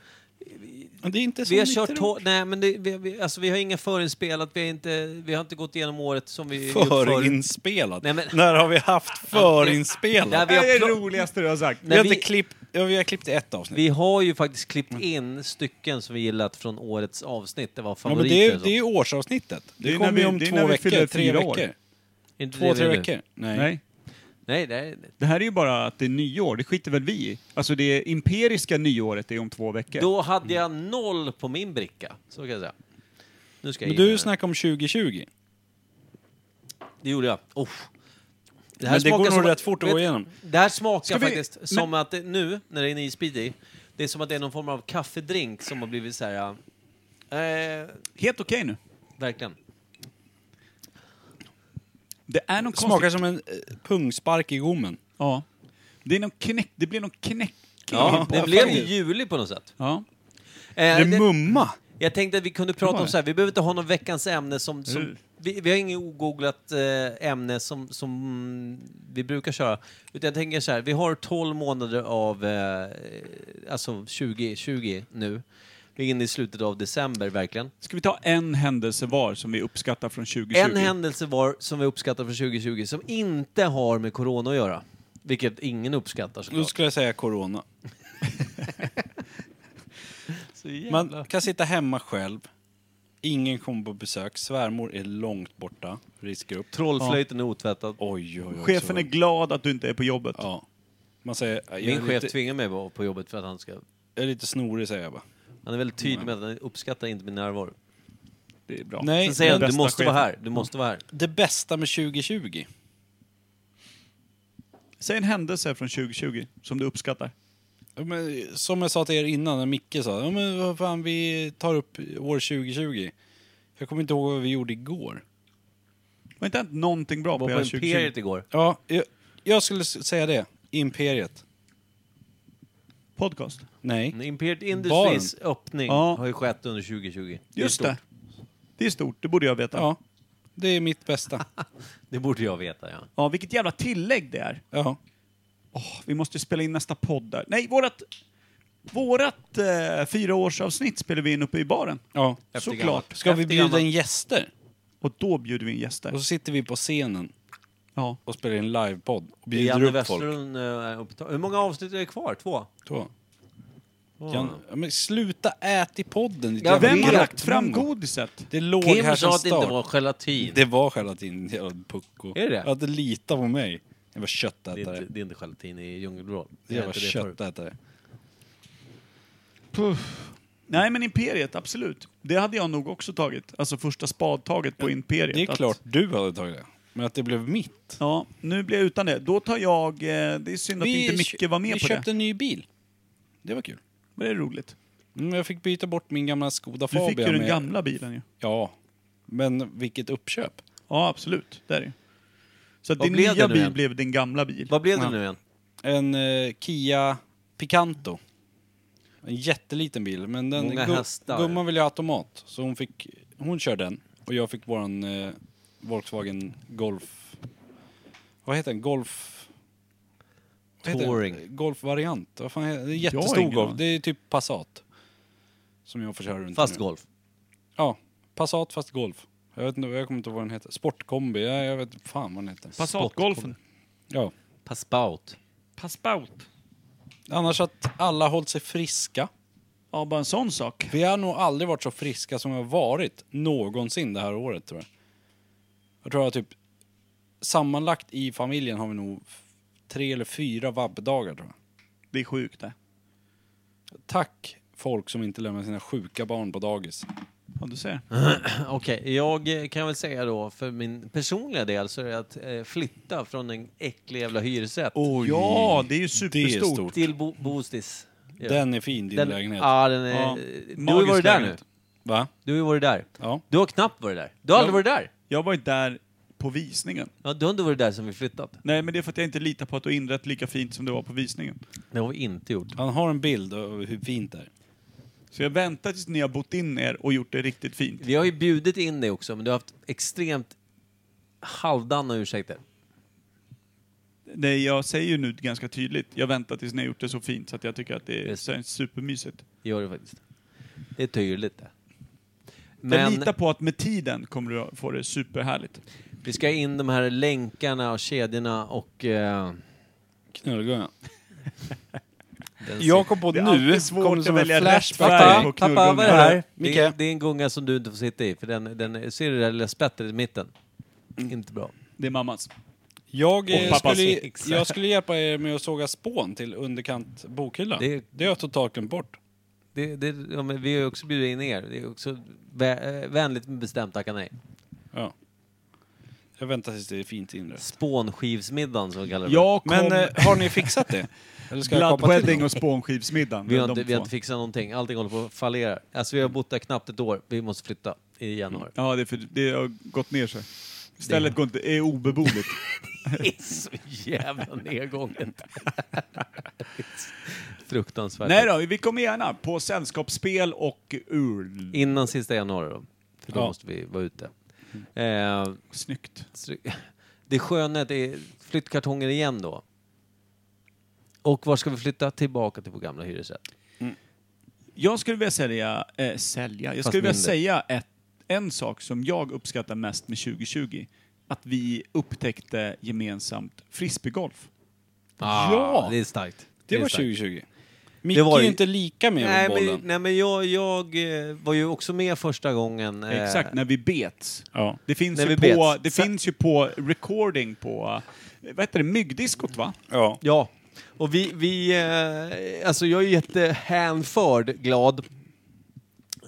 Speaker 3: Det är inte som
Speaker 1: Vi har
Speaker 3: ni
Speaker 1: kört
Speaker 3: tror.
Speaker 1: tå- Nej, men det, vi, vi, alltså, vi har inga förinspelat. Vi har inte, vi har inte gått igenom året som vi gjort förut.
Speaker 3: Förinspelat?
Speaker 1: Nej, men-
Speaker 3: När har vi haft
Speaker 1: Där
Speaker 3: förinspelat?
Speaker 1: vi, har pl-
Speaker 4: roligaste du har sagt.
Speaker 1: Nej,
Speaker 3: vi, har
Speaker 1: vi-
Speaker 3: inte klippt, ja, vi har klippt ett avsnitt.
Speaker 1: vi har ju faktiskt
Speaker 3: Mm.
Speaker 1: klippt in stycken som vi gillat från årets avsnitt. Det var
Speaker 3: ja, men
Speaker 1: favoriter.
Speaker 3: det, är,
Speaker 1: och så.
Speaker 3: det är ju årsavsnittet. Det,
Speaker 4: Det är när
Speaker 3: kommer ju
Speaker 4: vi-
Speaker 3: om
Speaker 4: det är
Speaker 3: två
Speaker 4: när vi
Speaker 3: veckor,
Speaker 4: fyller
Speaker 3: tre
Speaker 4: fyra
Speaker 3: veckor.
Speaker 4: år.
Speaker 1: Inte
Speaker 3: Två,
Speaker 1: det vi
Speaker 3: tre
Speaker 1: gör nu.
Speaker 3: veckor. Nej.
Speaker 4: Nej.
Speaker 1: Nej, det är,
Speaker 4: Det här är ju bara att det är nyår, det skiter väl vi i. Alltså det imperiska nyåret är om två veckor.
Speaker 1: då hade jag noll på min bricka. Så kan jag säga. Nu ska jag
Speaker 3: Men
Speaker 1: in med
Speaker 3: du
Speaker 1: den.
Speaker 3: snackade om 2020.
Speaker 1: Det gjorde jag. Oh. Det
Speaker 3: Men det
Speaker 1: smakar
Speaker 3: går nog
Speaker 1: som-
Speaker 3: rätt fort att gå igenom.
Speaker 1: Det här smakar
Speaker 4: Ska vi-
Speaker 1: faktiskt som att det, nu, när det är en isbit i, det är som att det är någon form av kaffedrink som har blivit så här... Eh,
Speaker 4: Helt okej nu.
Speaker 1: verkligen.
Speaker 4: Det är någon konstig...
Speaker 3: Smakar som en eh, pungspark i gommen.
Speaker 4: Ja. Det, är någon knäck... det blir någon knäck...
Speaker 1: Ja,
Speaker 4: på
Speaker 1: det blev ju
Speaker 4: affären.
Speaker 1: juli på något sätt.
Speaker 4: Ja.
Speaker 1: Eh,
Speaker 3: det är mumma.
Speaker 1: jag tänkte att vi kunde prata om så här, vi behöver inte ha någon veckans ämne som... som
Speaker 4: Mm.
Speaker 1: vi, vi har inget ogooglat eh, ämne som, som vi brukar köra. Utan jag tänker så här, vi har 12 månader av eh, alltså 2020 nu. Vi är inne i slutet av december verkligen.
Speaker 4: Ska vi ta en händelse var som vi uppskattar från 2020?
Speaker 1: En händelse var som vi uppskattar från 2020 som inte har med corona att göra. Vilket ingen uppskattar
Speaker 3: Då
Speaker 1: såklart.
Speaker 3: skulle jag säga corona. Man kan sitta hemma själv. Ingen kommer på besök. Svärmor är långt borta. Riskgrupp.
Speaker 1: Trollflöjten är otvättad.
Speaker 3: Oj, oj, oj.
Speaker 4: Chefen är glad att du inte är på jobbet.
Speaker 3: Ja. Man säger... Jag är,
Speaker 1: Min chef
Speaker 3: lite,
Speaker 1: tvingar mig att vara på jobbet för att han ska...
Speaker 3: jag är lite snorig, säger jag bara.
Speaker 1: Han är väldigt tydlig med att han uppskattar inte min närvaro.
Speaker 4: Det är bra.
Speaker 3: Nej,
Speaker 1: Sen säger han,
Speaker 3: men
Speaker 1: du
Speaker 4: bästa
Speaker 1: måste vara
Speaker 4: chefen."
Speaker 1: här, du måste vara här.
Speaker 3: det bästa med 2020?
Speaker 4: Säg en händelse från 2020 som du uppskattar.
Speaker 3: Ja, Men, som jag sa till er innan när Micke sa, ja, men vad fan vi tar upp år 2020. Jag kommer inte ihåg vad vi gjorde igår.
Speaker 4: Det har inte hänt någonting bra
Speaker 1: Jag
Speaker 4: på
Speaker 1: var
Speaker 4: hela
Speaker 1: på
Speaker 4: 2020.
Speaker 1: Imperiet igår.
Speaker 3: Ja, jag, jag skulle s- säga det. Imperiet.
Speaker 4: Podcast.
Speaker 3: Nej.
Speaker 1: Imperiet Industries öppning
Speaker 4: Ja.
Speaker 1: har ju skett under 2020. är
Speaker 4: Just
Speaker 1: stort.
Speaker 4: det. Det är stort, det borde jag veta.
Speaker 3: Ja, det är mitt bästa.
Speaker 1: Det borde jag veta, ja.
Speaker 4: Ja, vilket jävla tillägg det är.
Speaker 3: Ja.
Speaker 4: Åh, vi måste spela in nästa podd där. Nej, vårat, vårat eh, fyraårsavsnitt spelar vi in uppe i baren.
Speaker 3: Ja.
Speaker 1: Efter
Speaker 4: Såklart.
Speaker 1: gammalt.
Speaker 3: Ska vi
Speaker 1: Efter
Speaker 3: bjuda
Speaker 1: gammalt.
Speaker 3: in gäster?
Speaker 4: Och då bjuder vi in gäster.
Speaker 3: Och så sitter vi på scenen
Speaker 4: Ja.
Speaker 3: och spelar in livepodd och
Speaker 1: Det är Janne
Speaker 3: bjuder upp folk.
Speaker 1: Westerlund, eh, uppta- Hur många avsnitt är det kvar? Två?
Speaker 3: Två.
Speaker 1: Två.
Speaker 3: Jan, ja, men sluta ät i podden. ditt
Speaker 1: Jag
Speaker 3: jävla
Speaker 4: Vem har
Speaker 1: vet.
Speaker 4: lagt fram
Speaker 3: mongo.
Speaker 4: godiset?
Speaker 3: Det låg här
Speaker 1: Kim
Speaker 3: som
Speaker 1: sa att det inte
Speaker 3: start.
Speaker 1: var gelatin.
Speaker 3: Det var gelatin, jävla pucko.
Speaker 1: Är det det?
Speaker 3: Ja, det litar på mig. Jag var
Speaker 1: Det är,
Speaker 3: köttätare.
Speaker 1: inte, det är inte gelatin i Djungelvrål. Det
Speaker 3: Jag
Speaker 1: är
Speaker 3: var
Speaker 1: inte det förut.
Speaker 3: köttätare.
Speaker 4: Nej, men Imperiet, absolut. Det hade jag nog också tagit. Alltså första spadtaget på Imperiet.
Speaker 3: Det är
Speaker 4: Att-
Speaker 3: klart du hade tagit det. Men att det blev mitt.
Speaker 4: Ja, nu blir jag utan det. Då tar jag... Eh, det är synd att inte Micke var med
Speaker 3: vi
Speaker 4: på
Speaker 3: köpte
Speaker 4: det.
Speaker 3: en ny bil. Det var kul.
Speaker 4: Men det är roligt.
Speaker 3: Mm, jag fick byta bort min gamla Skoda
Speaker 4: Du
Speaker 3: Fabia.
Speaker 4: fick ju den
Speaker 3: med-
Speaker 4: gamla bilen ju.
Speaker 3: Ja. Men vilket uppköp.
Speaker 4: Ja, absolut. Det är det ju. Så att
Speaker 1: Vad
Speaker 4: din
Speaker 1: blev det
Speaker 4: nya
Speaker 1: nu
Speaker 4: bil
Speaker 1: igen?
Speaker 4: blev din gamla bil.
Speaker 1: Vad blev det
Speaker 3: Ja.
Speaker 1: nu igen?
Speaker 3: En eh, Kia Picanto. En jätteliten bil, men den
Speaker 1: Många hästar.
Speaker 3: gumman ville ha automat. Så hon, fick, hon kör den och jag fick våran eh, Volkswagen Golf... Vad heter den? Golf... vad heter den?
Speaker 1: Touring.
Speaker 3: Golfvariant. Vad fan heter det? Det är
Speaker 4: Jag har
Speaker 3: jättestor
Speaker 4: ingen
Speaker 3: Golf.
Speaker 4: aning.
Speaker 3: Det är typ Passat. Som jag får köra runt
Speaker 1: Fast
Speaker 3: med.
Speaker 1: golf.
Speaker 3: Ja, Passat fast Golf. Jag vet inte, jag kommer inte ihåg vad den heter. Sportkombi, jag, jag vet fan vad den heter.
Speaker 4: Passatgolfen.
Speaker 3: Ja.
Speaker 1: Paspout.
Speaker 4: Passbout.
Speaker 3: Annars att alla hållit sig friska.
Speaker 4: Ja, bara en sån sak.
Speaker 3: Vi har nog aldrig varit så friska som vi har varit någonsin det här året tror jag. Jag tror att typ sammanlagt i familjen har vi nog f- tre eller fyra vabbdagar tror jag.
Speaker 4: Det är sjukt det.
Speaker 3: Tack folk som inte lämnar sina sjuka barn på dagis.
Speaker 4: Ja, du ser.
Speaker 1: Okej, jag eh, kan väl säga då för min personliga del så är det att eh, flytta från en äcklig jävla hyresrätt
Speaker 4: Ja, det är ju superstort.
Speaker 3: stort.
Speaker 1: till bo Boostis. Ja.
Speaker 3: Den är fin din
Speaker 1: Den-
Speaker 3: lägenhet.
Speaker 1: Ja, den är...
Speaker 4: Ja,
Speaker 1: Eh, Du har ju
Speaker 4: magisk
Speaker 1: varit där nu.
Speaker 4: lägenhet.
Speaker 3: Va?
Speaker 1: Du har ju varit där.
Speaker 3: Ja.
Speaker 1: Du har knappt varit där. Du har aldrig
Speaker 4: Ja.
Speaker 1: varit där.
Speaker 4: Jag var ju där på visningen.
Speaker 1: Ja, du har inte varit där sen vi flyttat.
Speaker 4: Nej, men det är för att jag inte litar på att du har inrett lika fint som det var på visningen.
Speaker 1: Det har vi inte gjort.
Speaker 3: Han har en bild av hur fint det är.
Speaker 4: Så jag väntar tills ni har bott in er och gjort det riktigt fint.
Speaker 1: Vi har ju bjudit in dig också, men du har haft extremt halvdana ursäkter.
Speaker 4: Nej, jag säger ju nu ganska tydligt. Jag väntar tills ni har gjort det så fint så att jag tycker att det är
Speaker 1: Just.
Speaker 4: så- supermysigt.
Speaker 1: Det gör du faktiskt. Det är tydligt det.
Speaker 4: Jag
Speaker 1: Men
Speaker 4: litar på att med tiden kommer du att få det superhärligt.
Speaker 1: vi ska in de här länkarna och kedjorna och... Eh,
Speaker 3: Knullgunga.
Speaker 1: den
Speaker 3: Jag kom på
Speaker 4: Det är
Speaker 3: nu,
Speaker 4: alltid svårt
Speaker 3: kom det
Speaker 4: att
Speaker 3: som en
Speaker 4: välja rätt
Speaker 3: flashback.
Speaker 4: färg.
Speaker 1: Pappa,
Speaker 4: på
Speaker 1: pappa,
Speaker 4: knullgunga.
Speaker 1: vad är det här? Det är,
Speaker 3: Micke.
Speaker 1: det är en gunga som du inte får sitta i, för den, den ser du det där lilla spettet i mitten? Inte bra.
Speaker 4: Det är mammas.
Speaker 3: Jag, eh,
Speaker 4: pappas
Speaker 3: skulle,
Speaker 1: ex.
Speaker 3: jag skulle hjälpa er med att såga spån till underkant bokhylla.
Speaker 1: Det-
Speaker 3: Det, har jag totalt glömt bort.
Speaker 1: Det, det, ja, men vi har ju också bjudit in er. Det är också vä- eh, vänligt men bestämt tacka nej.
Speaker 3: Ja. Jag väntar tills det är fint inre.
Speaker 1: Spånskivsmiddagen som vi kallar det.
Speaker 4: Jag kom...
Speaker 3: Men eh, har ni fixat det? Eller ska jag komma till
Speaker 4: Bloodwedding
Speaker 3: något?
Speaker 4: och spånskivsmiddagen.
Speaker 1: vi, har
Speaker 4: de
Speaker 1: inte, vi har
Speaker 4: två.
Speaker 1: inte fixat någonting. Allting håller på att fallera. Alltså vi har bott där knappt ett år. Vi måste flytta i januari.
Speaker 4: Ja, det, är för, det har gått ner sig. Stället går inte, är obeboeligt.
Speaker 1: Det är så jävla nedgånget. Fruktansvärt.
Speaker 4: Nej då, vi kommer gärna på sällskapsspel och url.
Speaker 1: Innan sista januari då. För då
Speaker 3: Ja.
Speaker 1: måste vi vara ute.
Speaker 4: Mm.
Speaker 1: Eh,
Speaker 4: Snyggt.
Speaker 1: stry- det sköna är att det är flyttkartonger igen då. Och var ska vi flytta? Tillbaka till vår gamla hyresrätt.
Speaker 4: Jag skulle vilja sälja, eh, sälja. Jag
Speaker 1: Fast
Speaker 4: skulle vilja
Speaker 1: mindre.
Speaker 4: säga ett, en sak som jag uppskattar mest med 2020. Att vi upptäckte gemensamt frisbeegolf.
Speaker 3: Ja!
Speaker 1: Ah, Det är starkt.
Speaker 3: Det
Speaker 1: är
Speaker 3: var
Speaker 1: starkt.
Speaker 3: 2020. Micke
Speaker 1: Det var
Speaker 3: är
Speaker 1: ju-
Speaker 3: ju inte lika med
Speaker 1: Nej
Speaker 3: på bollen.
Speaker 1: men, nej, men jag, jag eh, var ju också med första gången. eh,
Speaker 4: Exakt, när vi bets.
Speaker 3: Ja.
Speaker 4: Det finns,
Speaker 1: När
Speaker 4: ju
Speaker 1: vi
Speaker 4: på,
Speaker 1: bets.
Speaker 4: det
Speaker 1: Så-
Speaker 4: finns ju på recording på, eh, vad heter det, myggdiskot va?
Speaker 3: Ja.
Speaker 1: Ja. Och vi, vi eh, alltså jag är jättehänförd glad.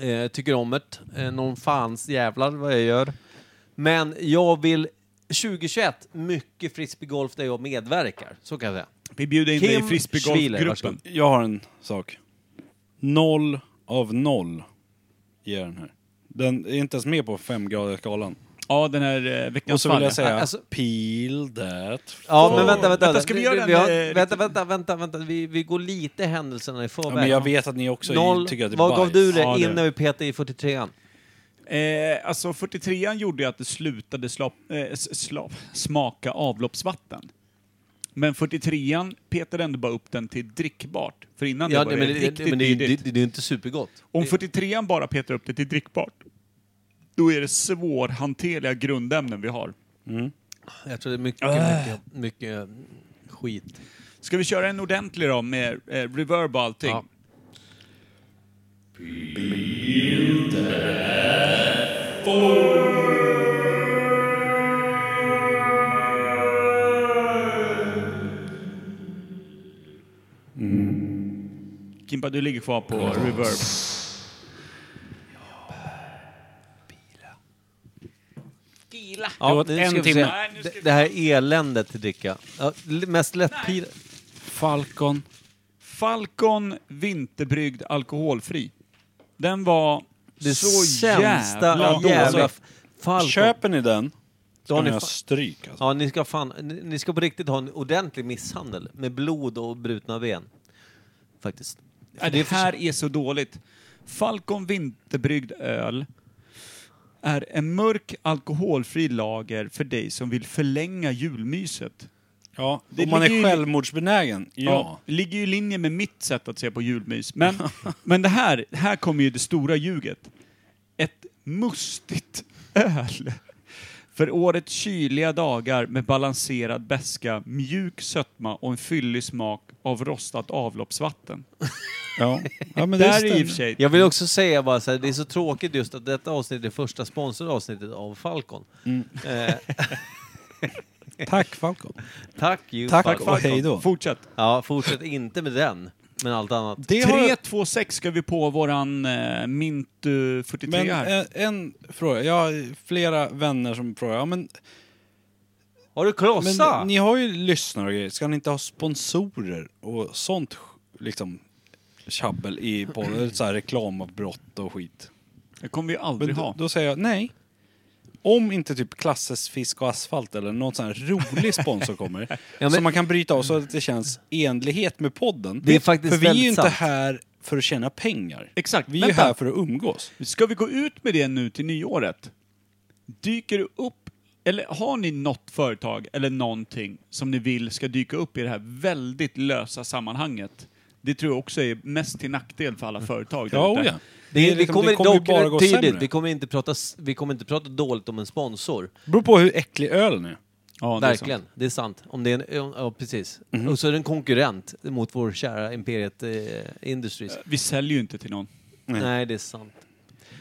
Speaker 1: Eh, tycker om det. Eh, någon fans jävlar vad jag gör. Men jag vill 2021, mycket frisbeegolf där jag medverkar. Så kan jag säga.
Speaker 4: Vi bjuder in dig i
Speaker 1: Kim Schwiler, varsågod.
Speaker 4: frisbeegolfgruppen.
Speaker 3: Jag har en sak. Noll av noll ger den här. Den är inte ens med på femgradiga skalan.
Speaker 4: Ja, den här eh,
Speaker 3: Och
Speaker 4: veckans
Speaker 3: så vill
Speaker 4: fall.
Speaker 3: jag
Speaker 4: ja.
Speaker 3: säga,
Speaker 1: Alltså-
Speaker 3: peel that
Speaker 1: Ja,
Speaker 4: Åh.
Speaker 1: men vänta, vänta.
Speaker 4: Vänta, ska vi göra
Speaker 1: vi,
Speaker 4: en,
Speaker 1: har-
Speaker 4: eh,
Speaker 1: vänta, vänta, vänta, vänta. Vi, vi går lite händelserna i förväg.
Speaker 3: Ja, men jag vet att ni också
Speaker 1: Noll.
Speaker 3: tycker att det är
Speaker 1: Vad gav du det
Speaker 4: Ja, det-
Speaker 1: innan vi petade i 43an?
Speaker 4: Eh, alltså 43an gjorde ju att det slutade slap, eh, s- slap, smaka avloppsvatten. Men 43an petade ändå bara upp den till drickbart. För innan
Speaker 1: Ja,
Speaker 4: det
Speaker 1: nej,
Speaker 4: var
Speaker 1: men,
Speaker 4: det
Speaker 1: det,
Speaker 4: riktigt
Speaker 1: men det, är ju-
Speaker 4: vidrigt.
Speaker 1: det, det är ju inte supergott.
Speaker 4: Om 43an bara petar upp det till drickbart, då är det svårhanterliga grundämnen vi har.
Speaker 1: Jag tror det är mycket, mycket, mycket skit.
Speaker 4: Ska vi köra en ordentlig då med eh, reverb och allting?
Speaker 1: Ja.
Speaker 4: Kimpa, du ligger kvar på reverb.
Speaker 7: Gila.
Speaker 1: Ja,
Speaker 3: åt
Speaker 1: nu
Speaker 3: en
Speaker 1: ska vi
Speaker 3: timme.
Speaker 1: se. Det, det här eländet till dricka. Ja, l- mest lättpil...
Speaker 3: Falcon.
Speaker 4: Falcon vinterbryggd alkoholfri. Den var
Speaker 1: Det
Speaker 4: så
Speaker 1: sämsta
Speaker 4: jävla
Speaker 1: jävla...
Speaker 4: dålig.
Speaker 1: jävla Falcon.
Speaker 3: Köper ni den,
Speaker 1: alltså? Då
Speaker 3: ska
Speaker 1: har
Speaker 3: ni
Speaker 1: ni fa-
Speaker 3: ha stryk alltså.
Speaker 1: Ja, ni ska, fan, ni, ni ska på riktigt ha en ordentlig misshandel med blod och brutna ben. Faktiskt.
Speaker 4: Nej, det här är så dåligt. Falcon vinterbryggd öl är en mörk alkoholfri lager för dig som vill förlänga julmyset.
Speaker 3: Ja,
Speaker 4: Det
Speaker 3: om man är
Speaker 4: ligger ju-
Speaker 3: självmordsbenägen. Ja.
Speaker 4: Det ligger ju i linje med mitt sätt att se på julmys. Men, men det här, här kommer ju det stora ljuget. Ett mustigt öl. För årets kyliga dagar med balanserad beska, mjuk sötma och en fyllig smak av rostat avloppsvatten.
Speaker 3: Ja. ja, men det
Speaker 4: Där är i och
Speaker 3: stämmer.
Speaker 4: för sig...
Speaker 1: Jag vill också säga bara så här, det är så tråkigt just att detta avsnitt är första sponsrade avsnittet av Falcon. Eh,
Speaker 3: Tack Falcon.
Speaker 1: tack you
Speaker 3: Tack
Speaker 1: Falcon.
Speaker 3: och hej då.
Speaker 4: Fortsätt.
Speaker 1: Ja, fortsätt inte med den, men allt annat.
Speaker 3: Det har...
Speaker 4: 326 ska vi på våran eh, Mintu 43
Speaker 3: Men eh,
Speaker 4: här.
Speaker 3: en, en fråga. Jag har flera vänner som frågar. Ja, men,
Speaker 1: Har du krossa?
Speaker 3: men ni har ju lyssnare och grejer. Ska ni inte ha sponsorer och sånt sk- liksom tjabbel i podden? Eller så här reklamavbrott och skit.
Speaker 4: det kommer vi
Speaker 3: Men
Speaker 4: aldrig
Speaker 3: då,
Speaker 4: ha.
Speaker 3: då säger jag nej. Om inte typ Klasses Fisk och Asfalt eller någon sån här rolig sponsor kommer.
Speaker 1: men-
Speaker 3: Som man kan bryta av så att det känns enlighet med podden.
Speaker 1: Det är faktiskt
Speaker 3: För vi är ju
Speaker 1: väldigt
Speaker 3: inte
Speaker 1: sant.
Speaker 3: här för att tjäna pengar.
Speaker 4: Exakt,
Speaker 3: Vi är ju
Speaker 4: vänta.
Speaker 3: här för att umgås.
Speaker 4: Ska vi gå ut med det nu till nyåret? Dyker det upp, eller har ni något företag eller någonting som ni vill ska dyka upp i det här väldigt lösa sammanhanget? Det tror jag också är mest till nackdel för alla företag. där
Speaker 3: Ja,
Speaker 4: ute.
Speaker 3: oja.
Speaker 1: Det,
Speaker 3: är
Speaker 1: vi
Speaker 3: liksom-
Speaker 1: kommer,
Speaker 3: ju
Speaker 1: dock tydligt, vi
Speaker 3: Det
Speaker 1: kommer, inte prata, s- vi kommer inte prata dåligt om en sponsor.
Speaker 3: beror på hur äcklig ölen är. Mhm.
Speaker 4: ja det är sant.
Speaker 1: Verkligen, det är sant. Om det är en, om- ja, precis. Och så är det en konkurrent mot vår kära Imperiet eh, Industries.
Speaker 4: Vi säljer ju inte till någon.
Speaker 1: Nej. det är sant.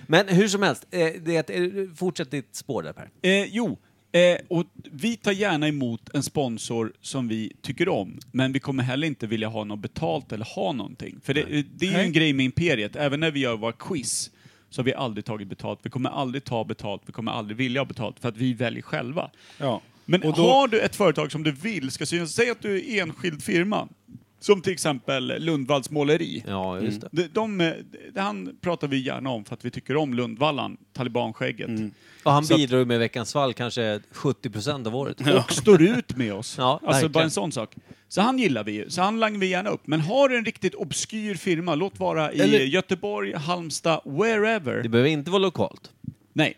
Speaker 1: Men hur som helst, eh, det är ett, eh, fortsätt ditt spår där Per.
Speaker 4: Eh, jo, eh, och vi tar gärna emot en sponsor som vi tycker om, men vi kommer heller inte vilja ha något betalt eller ha någonting. För det, eh, det är ju en grej med Imperiet, även när vi gör våra quiz så har vi aldrig tagit betalt, vi kommer aldrig ta betalt, vi kommer aldrig vilja ha betalt för att vi väljer själva.
Speaker 3: Ja.
Speaker 4: Men
Speaker 3: Och då-
Speaker 4: har du ett företag som du vill ska synas, säg att du är enskild firma, som till exempel Lundvalls måleri.
Speaker 1: Ja, just det.
Speaker 4: De, de, eh, det- han pratar vi gärna om för att vi tycker om Lundvallan, talibanskägget.
Speaker 3: Mm.
Speaker 1: Och han
Speaker 4: Så att-
Speaker 1: bidrar ju med Veckans fall kanske 70% av året.
Speaker 4: och står ut med oss.
Speaker 1: Ja,
Speaker 4: alltså
Speaker 1: verkligen.
Speaker 4: bara en sån sak. Så han gillar vi ju, så han langar vi gärna upp. Men har du en riktigt obskyr firma, låt vara i
Speaker 3: Eller-
Speaker 4: Göteborg, Halmstad, wherever.
Speaker 1: Det behöver inte vara lokalt.
Speaker 4: Nej.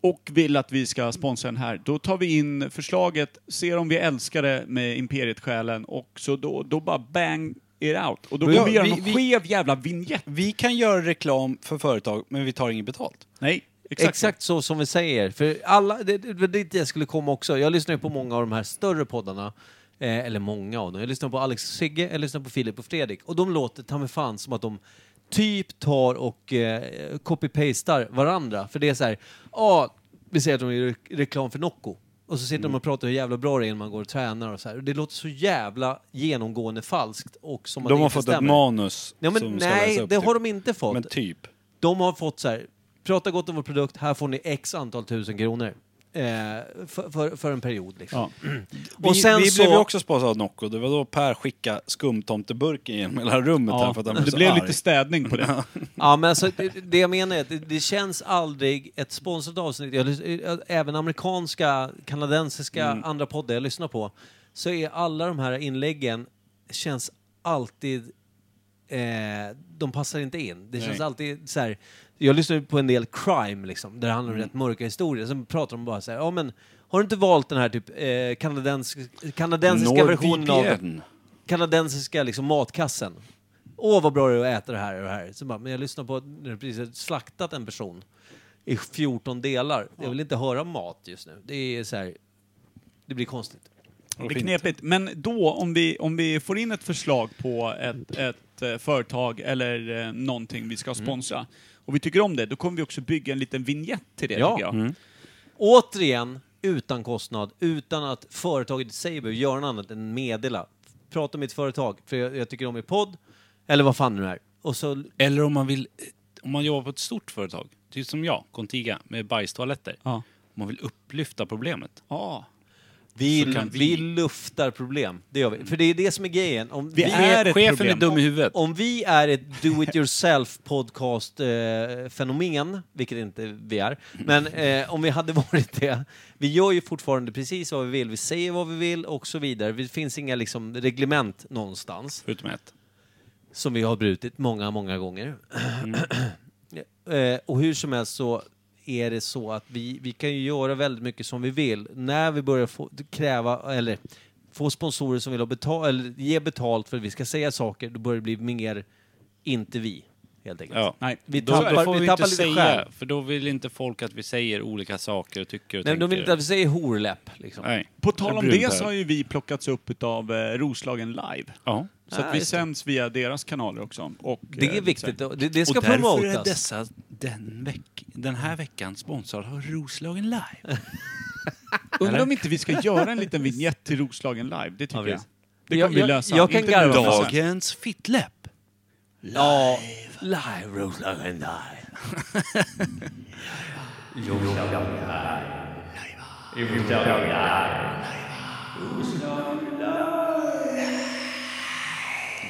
Speaker 4: Och vill att vi ska sponsra den här, då tar vi in förslaget, ser om vi älskar det med Imperiet-själen och så då, då bara bang it out. Och då
Speaker 3: Ja,
Speaker 4: kommer vi göra
Speaker 3: vi-
Speaker 4: någon
Speaker 3: vi-
Speaker 4: skev jävla vignett.
Speaker 3: Vi kan göra reklam för företag, men vi tar inget betalt.
Speaker 4: Nej, exakt.
Speaker 1: Exakt, så som vi säger. För alla, det, det var dit jag skulle komma också. Jag lyssnar ju på många av de här större poddarna. Eh, eller många av dem. Jag lyssnar på Alex och Sigge, jag lyssnar på Filip och Fredrik. Och de låter ta mig fan som att de typ tar och eh, copy-pastar varandra. För det är så här, ja, vi säger att de gör re- reklam för Nocco. Och så sitter
Speaker 3: Mm.
Speaker 1: de och pratar hur jävla bra det är när man går och tränar och så här. Och det låter så jävla genomgående falskt och som att
Speaker 3: De
Speaker 1: det
Speaker 3: har
Speaker 1: inte
Speaker 3: fått ett
Speaker 1: stämmer.
Speaker 3: manus
Speaker 1: Ja, men
Speaker 3: som ska
Speaker 1: nej,
Speaker 3: läsa upp,
Speaker 1: det
Speaker 3: typ.
Speaker 1: har de inte fått.
Speaker 3: Men typ.
Speaker 1: De har fått så här, prata gott om vår produkt, här får ni x antal tusen kronor. Eh, för, för, för en period liksom.
Speaker 4: Ja.
Speaker 1: Och
Speaker 3: vi
Speaker 1: sen
Speaker 3: vi
Speaker 1: så-
Speaker 3: blev ju också sponsrade av Nocco. Det var då Per skickade skumtomteburken genom hela rummet här
Speaker 4: Ja,
Speaker 3: för att han blev
Speaker 4: det
Speaker 3: så
Speaker 4: blev
Speaker 3: arg.
Speaker 4: lite städning på det.
Speaker 1: Ja, men alltså, det, det jag menar är att det, det känns aldrig ett sponsrat avsnitt. Jag, lys- eh, även amerikanska, kanadensiska, andra poddar jag lyssnar på så är alla de här inläggen känns alltid eh, de passar inte in. Det känns alltid så här, jag lyssnar på en del crime liksom, där det handlar om rätt mörka historier, sen pratar de bara så här, ja men har du inte valt den här typ eh, kanadensk, kanadensiska versionen av
Speaker 3: NordVPN.
Speaker 1: kanadensiska liksom, matkassen? Åh vad bra det är att äta det här och det här. Så bara, men jag lyssnar på när du precis har slaktat en person i 14 delar. Jag vill inte höra mat just nu. Det är så här, det blir konstigt.
Speaker 4: Det är knepigt. Men då, om vi, om vi får in ett förslag på ett, ett eh, företag eller eh, någonting vi ska
Speaker 1: Mm.
Speaker 4: sponsra och vi tycker om det, då kommer vi också bygga en liten vignett till det,
Speaker 1: Ja. Mm.
Speaker 4: tycker jag.
Speaker 1: Återigen, utan kostnad, utan att företaget i sig behöver göra något annat än meddela. Prata om mitt företag, för jag, jag tycker om er podd, eller vad fan det nu är. Och så,
Speaker 3: Eller om man vill, om man jobbar på ett stort företag, typ som jag, Contiga, med bajstoaletter.
Speaker 4: Ja.
Speaker 3: Om man vill upplyfta problemet.
Speaker 4: Ja.
Speaker 1: vi,
Speaker 3: Så kan
Speaker 1: vi...
Speaker 3: vi-
Speaker 1: luftar problem, det gör vi. För det är det som är grejen. Om vi,
Speaker 4: är ett
Speaker 3: Chefen
Speaker 4: problem.
Speaker 3: är dum i huvudet.
Speaker 1: om vi är ett do it yourself podcast eh, fenomen, vilket inte vi är, men eh, om vi hade varit det. Vi gör ju fortfarande precis vad vi vill, vi säger vad vi vill och så vidare. Det finns inga liksom, reglement någonstans.
Speaker 3: Förutom ett.
Speaker 1: som vi har brutit många, många gånger.
Speaker 3: Mm.
Speaker 1: eh, och hur som helst så är det så att vi, vi kan ju göra väldigt mycket som vi vill. När vi börjar få, kräva, eller få sponsorer som vill ha betal, eller ge betalt för att vi ska säga saker, då börjar det bli mer inte vi, helt enkelt.
Speaker 3: Ja.
Speaker 4: Nej.
Speaker 1: Vi
Speaker 3: Då
Speaker 1: tappar,
Speaker 3: får
Speaker 1: vi
Speaker 3: vi
Speaker 1: tappar lite
Speaker 3: inte säga,
Speaker 1: själ.
Speaker 3: för då vill inte folk att vi säger olika saker och tycker och
Speaker 1: Nej, men
Speaker 3: tänker.
Speaker 1: de vill inte att vi säger horläpp, liksom.
Speaker 3: Nej.
Speaker 4: På tal om
Speaker 3: Brunt
Speaker 4: det
Speaker 3: här.
Speaker 4: så har ju vi plockats upp av Roslagen Live.
Speaker 3: Ja.
Speaker 4: Så
Speaker 1: Ah,
Speaker 4: att vi
Speaker 1: just det.
Speaker 4: sänds via deras kanaler också. Och,
Speaker 1: Det är
Speaker 4: eh,
Speaker 1: viktigt.
Speaker 4: så
Speaker 1: och Det, det ska
Speaker 3: och därför är
Speaker 1: promotas.
Speaker 3: dessa, den, veck, den här veckan sponsrad av Roslagen Live.
Speaker 4: här. Undrar om inte vi ska göra en liten vignett till Roslagen Live, det tycker
Speaker 1: Ja,
Speaker 4: jag.
Speaker 1: precis.
Speaker 4: Det
Speaker 1: Jag-
Speaker 4: kommer vi
Speaker 1: jag-
Speaker 4: lösa.
Speaker 1: jag kan
Speaker 4: Inte
Speaker 1: garva.
Speaker 4: nu, men sen.
Speaker 3: Dagens fittläpp.
Speaker 1: Ja, live Roslagen live.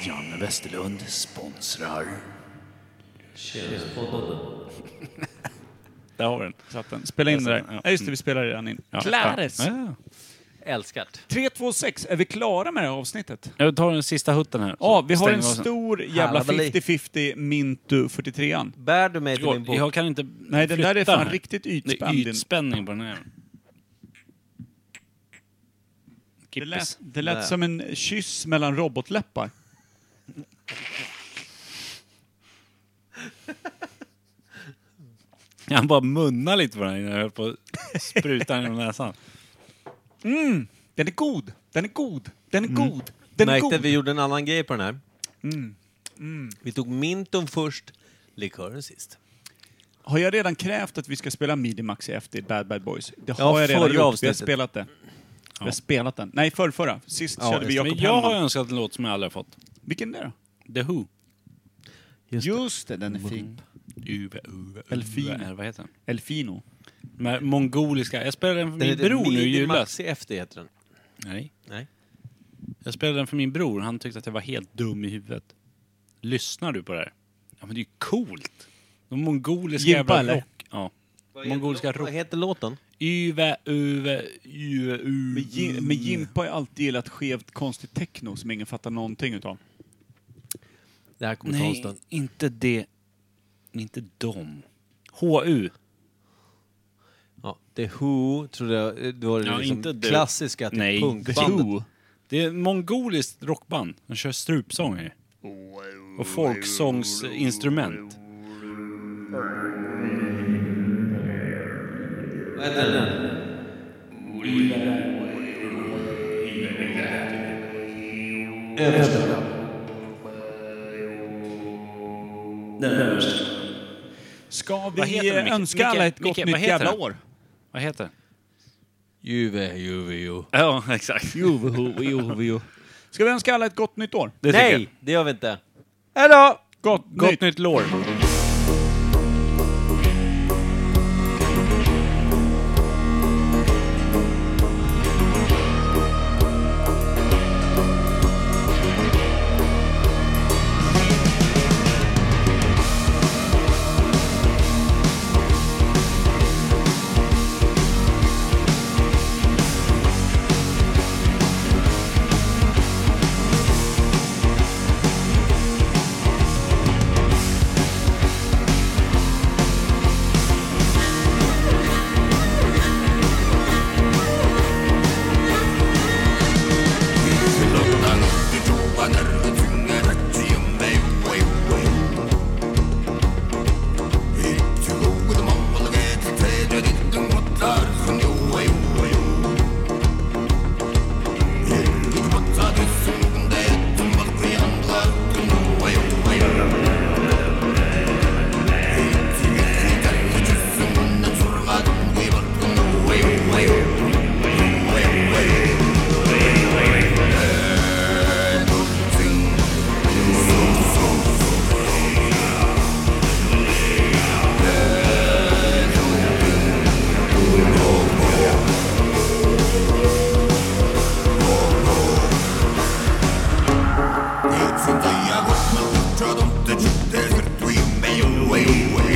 Speaker 3: Janne Westerlund sponsrar. Där har vi den.
Speaker 4: Satt den. Spela in det där.
Speaker 3: Ja.
Speaker 4: Ja, just det, vi spelar redan in.
Speaker 3: Ja.
Speaker 4: Clares!
Speaker 3: Ja.
Speaker 1: Älskat.
Speaker 4: 326, är vi klara med det här avsnittet?
Speaker 3: Jag tar den sista hutten här. så
Speaker 4: Ja, vi har
Speaker 3: stänger
Speaker 4: en
Speaker 3: av sen.
Speaker 4: stor jävla
Speaker 1: Halabalik.
Speaker 4: 50-50 Mintu 43an.
Speaker 1: Bär du mig till min bok?
Speaker 3: Jag kan inte
Speaker 4: Nej, den där är
Speaker 3: flytta
Speaker 4: fan
Speaker 3: här.
Speaker 4: riktigt
Speaker 3: Det
Speaker 4: ytspänd.
Speaker 3: är
Speaker 4: din-
Speaker 3: ytspänning på den här.
Speaker 4: Det lät,
Speaker 3: Kippis.
Speaker 4: det
Speaker 1: Där.
Speaker 4: lät som en kyss mellan robotläppar.
Speaker 3: Han bara munnar lite på den här innan jag höll på att spruta den genom näsan.
Speaker 4: Den är god! Den är god! Den är god! Den är
Speaker 1: märkte
Speaker 4: god! Mm.
Speaker 1: att vi gjorde en annan grej på den här. Vi tog minton först, likören sist.
Speaker 4: Har jag redan krävt att vi ska spela Midimax i efter Bad Bad Boys? Det
Speaker 1: Ja,
Speaker 4: har jag redan
Speaker 1: förra
Speaker 4: gjort. Vi har
Speaker 1: avsnittet.
Speaker 4: spelat det. Vi har spelat den. Nej, förrförra. Sist
Speaker 1: Ja,
Speaker 4: körde vi
Speaker 1: just
Speaker 4: Jakob
Speaker 3: Men jag har
Speaker 4: Hellman.
Speaker 3: önskat en låt som jag aldrig har fått.
Speaker 4: Vilken är det då?
Speaker 3: The Who.
Speaker 1: Just
Speaker 4: Just det, den är fin.
Speaker 3: Uve, uve,
Speaker 4: Elfin.
Speaker 3: Eller vad heter den?
Speaker 4: Elfino.
Speaker 3: De här mongoliska. Jag spelade den för min bror nu i julas.
Speaker 1: Maxi efter heter den.
Speaker 3: Nej.
Speaker 1: Nej.
Speaker 3: Jag spelade den för min bror. Han tyckte att jag var helt dum i huvudet. Lyssnar du på det här? Ja men det är ju coolt. De mongoliska
Speaker 4: Jimpa,
Speaker 3: jävla
Speaker 4: eller?
Speaker 3: rock... Ja. Mongoliska
Speaker 1: Vad
Speaker 3: rock...
Speaker 1: heter låten?
Speaker 3: Uve, uve, uve, uve.
Speaker 4: Men, Jim, men Jimpa har ju alltid gillat skevt konstigt techno som ingen fattar någonting utav.
Speaker 1: Det här kommer ta en
Speaker 3: Nej,
Speaker 1: stund.
Speaker 3: inte det. Inte dem. HU.
Speaker 1: Ja, The Who trodde jag eh, det var det
Speaker 3: Ja,
Speaker 1: liksom
Speaker 3: inte du.
Speaker 1: klassiska typ
Speaker 3: Nej,
Speaker 1: punkbandet.
Speaker 3: The Who. Det är ett mongoliskt rockband. De kör strupsånger. Och folksångsinstrument.
Speaker 1: Vad heter den?
Speaker 4: Ska
Speaker 3: Vad
Speaker 4: vi
Speaker 3: heter den, Micke?
Speaker 4: önska
Speaker 3: Micke,
Speaker 4: alla ett
Speaker 3: Micke,
Speaker 4: gott
Speaker 3: vad
Speaker 4: nytt
Speaker 3: heter
Speaker 4: jävla
Speaker 3: den?
Speaker 4: år?
Speaker 3: Vad heter det?
Speaker 1: Juve, Juve, Juve.
Speaker 3: Ja, exakt.
Speaker 4: Ska vi önska alla ett gott nytt år?
Speaker 3: Det tycker
Speaker 1: Nej, det gör vi inte. Hej då!
Speaker 4: Gott,
Speaker 3: jag. Gott
Speaker 4: nytt!
Speaker 3: nytt lår.
Speaker 8: there's between me and we.